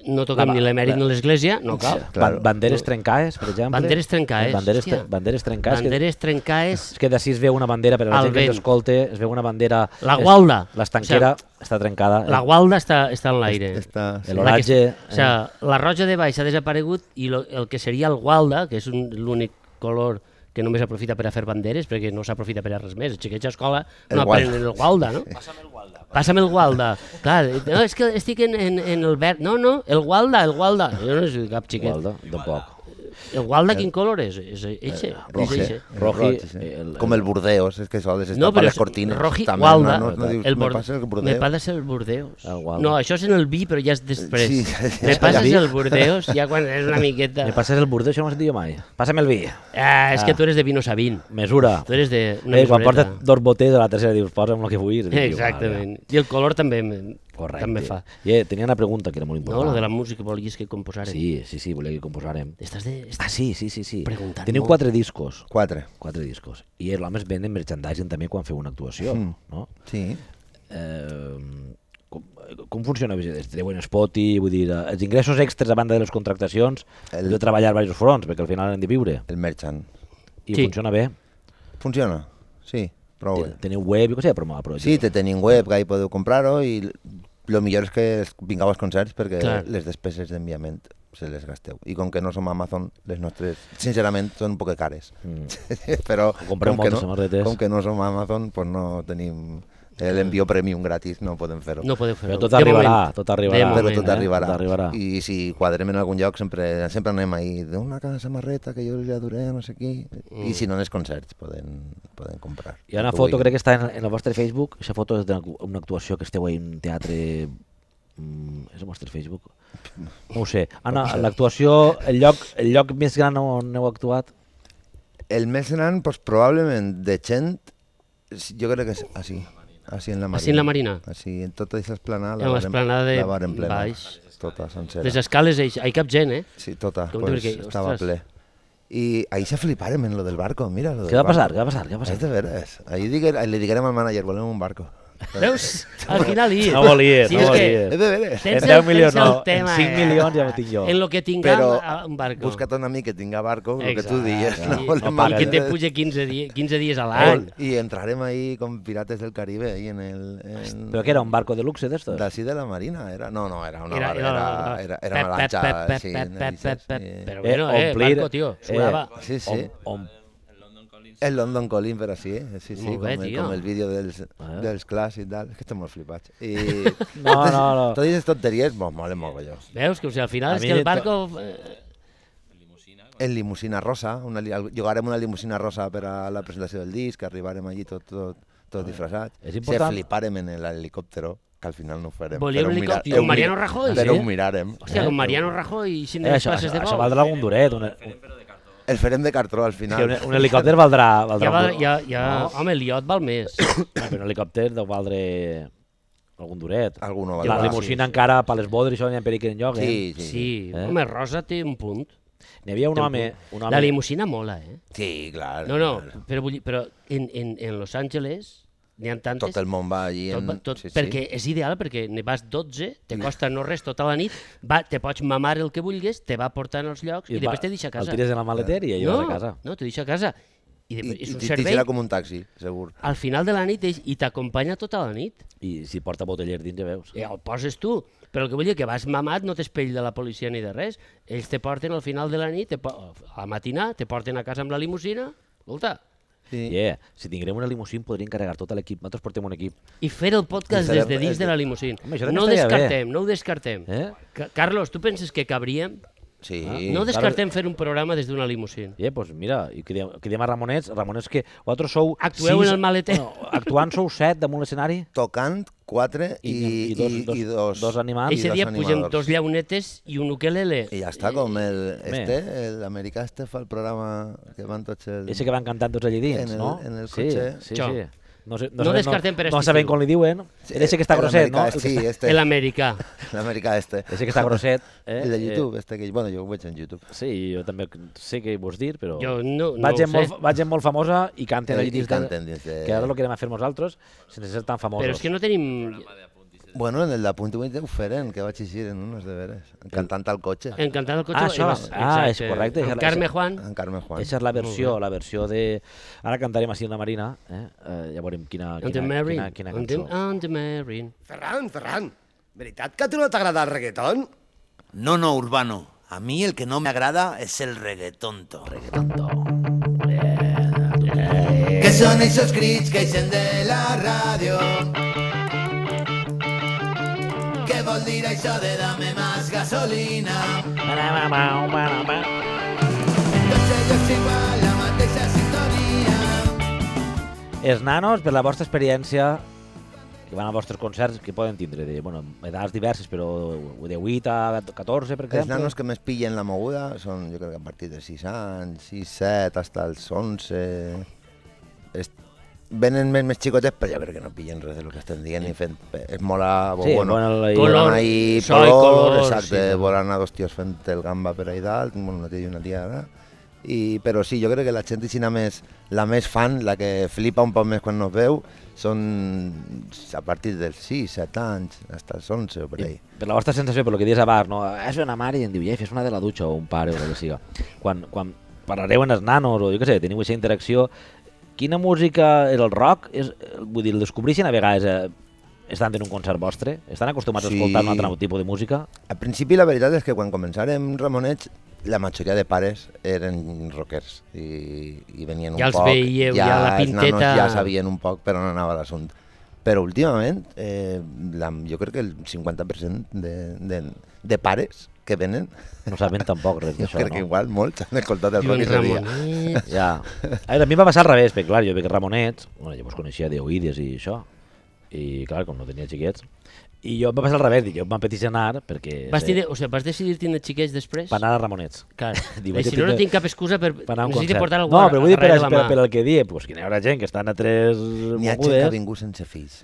Speaker 2: No toquem
Speaker 1: La-
Speaker 2: ni l'emèrit ni l'església, no cal.
Speaker 1: Claro.
Speaker 3: Claro.
Speaker 1: Oh, Banderes trencades, per exemple. Eh,
Speaker 2: Banderes trencades,
Speaker 1: Banderes,
Speaker 2: hòstia.
Speaker 1: tre banderes trencades. que-
Speaker 2: Banderes trencaes,
Speaker 1: És que d'ací es veu una bandera, per a la
Speaker 2: Al
Speaker 1: gent que ens
Speaker 2: vent.
Speaker 1: escolte, es veu una bandera...
Speaker 2: La
Speaker 1: es-
Speaker 2: gualda.
Speaker 1: L'estanquera
Speaker 2: O
Speaker 1: està trencada.
Speaker 2: la gualda està, està en l'aire.
Speaker 3: Està,
Speaker 1: Ah,
Speaker 3: sí.
Speaker 1: eh. El eh. oratge...
Speaker 2: O sigui, la roja de baix ha desaparegut i lo, el que seria el gualda, que és un- l'únic color que només aprofita per a fer banderes, perquè no s'aprofita per a res més. Els xiquets a escola no
Speaker 3: El gualda.
Speaker 2: aprenen el gualda, no? Passa'm el gualda. Passa'm el gualda. Clar, no, és que estic en, en, en el verd. No, no, el gualda, el gualda. Jo no soc cap
Speaker 1: Eh,
Speaker 2: xiquet.
Speaker 1: gualda, tampoc.
Speaker 2: El gualda quin color és? És eixe?
Speaker 1: Eh, roja.
Speaker 2: És eixe.
Speaker 1: Roji,
Speaker 3: roji, sí.
Speaker 1: eh, el-
Speaker 3: com el Burdeos, és que sol és
Speaker 2: No,
Speaker 3: no,
Speaker 2: però
Speaker 3: les
Speaker 2: és
Speaker 3: cortines.
Speaker 2: roji,
Speaker 3: també,
Speaker 2: gualda.
Speaker 3: No, no, no, dius,
Speaker 2: El
Speaker 3: me
Speaker 2: bord-
Speaker 3: passa el
Speaker 2: Me
Speaker 3: Burdeos.
Speaker 2: passa el Burdeos.
Speaker 1: El gualda.
Speaker 2: No, això és en el vi, però ja és després.
Speaker 3: Sí, sí,
Speaker 2: me
Speaker 3: sí.
Speaker 2: passes
Speaker 3: Ja vi.
Speaker 2: el Burdeos ja quan és una miqueta...
Speaker 1: <laughs> Me passes el bordó, això no m'ho he sentit jo mai. Passa'm el vi.
Speaker 2: Ah, és que tu eres de Vino Sabin.
Speaker 1: Mesura.
Speaker 2: Tu eres de una
Speaker 1: Eh, quan
Speaker 2: mesureta.
Speaker 1: portes dos botes a la tercera dius, posa'm el que vulguis. Dius,
Speaker 2: Exactament. I el color també, em-
Speaker 1: Vale, correcte.
Speaker 2: també fa.
Speaker 1: I, eh, tenia una pregunta que era molt
Speaker 2: No,
Speaker 1: important.
Speaker 2: lo de la música volies que composarem.
Speaker 1: Sí, sí, sí, volia que composarem.
Speaker 2: Estàs de...
Speaker 1: Ah, sí, sí, sí. sí.
Speaker 2: Preguntant
Speaker 1: Teniu
Speaker 2: molt.
Speaker 1: quatre discos.
Speaker 3: Quatre.
Speaker 1: Quatre discos. I els homes venen merchandising també quan feu una actuació,
Speaker 3: Mm.
Speaker 1: no?
Speaker 3: Sí.
Speaker 1: Eh, com, com funciona? Es treuen Spotify, vull dir, eh, els ingressos extras a banda de les contractacions, el...
Speaker 3: El-
Speaker 1: de treballar a diversos fronts, perquè al final hem de viure.
Speaker 3: El merchant.
Speaker 1: I
Speaker 2: Sí.
Speaker 1: sí. funciona bé.
Speaker 3: Funciona, sí, prou bé.
Speaker 1: Ten- Teniu web, jo què sé, però, però
Speaker 3: Sí, te tenim web, que hi podeu comprar-ho i el millor és que es- vingueu als concerts perquè
Speaker 2: Clar.
Speaker 3: les despeses d'enviament se les gasteu. I com que no som Amazon, les nostres, sincerament, són un poc cares.
Speaker 1: Mm.
Speaker 3: <laughs> Però
Speaker 1: compreu
Speaker 3: com que,
Speaker 1: moltes samarretes.
Speaker 3: no, com que no som Amazon, doncs no tenim l'envió premium gratis, no podem fer-ho.
Speaker 2: No podeu fer-ho.
Speaker 1: Però tot
Speaker 2: De
Speaker 1: arribarà,
Speaker 2: moment.
Speaker 1: tot arribarà.
Speaker 2: De
Speaker 3: però
Speaker 2: moment,
Speaker 3: tot
Speaker 2: eh?
Speaker 3: arribarà.
Speaker 1: Tot arribarà.
Speaker 3: I si quadrem en algun lloc sempre, sempre anem ahí d'una casa samarreta que jo ja duré, no sé qui. I si no, en els concerts poden, poden comprar.
Speaker 1: Mm. Hi ha una foto, crec que està en, en el vostre Facebook. Aquesta foto és d'una actuació que esteu ahí en un teatre... Mm, és el vostre Facebook? No ho sé. Anna, l'actuació, el lloc, el lloc més gran on heu actuat,
Speaker 3: El més gran, doncs, probablement, de gent, s- jo crec que és així. Així en la Marina.
Speaker 2: Així en la Marina.
Speaker 3: Així, en tota aquesta esplanada.
Speaker 2: En l'esplanada de
Speaker 3: la varen plena.
Speaker 2: baix.
Speaker 3: Tota, sencera.
Speaker 2: Les escales, hi hi cap gent, eh?
Speaker 3: Sí, tota.
Speaker 2: Com
Speaker 3: pues,
Speaker 2: dius que-
Speaker 3: estava
Speaker 2: ostres.
Speaker 3: ple. I ahí se fliparem en lo del barco, mira. Lo del
Speaker 1: Què va
Speaker 3: Doncs
Speaker 1: passar?
Speaker 3: barco. Doncs
Speaker 1: Què va passar? Què va passar?
Speaker 3: És de veres. Ahí digue, le diguerem al manager, volem un barco. Eh,
Speaker 2: Veus? Al final hi és.
Speaker 1: No volia,
Speaker 2: Sí,
Speaker 1: no
Speaker 2: és que
Speaker 1: volia.
Speaker 3: És de veres.
Speaker 2: tens
Speaker 1: En
Speaker 2: el-
Speaker 1: 10 milions
Speaker 2: tens el
Speaker 1: no, en
Speaker 2: tema,
Speaker 1: 5
Speaker 2: eh?
Speaker 1: milions ja ho tinc jo.
Speaker 2: En lo que tinga
Speaker 3: Però
Speaker 2: un barco.
Speaker 3: busca't un amic que tinga barco, el que
Speaker 2: Exacte.
Speaker 3: tu digues.
Speaker 1: Sí,
Speaker 3: volem
Speaker 1: no
Speaker 2: I
Speaker 1: pagues.
Speaker 3: barco.
Speaker 2: que te puja 15, di 15 dies a l'any.
Speaker 3: I entrarem ahí com pirates del Caribe, ahí en el... En...
Speaker 1: però que era un barco de luxe d'estos?
Speaker 3: D'ací de la Marina, era... No, no, era una
Speaker 2: Era-
Speaker 3: era, era,
Speaker 2: era-
Speaker 3: era, era una
Speaker 2: pep, pep,
Speaker 3: lanxa,
Speaker 2: pep,
Speaker 3: sí,
Speaker 2: pep, pep,
Speaker 3: narices,
Speaker 2: pep,
Speaker 3: sí.
Speaker 2: pero- bueno, eh, barco, tio, sudava.
Speaker 3: Sí, sí.
Speaker 1: Om, om,
Speaker 3: El London Calling, però sí, eh? sí, sí,
Speaker 2: Molt
Speaker 3: com,
Speaker 2: bé,
Speaker 3: el,
Speaker 2: tio.
Speaker 3: com el vídeo dels,
Speaker 1: Ah.
Speaker 3: dels clars i tal. És que estem molt flipats. <laughs>
Speaker 2: <laughs>
Speaker 3: I...
Speaker 1: No, no, no.
Speaker 3: Totes aquestes tonteries, mos molen molt, collons.
Speaker 2: Veus? Que o sigui, al
Speaker 1: A
Speaker 2: final és
Speaker 1: mi
Speaker 2: que el
Speaker 1: de to-
Speaker 2: barco... eh,
Speaker 3: En limusina rosa, una, li- llogarem una limusina rosa per a la presentació del disc, arribarem allí tot, tot, tot disfressat.
Speaker 1: És important.
Speaker 3: Se fliparem en l'helicòptero, que al final no ho farem.
Speaker 2: Volia
Speaker 3: però
Speaker 2: un
Speaker 3: ho mira-
Speaker 2: helicòptero,
Speaker 3: ho mira-
Speaker 2: Mariano Rajoy, ¿eh?
Speaker 3: Però
Speaker 2: sí?
Speaker 3: ho mirarem.
Speaker 2: Hòstia, com Mariano Rajoy i cinc
Speaker 1: Eh,
Speaker 2: de les
Speaker 1: això,
Speaker 2: passes
Speaker 1: això,
Speaker 2: de
Speaker 1: això
Speaker 2: bou.
Speaker 1: valdrà un duret. Un, un,
Speaker 3: El farem de cartró al
Speaker 1: que un,
Speaker 3: final.
Speaker 1: un helicòpter valdrà...
Speaker 2: Ja,
Speaker 1: valdrà
Speaker 2: va,
Speaker 1: un,
Speaker 2: ja, ja, home, el iot val més.
Speaker 1: Però un helicòpter deu valdre algun duret. la
Speaker 3: Alguno valdrà, sí,
Speaker 1: limusina encara per les bodes i això n'hi ha perill que en lloc.
Speaker 3: Sí, sí. sí.
Speaker 2: Sí,
Speaker 1: Eh?
Speaker 2: home, Rosa té un punt.
Speaker 1: Eh? N'hi havia un
Speaker 2: Té
Speaker 1: home...
Speaker 2: punt.
Speaker 1: Un home
Speaker 2: La limusina mola, eh?
Speaker 3: Sí, clar.
Speaker 2: No, no, però, vull dir, però en, en, en Los Angeles n'hi ha tantes...
Speaker 3: Tot el món va allí.
Speaker 2: tot,
Speaker 3: En...
Speaker 2: va- tot,
Speaker 3: sí, sí.
Speaker 2: perquè és ideal, perquè ne vas 12, te costa no res tota la nit, va, te pots mamar el que vulguis, te va portant als llocs i,
Speaker 1: el
Speaker 2: després
Speaker 1: va-
Speaker 2: te deixa a casa.
Speaker 1: El tires en la maletera i ja
Speaker 2: no,
Speaker 1: vas a casa.
Speaker 2: No, te deixa a casa. I
Speaker 3: I,
Speaker 2: després,
Speaker 3: i
Speaker 2: és un
Speaker 3: t'hi
Speaker 2: servei
Speaker 3: tira com un taxi, segur.
Speaker 2: al final de la nit és- i t'acompanya tota la nit.
Speaker 1: I si porta botellers dins ja veus.
Speaker 2: Eh, el poses tu, però el que vull dir que vas mamat, no t'espell de la policia ni de res. Ells te porten al final de la nit, te po- a la matinà, te porten a casa amb la limusina, escolta,
Speaker 3: Sí.
Speaker 1: Yeah. Si tinguem una limusina podríem carregar tot l'equip. Nosaltres portem un equip.
Speaker 2: i fer el
Speaker 3: I
Speaker 2: podcast
Speaker 3: fer
Speaker 2: des
Speaker 3: el-
Speaker 2: de dins de la limusina.
Speaker 1: Home, això també
Speaker 2: no ho
Speaker 1: estaria bé.
Speaker 2: descartem, no ho descartem.
Speaker 1: Eh?
Speaker 2: Ca- Carlos, tu penses que cabríem?
Speaker 3: Sí.
Speaker 2: Ah, No descartem fer un programa des d'una limusina.
Speaker 1: Eh, pues mira, i cridem, cridem a Ramonets, Ramonets que vosaltres sou...
Speaker 2: Actueu
Speaker 1: sis,
Speaker 2: en el maleter.
Speaker 1: No, actuant sou set damunt l'escenari
Speaker 3: Tocant, quatre i,
Speaker 1: I- i dos- dos-
Speaker 3: i dos,
Speaker 1: dos animals. Ah,
Speaker 2: Eixe
Speaker 3: i dos
Speaker 2: dia pugem
Speaker 3: animadors.
Speaker 2: dos llaunetes i un ukelele.
Speaker 3: I ja està, com el
Speaker 1: Bé.
Speaker 3: este, l'americà este fa el programa que van tots el...
Speaker 1: Ese que van cantant tots allí dins,
Speaker 3: En el-
Speaker 1: no?
Speaker 3: en el
Speaker 1: sí,
Speaker 3: cotxe.
Speaker 1: Sí,
Speaker 2: Això.
Speaker 1: sí. No, sé,
Speaker 2: No
Speaker 1: sabem-
Speaker 2: descartem, però
Speaker 1: No
Speaker 2: estic
Speaker 1: sabem
Speaker 2: segur.
Speaker 1: com li diuen. Eh, ese que està
Speaker 3: el
Speaker 1: grosset, no?
Speaker 3: americà,
Speaker 1: El que
Speaker 3: Sí,
Speaker 1: està,
Speaker 3: este,
Speaker 2: L'americà.
Speaker 3: l'americà este.
Speaker 1: <laughs> ese que està grosset. Eh?
Speaker 3: <laughs> El de
Speaker 1: eh,
Speaker 3: YouTube, este que... Bueno, jo ho veig en YouTube.
Speaker 1: sí, jo també sé què hi vols dir, però...
Speaker 2: Jo no, no
Speaker 1: va,
Speaker 2: ho
Speaker 1: gent
Speaker 2: sé.
Speaker 1: molt, va gent molt famosa i canten
Speaker 3: Eh,
Speaker 1: allí
Speaker 3: i
Speaker 1: dins.
Speaker 3: canten dins de-
Speaker 1: Que ara lo querem fer nosaltres, sense ser tan famosos.
Speaker 2: Però és que no tenim...
Speaker 3: Bueno, en el d'apunt ho ho farem, que vaig així en uns deberes, cantant al cotxe,
Speaker 2: Encantat el cotxe.
Speaker 1: Ah, això.
Speaker 2: i vas-
Speaker 1: Ah, és Ah,
Speaker 2: exacte.
Speaker 1: correcte.
Speaker 2: Amb Carme Juan.
Speaker 3: en Carmen Juan.
Speaker 1: Aquesta és la versió, la versió de... Ara cantarem així en la Marina, eh? eh ja veurem quina,
Speaker 2: On the
Speaker 1: quina,
Speaker 2: Marine.
Speaker 1: quina, quina
Speaker 2: On the,
Speaker 1: cançó.
Speaker 2: on the Marine.
Speaker 5: Ferran, Ferran, veritat que a tu no t'agrada el reggaeton?
Speaker 6: No, no, Urbano. A mí el que no me agrada es el reggaetonto. ¿Qué son esos crits que dicen de la radio? ¿Qué vol dir això de dame más gasolina? Entonces yo es igual, la mateixa sintonia.
Speaker 1: Els nanos, per la vostra experiència, que van a vostres concerts, que poden tindre? De, bueno, edats diverses, però de 8 a 14, per exemple?
Speaker 3: Els nanos que més pillen la moguda són, jo crec que a partir de 6 anys, 6, 7, fins als 11... Es... Venen més, més xicotets, però jo crec que no pillen res del que estem dient ni fent... Es mola...
Speaker 1: Sí,
Speaker 3: bueno,
Speaker 1: mola la-
Speaker 3: volen
Speaker 2: Color,
Speaker 3: ahí
Speaker 2: soy
Speaker 3: color,
Speaker 2: color,
Speaker 3: exacte,
Speaker 2: sí.
Speaker 3: volen a dos tios fent el gamba per ahí dalt, bueno, una tia i una tia, ara. I, però sí, jo crec que la gent xina més, la més fan, la que flipa un poc més quan nos veu, són a partir dels 6, 7 anys, fins als 11 o per ahí.
Speaker 1: Per la vostra sensació, per lo que dius abans, no? és una mare i em diu, ja, fes una de la dutxa o un pare o el que siga. Quan, quan parlareu en els nanos o jo què sé, teniu aquesta interacció, quina música és el rock? És, eh, vull dir, el descobreixen a vegades eh, estan en un concert vostre? Estan acostumats a escoltar
Speaker 3: Sí.
Speaker 1: un altre tipus de música?
Speaker 3: Al principi la veritat és que quan començàrem Ramonets la majoria de pares eren rockers i, i venien un
Speaker 2: Ja els
Speaker 3: poc,
Speaker 2: veieu, ja la
Speaker 3: els nanos
Speaker 2: pinteta.
Speaker 3: ja sabien un poc per on anava l'assumpte. Però últimament eh, la, jo crec que el 50% de, de, de pares que venen,
Speaker 1: No saben tampoc res
Speaker 3: jo
Speaker 1: d'això,
Speaker 3: crec que
Speaker 1: no?
Speaker 3: igual molts han escoltat el rock
Speaker 2: Diuen
Speaker 3: i se dia.
Speaker 2: Ramonet...
Speaker 1: Ja. A veure, a mi em va passar al revés, perquè clar, jo veig Ramonets, bueno, jo vos coneixia de oïdes i això, i clar, com no tenia xiquets, i jo em va passar al revés, dic, jo em van peticionar anar perquè...
Speaker 2: Vas, tindre, o sigui, vas decidir tindre xiquets després?
Speaker 1: Per anar a Ramonets.
Speaker 2: Clar,
Speaker 1: <laughs> Diu,
Speaker 2: i
Speaker 1: vaig a
Speaker 2: si no, no
Speaker 1: tindre-
Speaker 2: tinc cap excusa per...
Speaker 1: Per anar a un
Speaker 2: Necessito
Speaker 1: concert.
Speaker 2: portar algú
Speaker 1: no,
Speaker 2: a-
Speaker 1: però vull dir per,
Speaker 2: darrere la
Speaker 1: per,
Speaker 2: mà.
Speaker 1: per el que die, pues, que n'hi haurà gent que estan a tres
Speaker 3: N'hi ha gent que ha
Speaker 1: mogudes.
Speaker 3: vingut sense fills.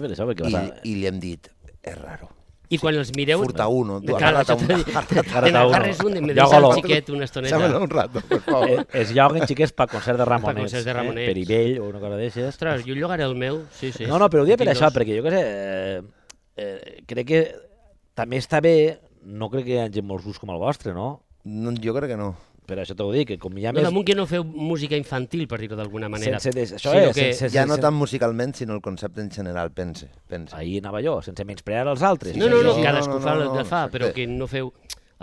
Speaker 1: Eh, per això, perquè
Speaker 3: i,
Speaker 1: vas a...
Speaker 3: I li hem dit, és raro.
Speaker 2: I quan els mireu...
Speaker 3: Furta uno,
Speaker 2: De
Speaker 3: du-
Speaker 2: cara,
Speaker 3: agárrate
Speaker 2: això
Speaker 3: un-
Speaker 2: t'ho dic.
Speaker 3: agárrate-
Speaker 2: Te n'agarres un i me
Speaker 1: Ja
Speaker 2: deixa el
Speaker 1: golo.
Speaker 2: xiquet una
Speaker 1: <laughs>
Speaker 2: estoneta.
Speaker 3: Sábalo un rato,
Speaker 1: Eh,
Speaker 3: por favor.
Speaker 1: es lloguen xiquets per concert de Ramonets.
Speaker 2: concerts de
Speaker 1: Eh?
Speaker 2: Ramonets.
Speaker 1: Perivell o una cosa d'aixes.
Speaker 2: Ostres, jo llogaré el meu, sí, sí.
Speaker 1: No, no, però ho dia per
Speaker 2: Tinc
Speaker 1: això,
Speaker 2: dos.
Speaker 1: perquè jo què sé, eh, eh, crec que també està bé, no crec que hi hagi molts grups com el vostre, no?
Speaker 2: Eh.
Speaker 3: No, jo crec que no.
Speaker 1: Per això t'ho dic, que com hi ha
Speaker 2: No,
Speaker 1: més...
Speaker 2: damunt que Doncs no feu música infantil, per dir-ho d'alguna manera.
Speaker 1: sense, des, això
Speaker 2: Sinó
Speaker 1: és,
Speaker 2: que-
Speaker 1: sense,
Speaker 3: Ja no
Speaker 1: sense-
Speaker 3: tant musicalment, sinó el concepte en general, pense. pense.
Speaker 1: Ahir anava jo, sense menysprear els altres.
Speaker 2: No, no, no,
Speaker 3: Sí, sí,
Speaker 2: cadascú
Speaker 3: no,
Speaker 2: fa
Speaker 3: no,
Speaker 2: el
Speaker 3: no,
Speaker 2: que fa,
Speaker 3: exacte.
Speaker 2: però que no feu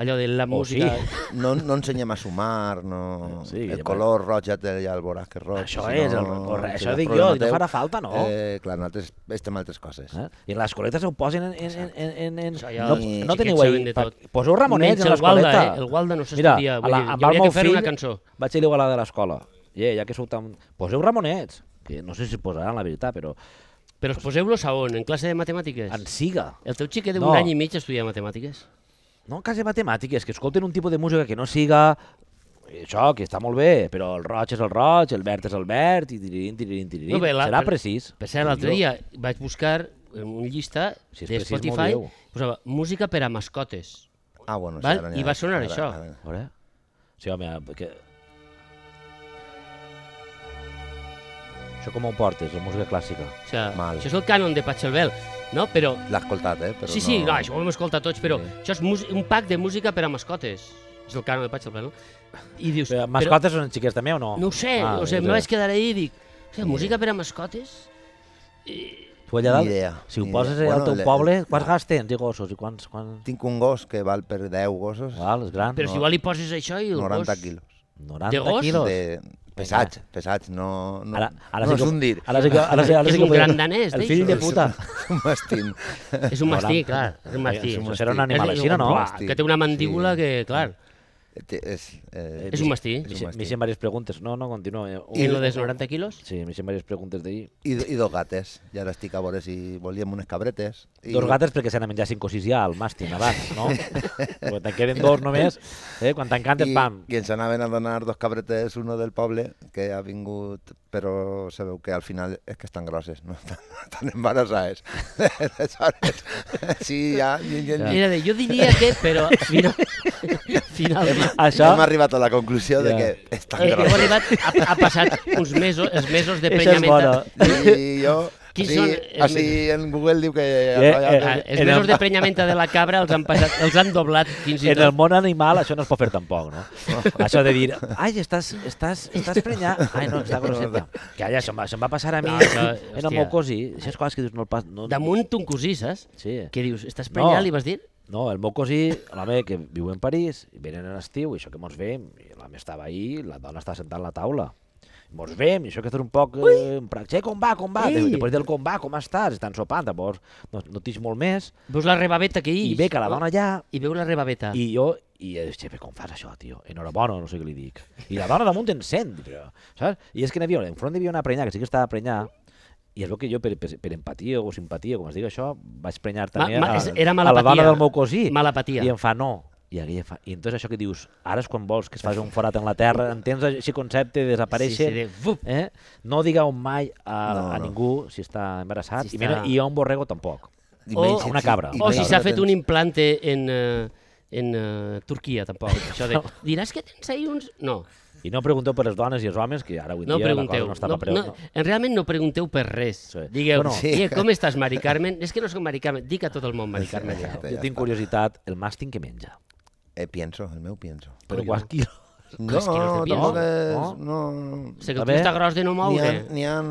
Speaker 2: allò de la
Speaker 1: O Oh, sí.
Speaker 2: música...
Speaker 3: No, no ensenyem a sumar, no...
Speaker 1: Sí,
Speaker 3: Sí,
Speaker 1: ja
Speaker 3: el color roig ja té ja el voraz que és roig.
Speaker 1: Això és, el- corre- això
Speaker 3: és
Speaker 1: dic
Speaker 3: problema
Speaker 1: jo, no
Speaker 3: teu.
Speaker 1: farà falta, no?
Speaker 3: Eh, clar, nosaltres estem a altres coses. Eh?
Speaker 1: Eh? I en l'escoleta se ho posen en... en, en, en, en...
Speaker 2: Això ja
Speaker 1: no,
Speaker 2: els
Speaker 1: no
Speaker 2: xiquets
Speaker 1: teniu
Speaker 2: saben
Speaker 1: ahir...
Speaker 2: de
Speaker 1: pa-
Speaker 2: tot.
Speaker 1: Poseu Ramonets
Speaker 2: Menys
Speaker 1: en
Speaker 2: el Gualda,
Speaker 1: l'escoleta.
Speaker 2: eh? El Gualda no
Speaker 1: Mira,
Speaker 2: s'estudia,
Speaker 1: a
Speaker 2: vull
Speaker 1: la-
Speaker 2: dir,
Speaker 1: amb
Speaker 2: hi hauria
Speaker 1: el meu
Speaker 2: que fer una
Speaker 1: fill
Speaker 2: cançó.
Speaker 1: Vaig a l'Igualada de l'escola. Yeah, ja que sou tan... Poseu Ramonets, que no sé si posaran la veritat, però
Speaker 2: Però us poseu-los a on? En classe de matemàtiques?
Speaker 1: en siga.
Speaker 2: El teu xiquet d'un
Speaker 1: No.
Speaker 2: any i mig estudia matemàtiques?
Speaker 1: No quasi matemàtiques, que escolten un tipus de música que no siga... Això, que està molt bé, però el roig és el roig, el verd és el verd, i tiririn, tiririn, tiririn.
Speaker 2: No, bé, la-
Speaker 1: Serà
Speaker 2: per-
Speaker 1: precís.
Speaker 2: Per cert, l'altre dia vaig buscar en un llista
Speaker 1: Si és
Speaker 2: de
Speaker 1: precís, m'ho
Speaker 2: Spotify,
Speaker 1: dieu.
Speaker 2: posava música per a mascotes.
Speaker 3: Ah, bueno, sí,
Speaker 2: Val,
Speaker 3: ara n'hi
Speaker 2: i
Speaker 3: ha-
Speaker 2: va sonar
Speaker 3: ara-
Speaker 2: això.
Speaker 3: ara-
Speaker 1: A veure... Sí, home, ah, que... Això com ho portes, la música clàssica?
Speaker 2: O sigui,
Speaker 3: Mal.
Speaker 2: això és el cànon de Pachelbel, no? Però,
Speaker 3: L'ha escoltat, eh? Però
Speaker 2: sí, sí,
Speaker 3: no...
Speaker 2: no, això ho hem escoltat tots, però això és mus- un pack de música per a mascotes. És el cànon de Pachelbel, no? I dius...
Speaker 1: Però,
Speaker 2: però-
Speaker 1: mascotes són xiquets també o no?
Speaker 2: No ho sé,
Speaker 1: Ah,
Speaker 2: o
Speaker 1: és
Speaker 2: sigui, em vaig
Speaker 1: veritat.
Speaker 2: quedar ahir i dic, o sigui, música per a mascotes?
Speaker 1: Tu allà dalt,
Speaker 3: Ni idea,
Speaker 1: si ho
Speaker 3: ni
Speaker 1: poses
Speaker 3: idea.
Speaker 1: allà al
Speaker 3: Bueno,
Speaker 1: teu
Speaker 3: le-
Speaker 1: poble, quants gas tens i gossos? I quants... quants...
Speaker 3: Tinc un gos que val per 10 gossos,
Speaker 1: Val, és gran.
Speaker 2: Però si igual li poses això i el
Speaker 3: 90
Speaker 2: gos...
Speaker 3: quilos.
Speaker 1: 90
Speaker 2: De gos?
Speaker 1: quilos.
Speaker 3: De... Pesats, pesats, no... no
Speaker 1: Ara, ara sí
Speaker 3: no
Speaker 1: que,
Speaker 3: és un dir.
Speaker 1: Ara sí que, ara sí, ara
Speaker 2: És
Speaker 1: sí que
Speaker 2: un
Speaker 1: podem-
Speaker 2: gran danès,
Speaker 1: El
Speaker 2: d'això.
Speaker 1: fill de puta.
Speaker 3: <laughs> És un mastín.
Speaker 1: <laughs>
Speaker 2: És un mastí, clar, és un mastí.
Speaker 1: Això serà un animal
Speaker 2: És-
Speaker 1: així, no?
Speaker 2: Uah,
Speaker 3: Mastí,
Speaker 2: Que té una mandíbula
Speaker 3: sí.
Speaker 2: que, clar...
Speaker 3: Té- és, eh,
Speaker 2: És un mastí.
Speaker 3: és un
Speaker 1: Me
Speaker 3: mastí.
Speaker 1: hicieron varias preguntas. No, no, continúa. eh.
Speaker 2: I en lo dels 90 quilos?
Speaker 1: Sí, me hicieron varias preguntas de ahí.
Speaker 3: I, I dos gates. I ara estic a veure si volíem unes cabretes. I...
Speaker 1: Dos gates perquè s'han de menjar 5 o 6 ja al màstim abans,
Speaker 2: <laughs>
Speaker 1: no? quan te'n queden dos només, eh? quan tancant et
Speaker 3: I,
Speaker 1: pam.
Speaker 3: I ens anaven a donar dos cabretes, uno del poble, que ha vingut, però sabeu que al final és que estan grosses, no estan, no estan embarassades. Aleshores, <laughs> sí, ja, ja, ja, ja.
Speaker 2: Mira, jo diria que,
Speaker 1: <laughs>
Speaker 2: però final, <laughs> finalment...
Speaker 1: Això,
Speaker 3: hem arribat a la conclusió
Speaker 1: Ja.
Speaker 3: de que estan
Speaker 2: Eh, heu
Speaker 3: grosses.
Speaker 2: arribat, ha, ha passat uns mesos, els mesos de
Speaker 1: Això és
Speaker 2: prenyamenta.
Speaker 1: bona.
Speaker 2: eh,
Speaker 3: I jo,
Speaker 2: Quins
Speaker 3: sí,
Speaker 2: són-
Speaker 3: així en Google diu que...
Speaker 1: Eh, eh,
Speaker 2: Ah, Els
Speaker 1: En el-
Speaker 2: mesos de prenyamenta de la cabra els han, passat, els han doblat fins i
Speaker 1: en el
Speaker 2: tot.
Speaker 1: món animal això no es pot fer tampoc, no? això de dir, ai, estàs, estàs, estàs prenyat, ai, no, està grosseta. Que allà, això, em va- això em va passar a mi,
Speaker 2: No, això-
Speaker 1: en el
Speaker 2: hòstia.
Speaker 1: meu cosí, aquestes coses que dius, no el pas... No,
Speaker 2: Damunt un cosí, saps?
Speaker 1: Sí.
Speaker 2: Que dius, estàs prenyat,
Speaker 1: No.
Speaker 2: li vas dir?
Speaker 1: No, el meu cosí, l'home que viu en París, i venen en estiu, i això que mos veiem, i l'home estava ahí, la dona estava sentada a la taula. Mos veiem, i això que estàs un poc... Eh, un prac, "Che, com va, com va?
Speaker 2: Ei!
Speaker 1: Ei. Després del com va, com estàs? Estan sopant, llavors no, no tens molt més.
Speaker 2: Veus la rebaveta que hi
Speaker 1: I ve que la dona allà,
Speaker 2: I veu la rebaveta. I...
Speaker 1: i jo, i eh, xefe, com fas això, tio? Enhorabona, no sé què li dic. I la dona damunt encén, però, saps? I és que n'hi havia, enfront hi havia una prenyà, que sí que estava prenyà, i es veu que jo, per, per, per empatia o simpatia, com es diu això, vaig prenyar
Speaker 2: Ma,
Speaker 1: també
Speaker 2: ma,
Speaker 1: a,
Speaker 2: és- era
Speaker 1: a la
Speaker 2: malapatia.
Speaker 1: dona del meu cosí.
Speaker 2: Malapatia.
Speaker 1: I em fa, no. I, aquella fa... I entonces això que dius, ara és quan vols que es faci un forat en la terra, entens aquest concepte de desaparèixer?
Speaker 2: Sí, sí, de vup.
Speaker 1: eh? No digueu mai a, no,
Speaker 3: No,
Speaker 1: a
Speaker 3: no.
Speaker 1: ningú si està embarassat, si
Speaker 2: Si
Speaker 1: està...
Speaker 2: està-
Speaker 1: i a un borrego tampoc.
Speaker 3: I
Speaker 2: o
Speaker 3: menys-
Speaker 1: una cabra.
Speaker 3: i
Speaker 2: O si
Speaker 3: menys
Speaker 2: s'ha
Speaker 3: no
Speaker 2: fet
Speaker 3: tens-
Speaker 2: un implante en, eh, en eh, Turquia,
Speaker 3: <laughs>
Speaker 2: tampoc. Això de, diràs que tens ahir uns... No,
Speaker 1: I no pregunteu per les dones i els homes, que ara avui
Speaker 2: no
Speaker 1: dia
Speaker 2: pregunteu.
Speaker 1: la cosa no està no,
Speaker 2: no, no, en realment no pregunteu per res.
Speaker 1: Sí.
Speaker 2: Digueu,
Speaker 1: Bueno,
Speaker 3: Sí.
Speaker 2: "Ie, com estàs, Mari Carmen? És que no soc Mari Carmen. Dic a tot el món Mari Carmen. Ja.
Speaker 1: Jo tinc curiositat, el màsting que menja.
Speaker 3: Eh, pienso, el meu pienso.
Speaker 1: Però
Speaker 2: Oi,
Speaker 1: quants quilos?
Speaker 3: No,
Speaker 2: és Pues, que no és de
Speaker 3: tampoc
Speaker 2: piano.
Speaker 3: és...
Speaker 1: no?
Speaker 3: No, no.
Speaker 2: Sé que
Speaker 1: A
Speaker 2: el
Speaker 1: veure,
Speaker 2: tio està gros de no
Speaker 3: N'hi ha,
Speaker 2: moure.
Speaker 3: n'hi ha,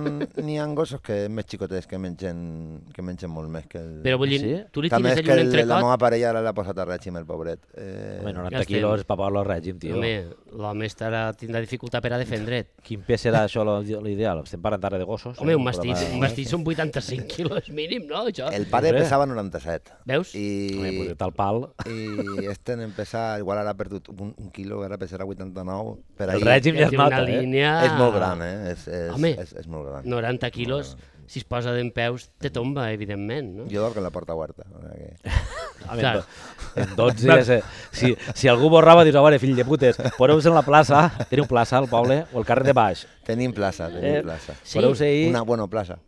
Speaker 3: n'hi ha gossos que més xicotets que mengen, que mengen molt més que el...
Speaker 2: Però vull dir,
Speaker 1: Sí?
Speaker 2: tu li
Speaker 3: També
Speaker 2: tires
Speaker 3: és
Speaker 2: allà
Speaker 3: que el,
Speaker 2: un
Speaker 3: la
Speaker 2: entrecot...
Speaker 3: meva parella ara l'ha posat a règim, el pobret. Eh,
Speaker 1: Home,
Speaker 3: bueno,
Speaker 1: 90
Speaker 2: estem.
Speaker 1: quilos per parlar al règim, tio.
Speaker 2: Home, l'home estarà, tindrà dificultat per a defendre't.
Speaker 1: Quin pes serà això lo- l'ideal? Estem parlant ara de gossos.
Speaker 2: Home,
Speaker 1: eh?
Speaker 2: un mastís,
Speaker 1: programa-
Speaker 2: un mastís són 85 <laughs> quilos mínim, no? Això.
Speaker 3: el
Speaker 1: no
Speaker 3: pare
Speaker 1: sé.
Speaker 3: pesava 97.
Speaker 2: Veus?
Speaker 3: I,
Speaker 1: Home, pues de tal pal.
Speaker 3: i este en pesar, igual ara ha perdut un, un quilo, ara pesarà 89. Per
Speaker 1: El
Speaker 3: ahí
Speaker 1: règim ja
Speaker 2: té
Speaker 1: es
Speaker 2: una
Speaker 1: nota, eh?
Speaker 2: línia...
Speaker 3: És molt gran, eh? És, és,
Speaker 2: Home.
Speaker 3: és, és molt gran.
Speaker 2: 90 quilos, si es posa d'en peus, te tomba, evidentment, no?
Speaker 3: Jo dorm amb la porta oberta. o sigui que-
Speaker 1: Home,
Speaker 2: Clar.
Speaker 1: en do- en 12, ja sé. Si, si algú borrava, dius, a veure, fill de putes, poseu-vos en la plaça, teniu plaça al poble, o al carrer de baix.
Speaker 3: Tenim plaça, tenim
Speaker 1: Eh,
Speaker 3: plaça.
Speaker 2: Sí.
Speaker 1: Podeu-se ir...
Speaker 3: Una bona plaça.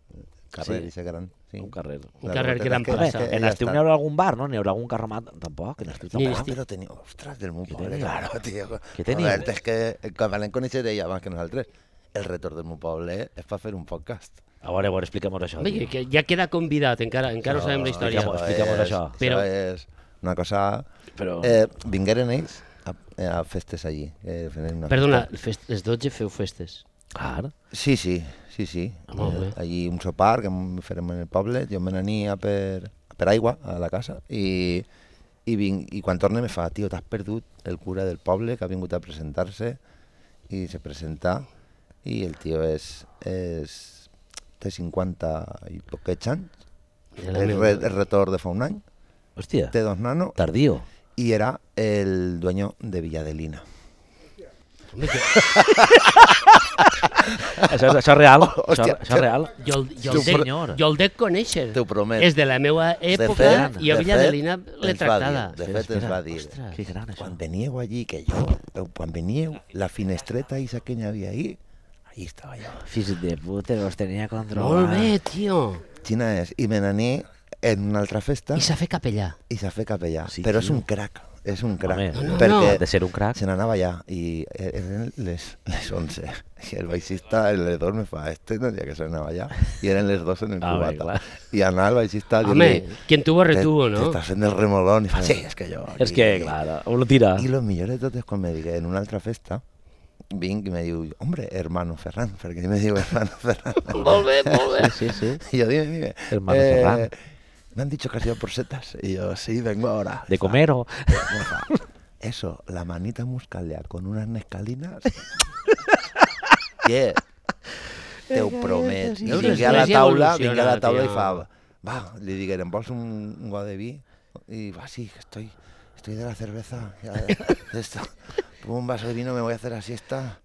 Speaker 3: Carrer,
Speaker 1: Sí.
Speaker 3: sí. gran. Sí.
Speaker 1: Un carrer.
Speaker 2: Un
Speaker 3: La
Speaker 2: carrer
Speaker 3: veritat
Speaker 2: gran
Speaker 3: és que-
Speaker 2: plaça.
Speaker 3: és que
Speaker 1: en
Speaker 3: ja
Speaker 1: estiu
Speaker 3: està.
Speaker 1: n'hi haurà algun bar, no? N'hi haurà algun carromat? Tampoc, en estiu
Speaker 2: Ni
Speaker 1: tampoc.
Speaker 2: estiu.
Speaker 3: Però teniu... Ostres, del meu
Speaker 1: Què
Speaker 3: poble,
Speaker 1: teniu?
Speaker 3: claro, <laughs> tio.
Speaker 1: Què teniu?
Speaker 3: Robert, és que quan l'hem coneixer ella abans que nosaltres, el retorn del meu poble és per fer un podcast.
Speaker 1: A veure, a veure, explica'm això.
Speaker 2: Home,
Speaker 1: tio.
Speaker 2: que ja queda convidat, encara, encara no,
Speaker 3: No,
Speaker 2: sabem la història.
Speaker 1: explica-m'ho, explica-m'ho
Speaker 3: és-
Speaker 1: això.
Speaker 2: Però-
Speaker 3: Això és una cosa...
Speaker 1: Però...
Speaker 3: Eh, vingueren ells a, a festes allí. Eh, feren una
Speaker 2: Perdona, fest, les 12 feu festes.
Speaker 1: Clar.
Speaker 3: Sí, sí, sí, sí.
Speaker 2: Molt bé.
Speaker 3: Eh, allí un sopar que em farem en el poble, jo me n'ania per, per aigua a la casa i, i, vinc, i quan torne me fa, tio, t'has perdut el cura del poble que ha vingut a presentar-se i se presenta i el tio és, és té 50 i poquets anys,
Speaker 2: Era la
Speaker 3: el,
Speaker 2: meva-
Speaker 3: re, el retorn de fa un any,
Speaker 1: Hòstia,
Speaker 3: té dos nanos
Speaker 1: tardío.
Speaker 3: i era el dueño de Villadelina.
Speaker 2: Home, que-
Speaker 1: Això, és- això és real. Això,
Speaker 3: <laughs> Hòstia,
Speaker 1: això és real.
Speaker 2: Jo el, jo,
Speaker 1: Tu,
Speaker 2: el dec,
Speaker 1: senyor.
Speaker 2: jo el dec conèixer.
Speaker 3: T'ho promet.
Speaker 2: És de la meva època i a
Speaker 3: de fet,
Speaker 2: Villadelina l'he
Speaker 3: ens va dir,
Speaker 2: tractada.
Speaker 3: De fet, ens va dir,
Speaker 2: Ostres.
Speaker 1: Que gran, això.
Speaker 3: Quan veníeu allí, que yo, cuando veníeu, la finestreta esa que había ahí, ahí estaba yo.
Speaker 1: Fills de puta, los tenia
Speaker 2: Molt
Speaker 1: controlats.
Speaker 2: bé, tio.
Speaker 3: China es, y me nané en una altra festa
Speaker 2: I s'ha fet capellà.
Speaker 3: y se fue capellà.
Speaker 1: Sí,
Speaker 3: pero es
Speaker 1: tio.
Speaker 3: un crack, es un crack.
Speaker 1: Home,
Speaker 2: No, no,
Speaker 3: perquè
Speaker 2: no.
Speaker 1: De ser un crac.
Speaker 3: se n'anava allà i eren les, les 11 i <laughs> el baixista, el de dos me fa este no dia que se n'anava allà i eren les 12 en el
Speaker 1: <laughs> Ah, bé,
Speaker 3: cubata
Speaker 1: clar.
Speaker 3: i anar al baixista a
Speaker 2: Home,
Speaker 3: dir-li,
Speaker 2: quien tuvo
Speaker 3: "Te-
Speaker 2: retuvo,
Speaker 3: te
Speaker 2: no?
Speaker 3: estàs fent el remolón i fa, sí, és que jo
Speaker 1: És
Speaker 3: aquí-
Speaker 1: que, clar, uno tira.
Speaker 3: Y lo mejor de todo es cuando me dije en una otra festa, Vin y me dijo, hombre, hermano Ferran, porque yo me digo hermano
Speaker 1: <laughs>
Speaker 3: Ferran.
Speaker 2: Molt bé, molt bé.
Speaker 1: Sí, sí.
Speaker 3: y yo dime, dime. Eh,
Speaker 1: Hermano Ferran.
Speaker 3: Me han dicho que has ido por setas. Y yo, sí, vengo ahora.
Speaker 1: De comer o...
Speaker 3: Eso, la manita muscalia con unas nescalinas. <laughs> yeah. Te ho promet. I
Speaker 2: Veus,
Speaker 3: vingué a la
Speaker 2: l'Església
Speaker 3: taula,
Speaker 2: evoluciona,
Speaker 3: vingué a la taula i
Speaker 2: tio.
Speaker 3: fa, va, li digueren, vols un, un got de vi? I va, sí, que estoy, estoy de la cerveza. ya de- de esto. Pongo un vaso de vino, me voy a hacer la siesta.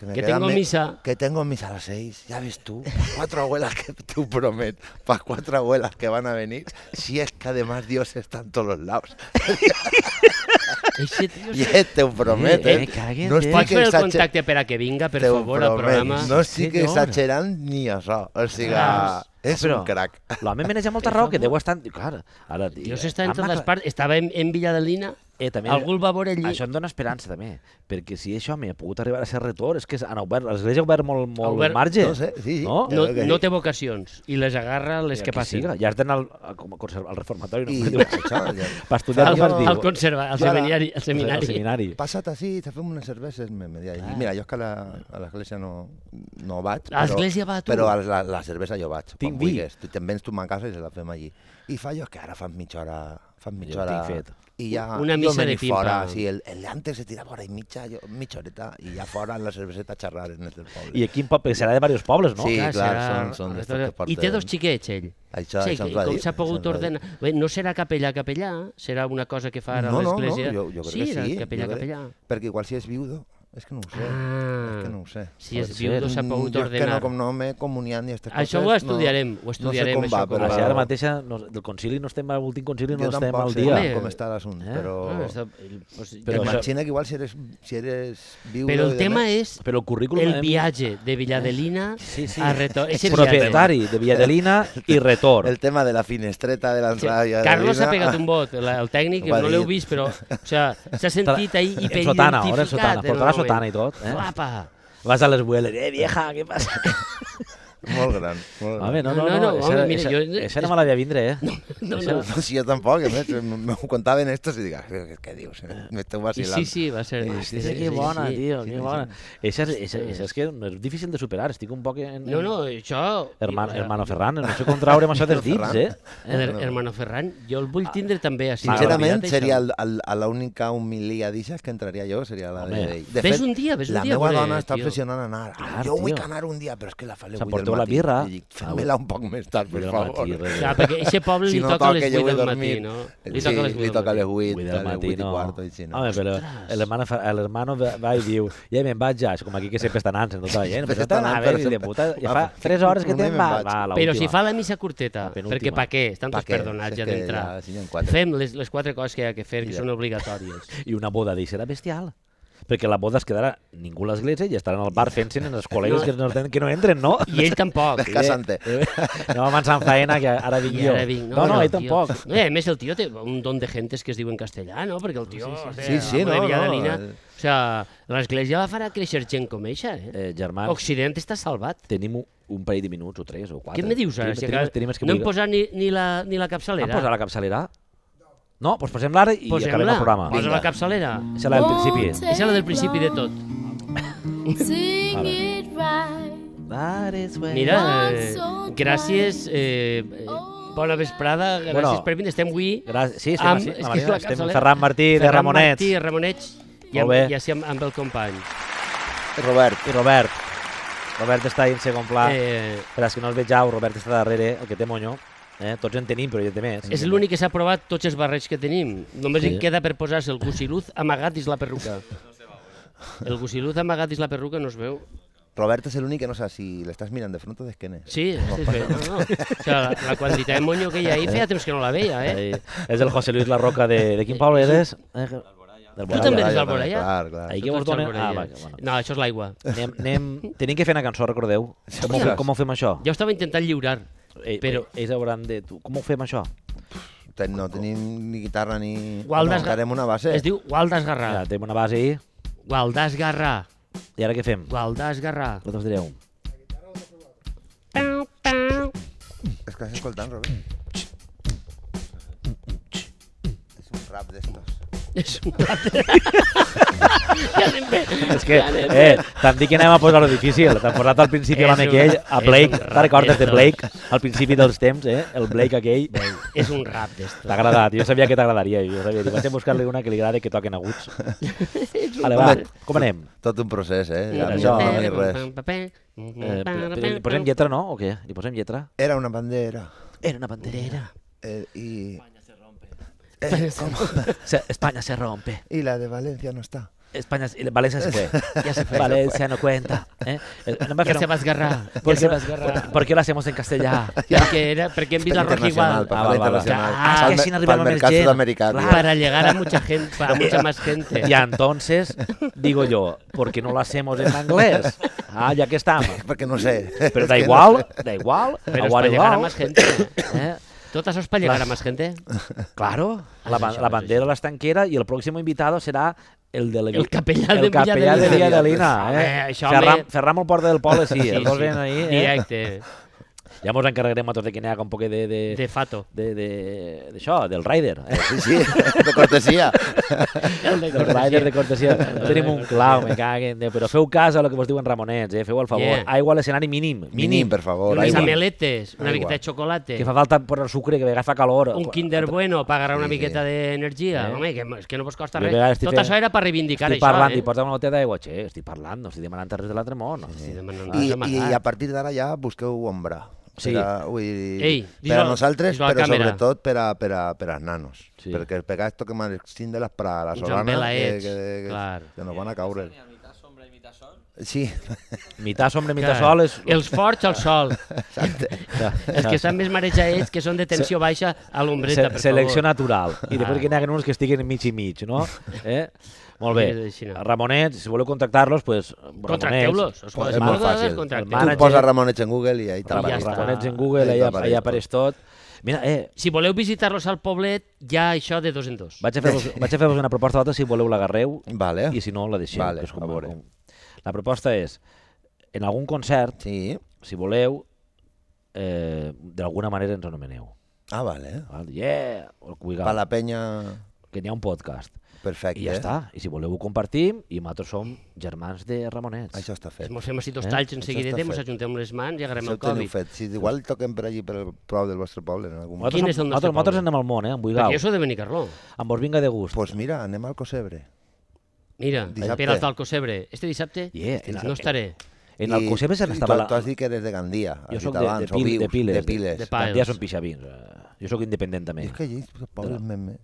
Speaker 3: me
Speaker 2: Que
Speaker 3: quedan
Speaker 2: tengo
Speaker 3: me-
Speaker 2: misa.
Speaker 3: Que tengo misa a las seis, ya ves tú. Cuatro abuelas que tú promet, para cuatro abuelas que van a venir, si es que además Dios está en todos los lados.
Speaker 2: <laughs> Eixe
Speaker 3: <laughs>
Speaker 2: tio...
Speaker 3: I eh, te ho promet,
Speaker 1: Eh, eh,
Speaker 3: eh?
Speaker 1: caguen,
Speaker 3: No
Speaker 1: eh.
Speaker 3: estic
Speaker 2: Pots fer el
Speaker 3: exager-
Speaker 2: contacte per a que vinga, per
Speaker 3: te ho
Speaker 2: favor, al
Speaker 3: promet,
Speaker 2: programa?
Speaker 3: No
Speaker 1: Sí,
Speaker 3: estic
Speaker 1: senyor.
Speaker 3: exagerant ni això. O sigui,
Speaker 2: Clar.
Speaker 3: <laughs> és
Speaker 1: Però-
Speaker 3: un crac.
Speaker 1: L'home menja molta raó, que deu estar... Clar, ara...
Speaker 2: Dios està en
Speaker 1: Amb la
Speaker 2: totes les
Speaker 1: cla-
Speaker 2: parts. Estava en, en Villadelina,
Speaker 1: Eh, també-
Speaker 2: algú el va veure allí.
Speaker 1: Això em dona esperança, també, perquè si això m'ha pogut arribar a ser retor, és que han obert, l'Església ha obert molt, molt
Speaker 2: obert-
Speaker 1: marge.
Speaker 3: No sé, sí, sí.
Speaker 1: No?
Speaker 2: no,
Speaker 3: que-
Speaker 2: no té vocacions i les agarra les
Speaker 1: Ja
Speaker 2: que passen.
Speaker 1: siga, Ja has d'anar al, a- com a conserv- al reformatori, no?
Speaker 3: I,
Speaker 1: I...
Speaker 3: això, ja.
Speaker 1: Per estudiar
Speaker 3: Al-
Speaker 1: el partit.
Speaker 2: al conserva- al
Speaker 1: Jo ara-
Speaker 2: seminari- al seminari.
Speaker 1: Al seminari.
Speaker 3: Passat així, te fem unes cerveses, me, me dia. I mira, jo és que a la, a l'església no, no vaig.
Speaker 2: A
Speaker 3: però-
Speaker 2: l'església va tu?
Speaker 3: Però a la, la cervesa jo vaig.
Speaker 1: Tinc
Speaker 3: Tinc
Speaker 1: vi.
Speaker 3: vi. Tu te'n vens tu a ma casa i se la fem allí. I fa jo que ara fan mitja hora... Fan mitja
Speaker 1: Jo ho
Speaker 3: hora...
Speaker 1: tinc fet.
Speaker 3: I ja,
Speaker 2: Una
Speaker 3: jo
Speaker 2: missa
Speaker 3: me
Speaker 2: de
Speaker 3: n'hi fora,
Speaker 2: pimpa.
Speaker 3: sí, el, el antes se tirava hora i mitja, jo, mitja horeta, i ja fora en la cerveseta a xerrar en el del poble.
Speaker 1: I aquí en poble, serà de diversos pobles, no?
Speaker 3: Sí,
Speaker 2: Clar,
Speaker 3: clar,
Speaker 2: serà-
Speaker 3: són- són d'estos que
Speaker 2: I té
Speaker 3: porten-
Speaker 2: dos xiquets, ell.
Speaker 3: Això-
Speaker 2: sí,
Speaker 3: això ens
Speaker 2: que-
Speaker 3: va
Speaker 2: com
Speaker 3: dir,
Speaker 2: s'ha pogut
Speaker 3: això ens va dir.
Speaker 2: ordenar. Bé, no serà capellà-capellà, serà una cosa que fa ara
Speaker 3: no,
Speaker 2: l'església.
Speaker 3: No, no, jo, jo crec
Speaker 2: sí,
Speaker 3: que sí.
Speaker 2: era
Speaker 3: jo crec-
Speaker 2: capellà-capellà.
Speaker 3: Perquè igual si és viudo, és que no ho sé.
Speaker 2: Ah.
Speaker 3: és que no ho sé.
Speaker 2: Si és
Speaker 1: Pot ser.
Speaker 2: viudo s'ha pogut
Speaker 3: jo És que no,
Speaker 2: ordenar.
Speaker 3: com no m'he comunicat ni aquestes
Speaker 2: Això
Speaker 3: coses,
Speaker 2: ho estudiarem,
Speaker 3: no,
Speaker 2: ho estudiarem,
Speaker 3: No sé com
Speaker 2: això,
Speaker 3: va,
Speaker 2: com
Speaker 1: Però
Speaker 3: però...
Speaker 1: si ara mateix no, del concili no estem al últim concili, no
Speaker 3: jo
Speaker 1: estem
Speaker 3: tampoc
Speaker 1: al
Speaker 3: sé
Speaker 1: dia.
Speaker 2: Home,
Speaker 3: com està l'assumpte,
Speaker 1: Eh?
Speaker 3: però...
Speaker 2: Ah, està- el- pues-
Speaker 1: Però
Speaker 3: Però
Speaker 1: això-
Speaker 3: imagina que igual si eres, si eres viudo...
Speaker 2: Però
Speaker 3: i
Speaker 2: el
Speaker 3: de
Speaker 2: tema
Speaker 3: més-
Speaker 2: és
Speaker 1: Però el currículum...
Speaker 2: el
Speaker 1: em-
Speaker 2: viatge de
Speaker 3: <laughs>
Speaker 2: Villadelina
Speaker 1: Sí, sí.
Speaker 2: a retorn. Ese viatge.
Speaker 1: Propietari de Villadelina i retor.
Speaker 3: El tema de la finestreta de
Speaker 2: Sí,
Speaker 3: l'entrada... i de la
Speaker 2: Carlos s'ha
Speaker 3: vida-
Speaker 2: pegat un bot, la, el tècnic,
Speaker 3: Ho ha
Speaker 2: no l'heu
Speaker 3: dit.
Speaker 2: vist, però o sea, s'ha sentit ahir
Speaker 1: En
Speaker 2: hiperidentificat. eh.
Speaker 1: sotana, ara en sotana,
Speaker 2: en
Speaker 1: portarà
Speaker 2: un moment.
Speaker 1: sotana i tot, eh?
Speaker 2: Flapa!
Speaker 3: <laughs>
Speaker 1: Vas a les bueles, eh, vieja, què passa?
Speaker 3: <laughs> Molt gran. Molt gran.
Speaker 1: Home, no, no,
Speaker 2: No,
Speaker 1: no,
Speaker 2: no,
Speaker 1: esa,
Speaker 2: home,
Speaker 1: era-
Speaker 2: mira,
Speaker 1: esa-
Speaker 2: jo-
Speaker 1: esa no me la había vindre, eh?
Speaker 2: No,
Speaker 1: Esa-
Speaker 2: no.
Speaker 3: No, si jo tampoc, a més, m'ho contaven estos i dic, "Ah, què dius? eh? M'esteu
Speaker 2: I
Speaker 3: vacilant.
Speaker 2: sí, sí, va ser...
Speaker 1: Sí, sí, que bona, tio, que bona. Esa, es- esa, esa és que no és difícil de superar, estic un poc en...
Speaker 2: No, no, això... eh,
Speaker 1: Hermano,
Speaker 2: o sea,
Speaker 1: hermano Ferran, no sé contraure massa dels dits,
Speaker 3: Ferran.
Speaker 1: eh?
Speaker 2: el her- hermano Ferran, jo el vull tindre també així.
Speaker 3: Ah. Sincerament,
Speaker 2: Olvida't això.
Speaker 3: seria el, el, a l'única humilia d'ixes que entraria jo, seria la
Speaker 1: Home.
Speaker 3: de ell. De
Speaker 2: Ves un dia, ves un
Speaker 3: la
Speaker 2: dia,
Speaker 3: meva
Speaker 2: pobre
Speaker 3: dona està
Speaker 2: tio.
Speaker 3: pressionant a anar. Ah,
Speaker 1: Clar,
Speaker 3: jo vull
Speaker 1: tio.
Speaker 3: que anar un dia, però és que la fa a les
Speaker 1: Se
Speaker 3: 8 del
Speaker 1: porteu la
Speaker 3: matí.
Speaker 1: birra.
Speaker 3: I dic, Fem-la un poc més tard, per
Speaker 1: Vull anar al
Speaker 3: favor.
Speaker 1: matí, res.
Speaker 3: <laughs>
Speaker 2: Clar, perquè aquest poble
Speaker 3: Si
Speaker 2: li
Speaker 3: no
Speaker 2: toca a les
Speaker 3: toca, jo
Speaker 2: 8
Speaker 3: vull
Speaker 2: del matí,
Speaker 3: dormir.
Speaker 2: no?
Speaker 3: Sí, li toca a les 8,
Speaker 1: Vull del
Speaker 3: a les 8
Speaker 1: matí,
Speaker 3: i
Speaker 1: no.
Speaker 3: quarto. I si no.
Speaker 1: Home, però l'hermano fa- l'hermano va, va i diu ja me'n vaig ja, És com aquí que sempre tota està anant, no està dient,
Speaker 3: Sempre
Speaker 1: però està
Speaker 3: està
Speaker 1: anant,
Speaker 3: anant,
Speaker 1: a veure,
Speaker 3: però
Speaker 1: fill de
Speaker 3: sempre-
Speaker 1: puta, ja
Speaker 3: Va,
Speaker 1: fa
Speaker 3: fi-
Speaker 1: 3 hores que
Speaker 3: primer
Speaker 1: te'n
Speaker 3: me'n
Speaker 1: va,
Speaker 3: vaig.
Speaker 1: va, a l'última.
Speaker 2: Però si fa la missa curteta,
Speaker 1: La penúltima.
Speaker 2: perquè pa què? Estan
Speaker 3: Pa
Speaker 2: tots
Speaker 3: què?
Speaker 2: perdonats
Speaker 3: Si
Speaker 2: ja
Speaker 3: és que
Speaker 2: d'entrar.
Speaker 3: ja, si n'hi ha quatre.
Speaker 2: Fem les, les quatre coses que hi ha que fer, que són obligatòries.
Speaker 3: <laughs>
Speaker 1: I una boda d'ell serà bestial. Perquè la boda es quedarà ningú a l'església i estaran al bar fent-se'n en els col·legues
Speaker 2: No.
Speaker 1: que, no, que no entren,
Speaker 3: <laughs>
Speaker 1: no?
Speaker 2: I ell tampoc.
Speaker 3: Descasante.
Speaker 1: No avançant faena, que ara vinc
Speaker 2: I
Speaker 1: jo.
Speaker 2: ara vinc.
Speaker 1: no, no, ell
Speaker 2: tio.
Speaker 1: tampoc.
Speaker 2: No, i a més, el tio té un don de gentes que es diu en castellà, no? Perquè el tio...
Speaker 3: sí. Sí, sí, no, no. eh.
Speaker 2: O sigui, l'església la farà créixer gent com eixa, eh?
Speaker 1: Eh, germans,
Speaker 2: Occident està salvat.
Speaker 1: tenim un, un parell de minuts o tres o quatre.
Speaker 2: Què me dius ara?
Speaker 1: Tenim,
Speaker 2: Si
Speaker 1: tenim,
Speaker 2: acabes-
Speaker 1: tenim, els que Ah,
Speaker 2: no hem
Speaker 1: vulgueu.
Speaker 2: posat ni, ni, la, ni la
Speaker 1: Han
Speaker 2: capçalera.
Speaker 1: posat la capçalera? No, doncs posem-la ara i
Speaker 2: Posem-la.
Speaker 1: acabem el programa.
Speaker 2: Posa la capçalera.
Speaker 1: Esa és la del principi.
Speaker 2: És la del principi de tot.
Speaker 7: Sing it right.
Speaker 2: Mira, eh, gràcies, eh, eh, bona vesprada, gràcies
Speaker 1: Bueno,
Speaker 2: per venir. Estem avui
Speaker 1: Gràcies. Sí, estem,
Speaker 2: amb,
Speaker 1: així,
Speaker 2: és
Speaker 1: la
Speaker 2: que és la
Speaker 1: Marina, estem
Speaker 2: capçalera.
Speaker 1: Ferran Martí de
Speaker 2: Ferran
Speaker 1: Ramonets
Speaker 2: Martí, Ramonets, i
Speaker 1: Molt
Speaker 2: amb,
Speaker 1: bé.
Speaker 2: i així amb, amb el company.
Speaker 3: Robert,
Speaker 1: i Robert. Robert està ahí en segon pla.
Speaker 2: Eh,
Speaker 1: Per als que no el vegeu, Robert està darrere, el que té monyo. Eh? Tots en tenim, però jo té més.
Speaker 2: és l'únic que s'ha provat tots els barrets que tenim. Només
Speaker 1: Sí.
Speaker 2: en queda per posar-se el gusiluz amagat dins la perruca. El gusiluz amagat dins la perruca no es veu.
Speaker 3: Robert és l'únic que no sé si l'estàs mirant de front o d'esquena.
Speaker 2: Sí, sí es veu. No, no. O sigui, la, la quantitat de monyo que hi ha ahí feia temps que no la veia, eh?
Speaker 1: Eh, és el José Luis La Roca de, de quin poble eres? Eh, Del
Speaker 2: Tu també eres
Speaker 3: Alboraya,
Speaker 2: d'Alboraya?
Speaker 3: Clar, clar.
Speaker 1: Ahí que
Speaker 2: Tots
Speaker 1: vos donen...
Speaker 2: d'Alboraya.
Speaker 1: Ah, va, que bueno.
Speaker 2: No, això és l'aigua.
Speaker 1: Anem, anem... Tenim que fer una cançó, recordeu? Com ho,
Speaker 3: Ostres.
Speaker 1: com ho fem això?
Speaker 2: Jo estava intentant lliurar.
Speaker 1: Ei,
Speaker 2: però-
Speaker 1: però... Ells hauran de... Tu, com ho fem això?
Speaker 3: Ten- No tenim ni guitarra ni...
Speaker 2: Gualdas-
Speaker 3: Muntarem una base.
Speaker 2: Es diu Gualdas Garrà.
Speaker 1: Ja, tenim una base ahí.
Speaker 2: Gualdàs Garrà.
Speaker 1: I ara què fem?
Speaker 2: Gualdàs Garrà.
Speaker 1: Vosaltres direu.
Speaker 2: Pau, pau.
Speaker 3: Estàs escoltant, Robert? És un rap d'estos.
Speaker 2: És un altre. ja anem bé.
Speaker 1: És que, eh, tant dir que anem a posar-ho difícil. T'han posat al principi
Speaker 2: És
Speaker 1: l'home
Speaker 2: un-
Speaker 1: aquell, a
Speaker 2: és
Speaker 1: Blake.
Speaker 2: un
Speaker 1: Te'n recordes de
Speaker 2: rapero.
Speaker 1: Blake? Al principi dels temps, eh? El Blake aquell.
Speaker 2: És un rap d'esto.
Speaker 1: T'ha agradat, jo sabia que t'agradaria. Jo sabia, dic, vaig a buscar-li una que li agrada que toquen aguts. Vale, va,
Speaker 3: Home,
Speaker 1: com anem?
Speaker 3: Tot un procés, eh? A mi
Speaker 1: això-
Speaker 3: no, no hi res.
Speaker 1: Eh, li li posem lletra, no? O què? Li posem lletra?
Speaker 3: Era una bandera.
Speaker 1: Era una bandera.
Speaker 3: Eh, i,
Speaker 1: Se- España se rompe.
Speaker 3: I la de València no està.
Speaker 1: España, se- Valencia <laughs> se fue. Ya se fue. Valencia no cuenta. ¿eh? Eh, no me
Speaker 2: Ja
Speaker 1: refiero-
Speaker 2: se va esgarrar.
Speaker 1: ¿Por
Speaker 2: Ja
Speaker 1: qué,
Speaker 2: se va esgarrar.
Speaker 1: por qué lo hacemos en castellano?
Speaker 2: Perquè, era, perquè hem vist la Roja
Speaker 3: Internacional,
Speaker 2: igual.
Speaker 3: per
Speaker 1: Ah,
Speaker 3: parlar
Speaker 1: va, va, va.
Speaker 3: internacional.
Speaker 2: Ah,
Speaker 1: es que
Speaker 3: Pel me-
Speaker 1: així n'arribem
Speaker 3: pel
Speaker 1: a més
Speaker 3: mercat
Speaker 1: gent.
Speaker 3: sud-americà.
Speaker 1: Clar.
Speaker 3: <laughs> tio.
Speaker 2: Para llegar a mucha gente, a mucha más gente.
Speaker 1: Y entonces, digo yo, ¿por qué no lo hacemos en
Speaker 2: <laughs>
Speaker 1: inglés? Ah, ya que estamos.
Speaker 3: Perquè no sé.
Speaker 1: Pero da igual, da igual.
Speaker 2: Pero es
Speaker 1: aguar
Speaker 2: para llegar a
Speaker 1: igual,
Speaker 2: más gente.
Speaker 1: ¿eh?
Speaker 2: Tot això és per llegar a
Speaker 1: Las-
Speaker 2: más gente.
Speaker 1: Claro, la,
Speaker 2: es
Speaker 1: ban-
Speaker 2: eso,
Speaker 1: la
Speaker 2: es
Speaker 1: bandera, la estanquera y el próximo invitado será el de la-
Speaker 2: El capellán de
Speaker 1: el capellán
Speaker 2: Villadalina.
Speaker 1: de Villadalina,
Speaker 2: Hombre,
Speaker 1: eh?
Speaker 2: això,
Speaker 1: Ferram,
Speaker 2: home.
Speaker 1: Ferram al Port del Pol, sí, els dos ven ahí, eh?
Speaker 2: Directe,
Speaker 1: Ja mos encarregarem a tots de que n'hi haga un poc de... de...
Speaker 2: de fato.
Speaker 1: de, de, d'això, del rider. Eh?
Speaker 3: Sí, sí, <laughs> de cortesia.
Speaker 2: El de
Speaker 1: Del rider de cortesia. No tenim un clau, me caguen. Déu. Però feu cas a lo que vos diuen Ramonets, eh? feu el favor.
Speaker 2: Yeah.
Speaker 1: Yeah. Aigua a l'escenari mínim,
Speaker 3: Mínim,
Speaker 1: mínim.
Speaker 3: per favor.
Speaker 2: Unes
Speaker 3: aigua.
Speaker 2: ameletes, una
Speaker 3: Aigua.
Speaker 2: miqueta de xocolata.
Speaker 1: Que fa falta posar sucre, que a vegades fa calor.
Speaker 2: un Kinder Bueno per agarrar una
Speaker 3: Sí, sí.
Speaker 2: miqueta d'energia.
Speaker 1: Eh?
Speaker 2: Home, que, és que no vos costa
Speaker 1: Jo a vegades
Speaker 2: res.
Speaker 1: estic
Speaker 2: Tot
Speaker 1: fent-
Speaker 2: això era per reivindicar
Speaker 1: Estic
Speaker 2: això,
Speaker 1: parlant,
Speaker 2: eh?
Speaker 1: i porta'm una botella d'aigua. Che, estic parlant, no estic demanant res de l'altre món. No.
Speaker 2: Sí, demanant
Speaker 3: I,
Speaker 2: res amagat.
Speaker 3: I a partir d'ara ja busqueu ombra.
Speaker 1: Sí.
Speaker 3: Per a, vull dir,
Speaker 2: Ei,
Speaker 3: per a
Speaker 2: dis-ho-
Speaker 3: nosaltres,
Speaker 2: dis-ho a la
Speaker 3: però
Speaker 2: càmera.
Speaker 3: sobretot per a, per a, per als nanos.
Speaker 1: Sí.
Speaker 3: Sí. Perquè el pecat toca mal de les para la
Speaker 2: Uns
Speaker 3: solana, que,
Speaker 2: embelaets,
Speaker 3: que, que,
Speaker 2: clar.
Speaker 3: que nos van a caure. Sí, <laughs>
Speaker 1: Mitad sombra, mitad
Speaker 2: Clar,
Speaker 1: sol és... <laughs>
Speaker 2: Els forts al sol.
Speaker 1: Ja,
Speaker 2: Els que estan més marejats, que són de tensió baixa, a l'ombreta,
Speaker 1: Se,
Speaker 2: per
Speaker 1: selecció
Speaker 2: favor.
Speaker 1: natural. I després que n'hi haguen uns que estiguin mig i mig,
Speaker 2: <laughs>
Speaker 1: no? Eh? Molt
Speaker 2: Sí,
Speaker 1: bé.
Speaker 2: així no.
Speaker 1: Ramonets, si voleu contactar-los, pues,
Speaker 2: Contracteu-los. Os
Speaker 3: És molt fàcil.
Speaker 1: Manager.
Speaker 3: tu
Speaker 2: Contracteu-los.
Speaker 3: posa Ramonets en Google i ahí
Speaker 2: ja
Speaker 1: Ramonets,
Speaker 2: està.
Speaker 1: Ramonets en Google,
Speaker 3: Ahí
Speaker 1: allà,
Speaker 3: t'apareix
Speaker 1: allà
Speaker 3: tot.
Speaker 1: apareix tot. Mira, eh,
Speaker 2: Si voleu visitar-los al poblet, hi ha això de dos en dos.
Speaker 1: Vaig a fer-vos vaig a fer-vos una proposta altra, si voleu l'agarreu,
Speaker 3: Vale.
Speaker 1: i si no la deixeu.
Speaker 3: Vale,
Speaker 1: que és
Speaker 3: a veure.
Speaker 1: La proposta és, en algun concert,
Speaker 3: Sí.
Speaker 1: si voleu, eh, d'alguna manera ens anomeneu.
Speaker 3: Ah, vale.
Speaker 1: Val? Yeah! O el Cuigal,
Speaker 3: Per la penya,
Speaker 1: que n'hi ha un podcast.
Speaker 3: perfecte. eh?
Speaker 1: I ja està. I si voleu ho compartim i nosaltres som germans de Ramonets.
Speaker 3: Això està fet.
Speaker 2: Si mos fem així dos
Speaker 1: Eh?
Speaker 2: talls
Speaker 3: Això
Speaker 2: en seguida,
Speaker 3: està
Speaker 2: mos
Speaker 3: fet.
Speaker 2: ajuntem les mans i agarrem
Speaker 3: Això
Speaker 2: el
Speaker 3: ho teniu
Speaker 2: Covid.
Speaker 3: fet. Si igual toquem per allí, per el prou del vostre poble, en algun moment.
Speaker 1: Nosaltres,
Speaker 2: Quin és el
Speaker 1: som-
Speaker 2: nostre
Speaker 1: nosaltres, nosaltres
Speaker 2: poble?
Speaker 1: anem al món, eh? Amb Buigal.
Speaker 2: Perquè jo sóc de Benicarló.
Speaker 1: Amb vos vinga de gust.
Speaker 3: Pues mira, anem al Cosebre.
Speaker 2: Mira,
Speaker 3: Dissabte.
Speaker 2: Pere als d'Alcocebre. Este dissabte
Speaker 1: Yeah,
Speaker 2: no estaré.
Speaker 1: en
Speaker 3: I-
Speaker 1: el Cosebre se
Speaker 3: i
Speaker 1: n'estava...
Speaker 3: Tu,
Speaker 1: La...
Speaker 3: tu has dit que eres de Gandia, has
Speaker 1: Jo
Speaker 3: dit
Speaker 1: sóc de,
Speaker 3: abans,
Speaker 1: de,
Speaker 3: o
Speaker 1: pil,
Speaker 3: vius,
Speaker 1: de Piles.
Speaker 3: De piles.
Speaker 2: de Piles.
Speaker 1: Gandia són pixavins. eh. Jo sóc independent
Speaker 3: I
Speaker 1: també.
Speaker 3: és que allí, pobres, me, me,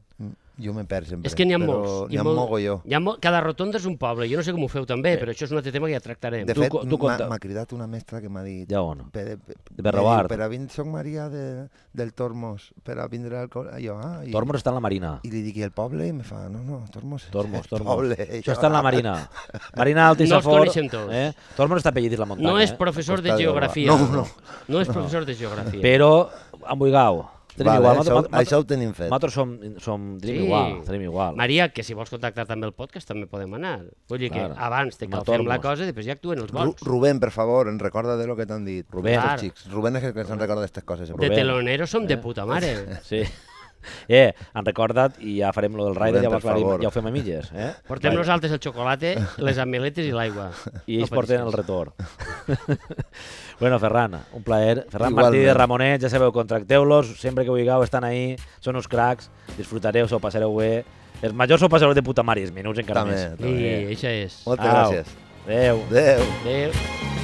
Speaker 3: jo me'n perds sempre.
Speaker 2: És que n'hi ha
Speaker 3: però
Speaker 2: molts.
Speaker 3: N'hi ha
Speaker 2: molt-
Speaker 3: mogolló.
Speaker 2: Hi ha mo- cada rotonda és un poble. Jo no sé com ho feu també, però això és un altre tema que ja tractarem.
Speaker 3: De
Speaker 1: Tu
Speaker 3: fet,
Speaker 1: co- tu
Speaker 3: m'ha-
Speaker 1: conta.
Speaker 3: m'ha cridat una mestra que m'ha dit...
Speaker 1: Ja on?
Speaker 3: Per, per,
Speaker 1: De Berrobart.
Speaker 3: Per a vindre, soc Maria de, del Tormos, per a vindre al col... Jo, ah, i,
Speaker 1: Tormos està en la Marina.
Speaker 3: I li dic, i el poble? I me fa, no, no, Tormos... és
Speaker 1: Tormos,
Speaker 3: <laughs> el
Speaker 1: Tormos.
Speaker 3: Poble,
Speaker 1: Això està en la Marina. Marina Alta i
Speaker 2: No els
Speaker 1: Safor.
Speaker 2: coneixem tots.
Speaker 1: Eh? Tormos està pellit a la muntanya.
Speaker 2: No és
Speaker 1: eh?
Speaker 2: professor de
Speaker 3: Costa de
Speaker 2: geografia.
Speaker 3: Barba. No, no.
Speaker 2: No és professor de geografia.
Speaker 1: Però amb Buigau. Tenim
Speaker 3: Vale,
Speaker 1: igual.
Speaker 3: això-
Speaker 1: nosaltres- nosaltres-
Speaker 3: això ho tenim fet.
Speaker 1: Nosaltres som, som tenim igual. Tenim igual.
Speaker 2: Maria, que si vols contactar també el podcast també podem anar. Vull dir que
Speaker 1: Clar.
Speaker 2: abans te cal
Speaker 1: Matormos.
Speaker 2: fer la cosa i després ja actuen els
Speaker 3: <laughs> Ru
Speaker 2: vols.
Speaker 3: Rubén, per favor, en recorda de lo que t'han dit.
Speaker 1: Rubén.
Speaker 3: Estos
Speaker 2: Clar.
Speaker 3: xics. Rubén és el que se'n recorda d'aquestes coses.
Speaker 2: De
Speaker 1: Rubén.
Speaker 2: teloneros som de
Speaker 1: <laughs>
Speaker 2: puta mare.
Speaker 1: Sí. Eh, han recordat i ja farem lo del Raider,
Speaker 3: Rubén,
Speaker 1: ja ho,
Speaker 3: per
Speaker 1: aclarim,
Speaker 3: favor.
Speaker 1: ja ho fem a mitges. Eh?
Speaker 2: Portem nosaltres el xocolate, les ameletes i l'aigua.
Speaker 1: I ells
Speaker 2: No
Speaker 1: porten el
Speaker 2: pateixis.
Speaker 1: retorn. <laughs> bueno, Ferran, un plaer. Ferran
Speaker 3: Igualment.
Speaker 1: Martí de Ramonet, ja sabeu, contracteu-los, sempre que vulgueu estan ahí, són uns cracs, disfrutareu, s'ho passareu bé. Els majors s'ho passareu de puta mare, i els minuts encara
Speaker 3: També,
Speaker 1: més.
Speaker 3: també.
Speaker 2: I això és.
Speaker 3: Moltes
Speaker 1: Au.
Speaker 3: gràcies.
Speaker 1: eh. Adéu.
Speaker 3: Adéu.
Speaker 2: Adéu.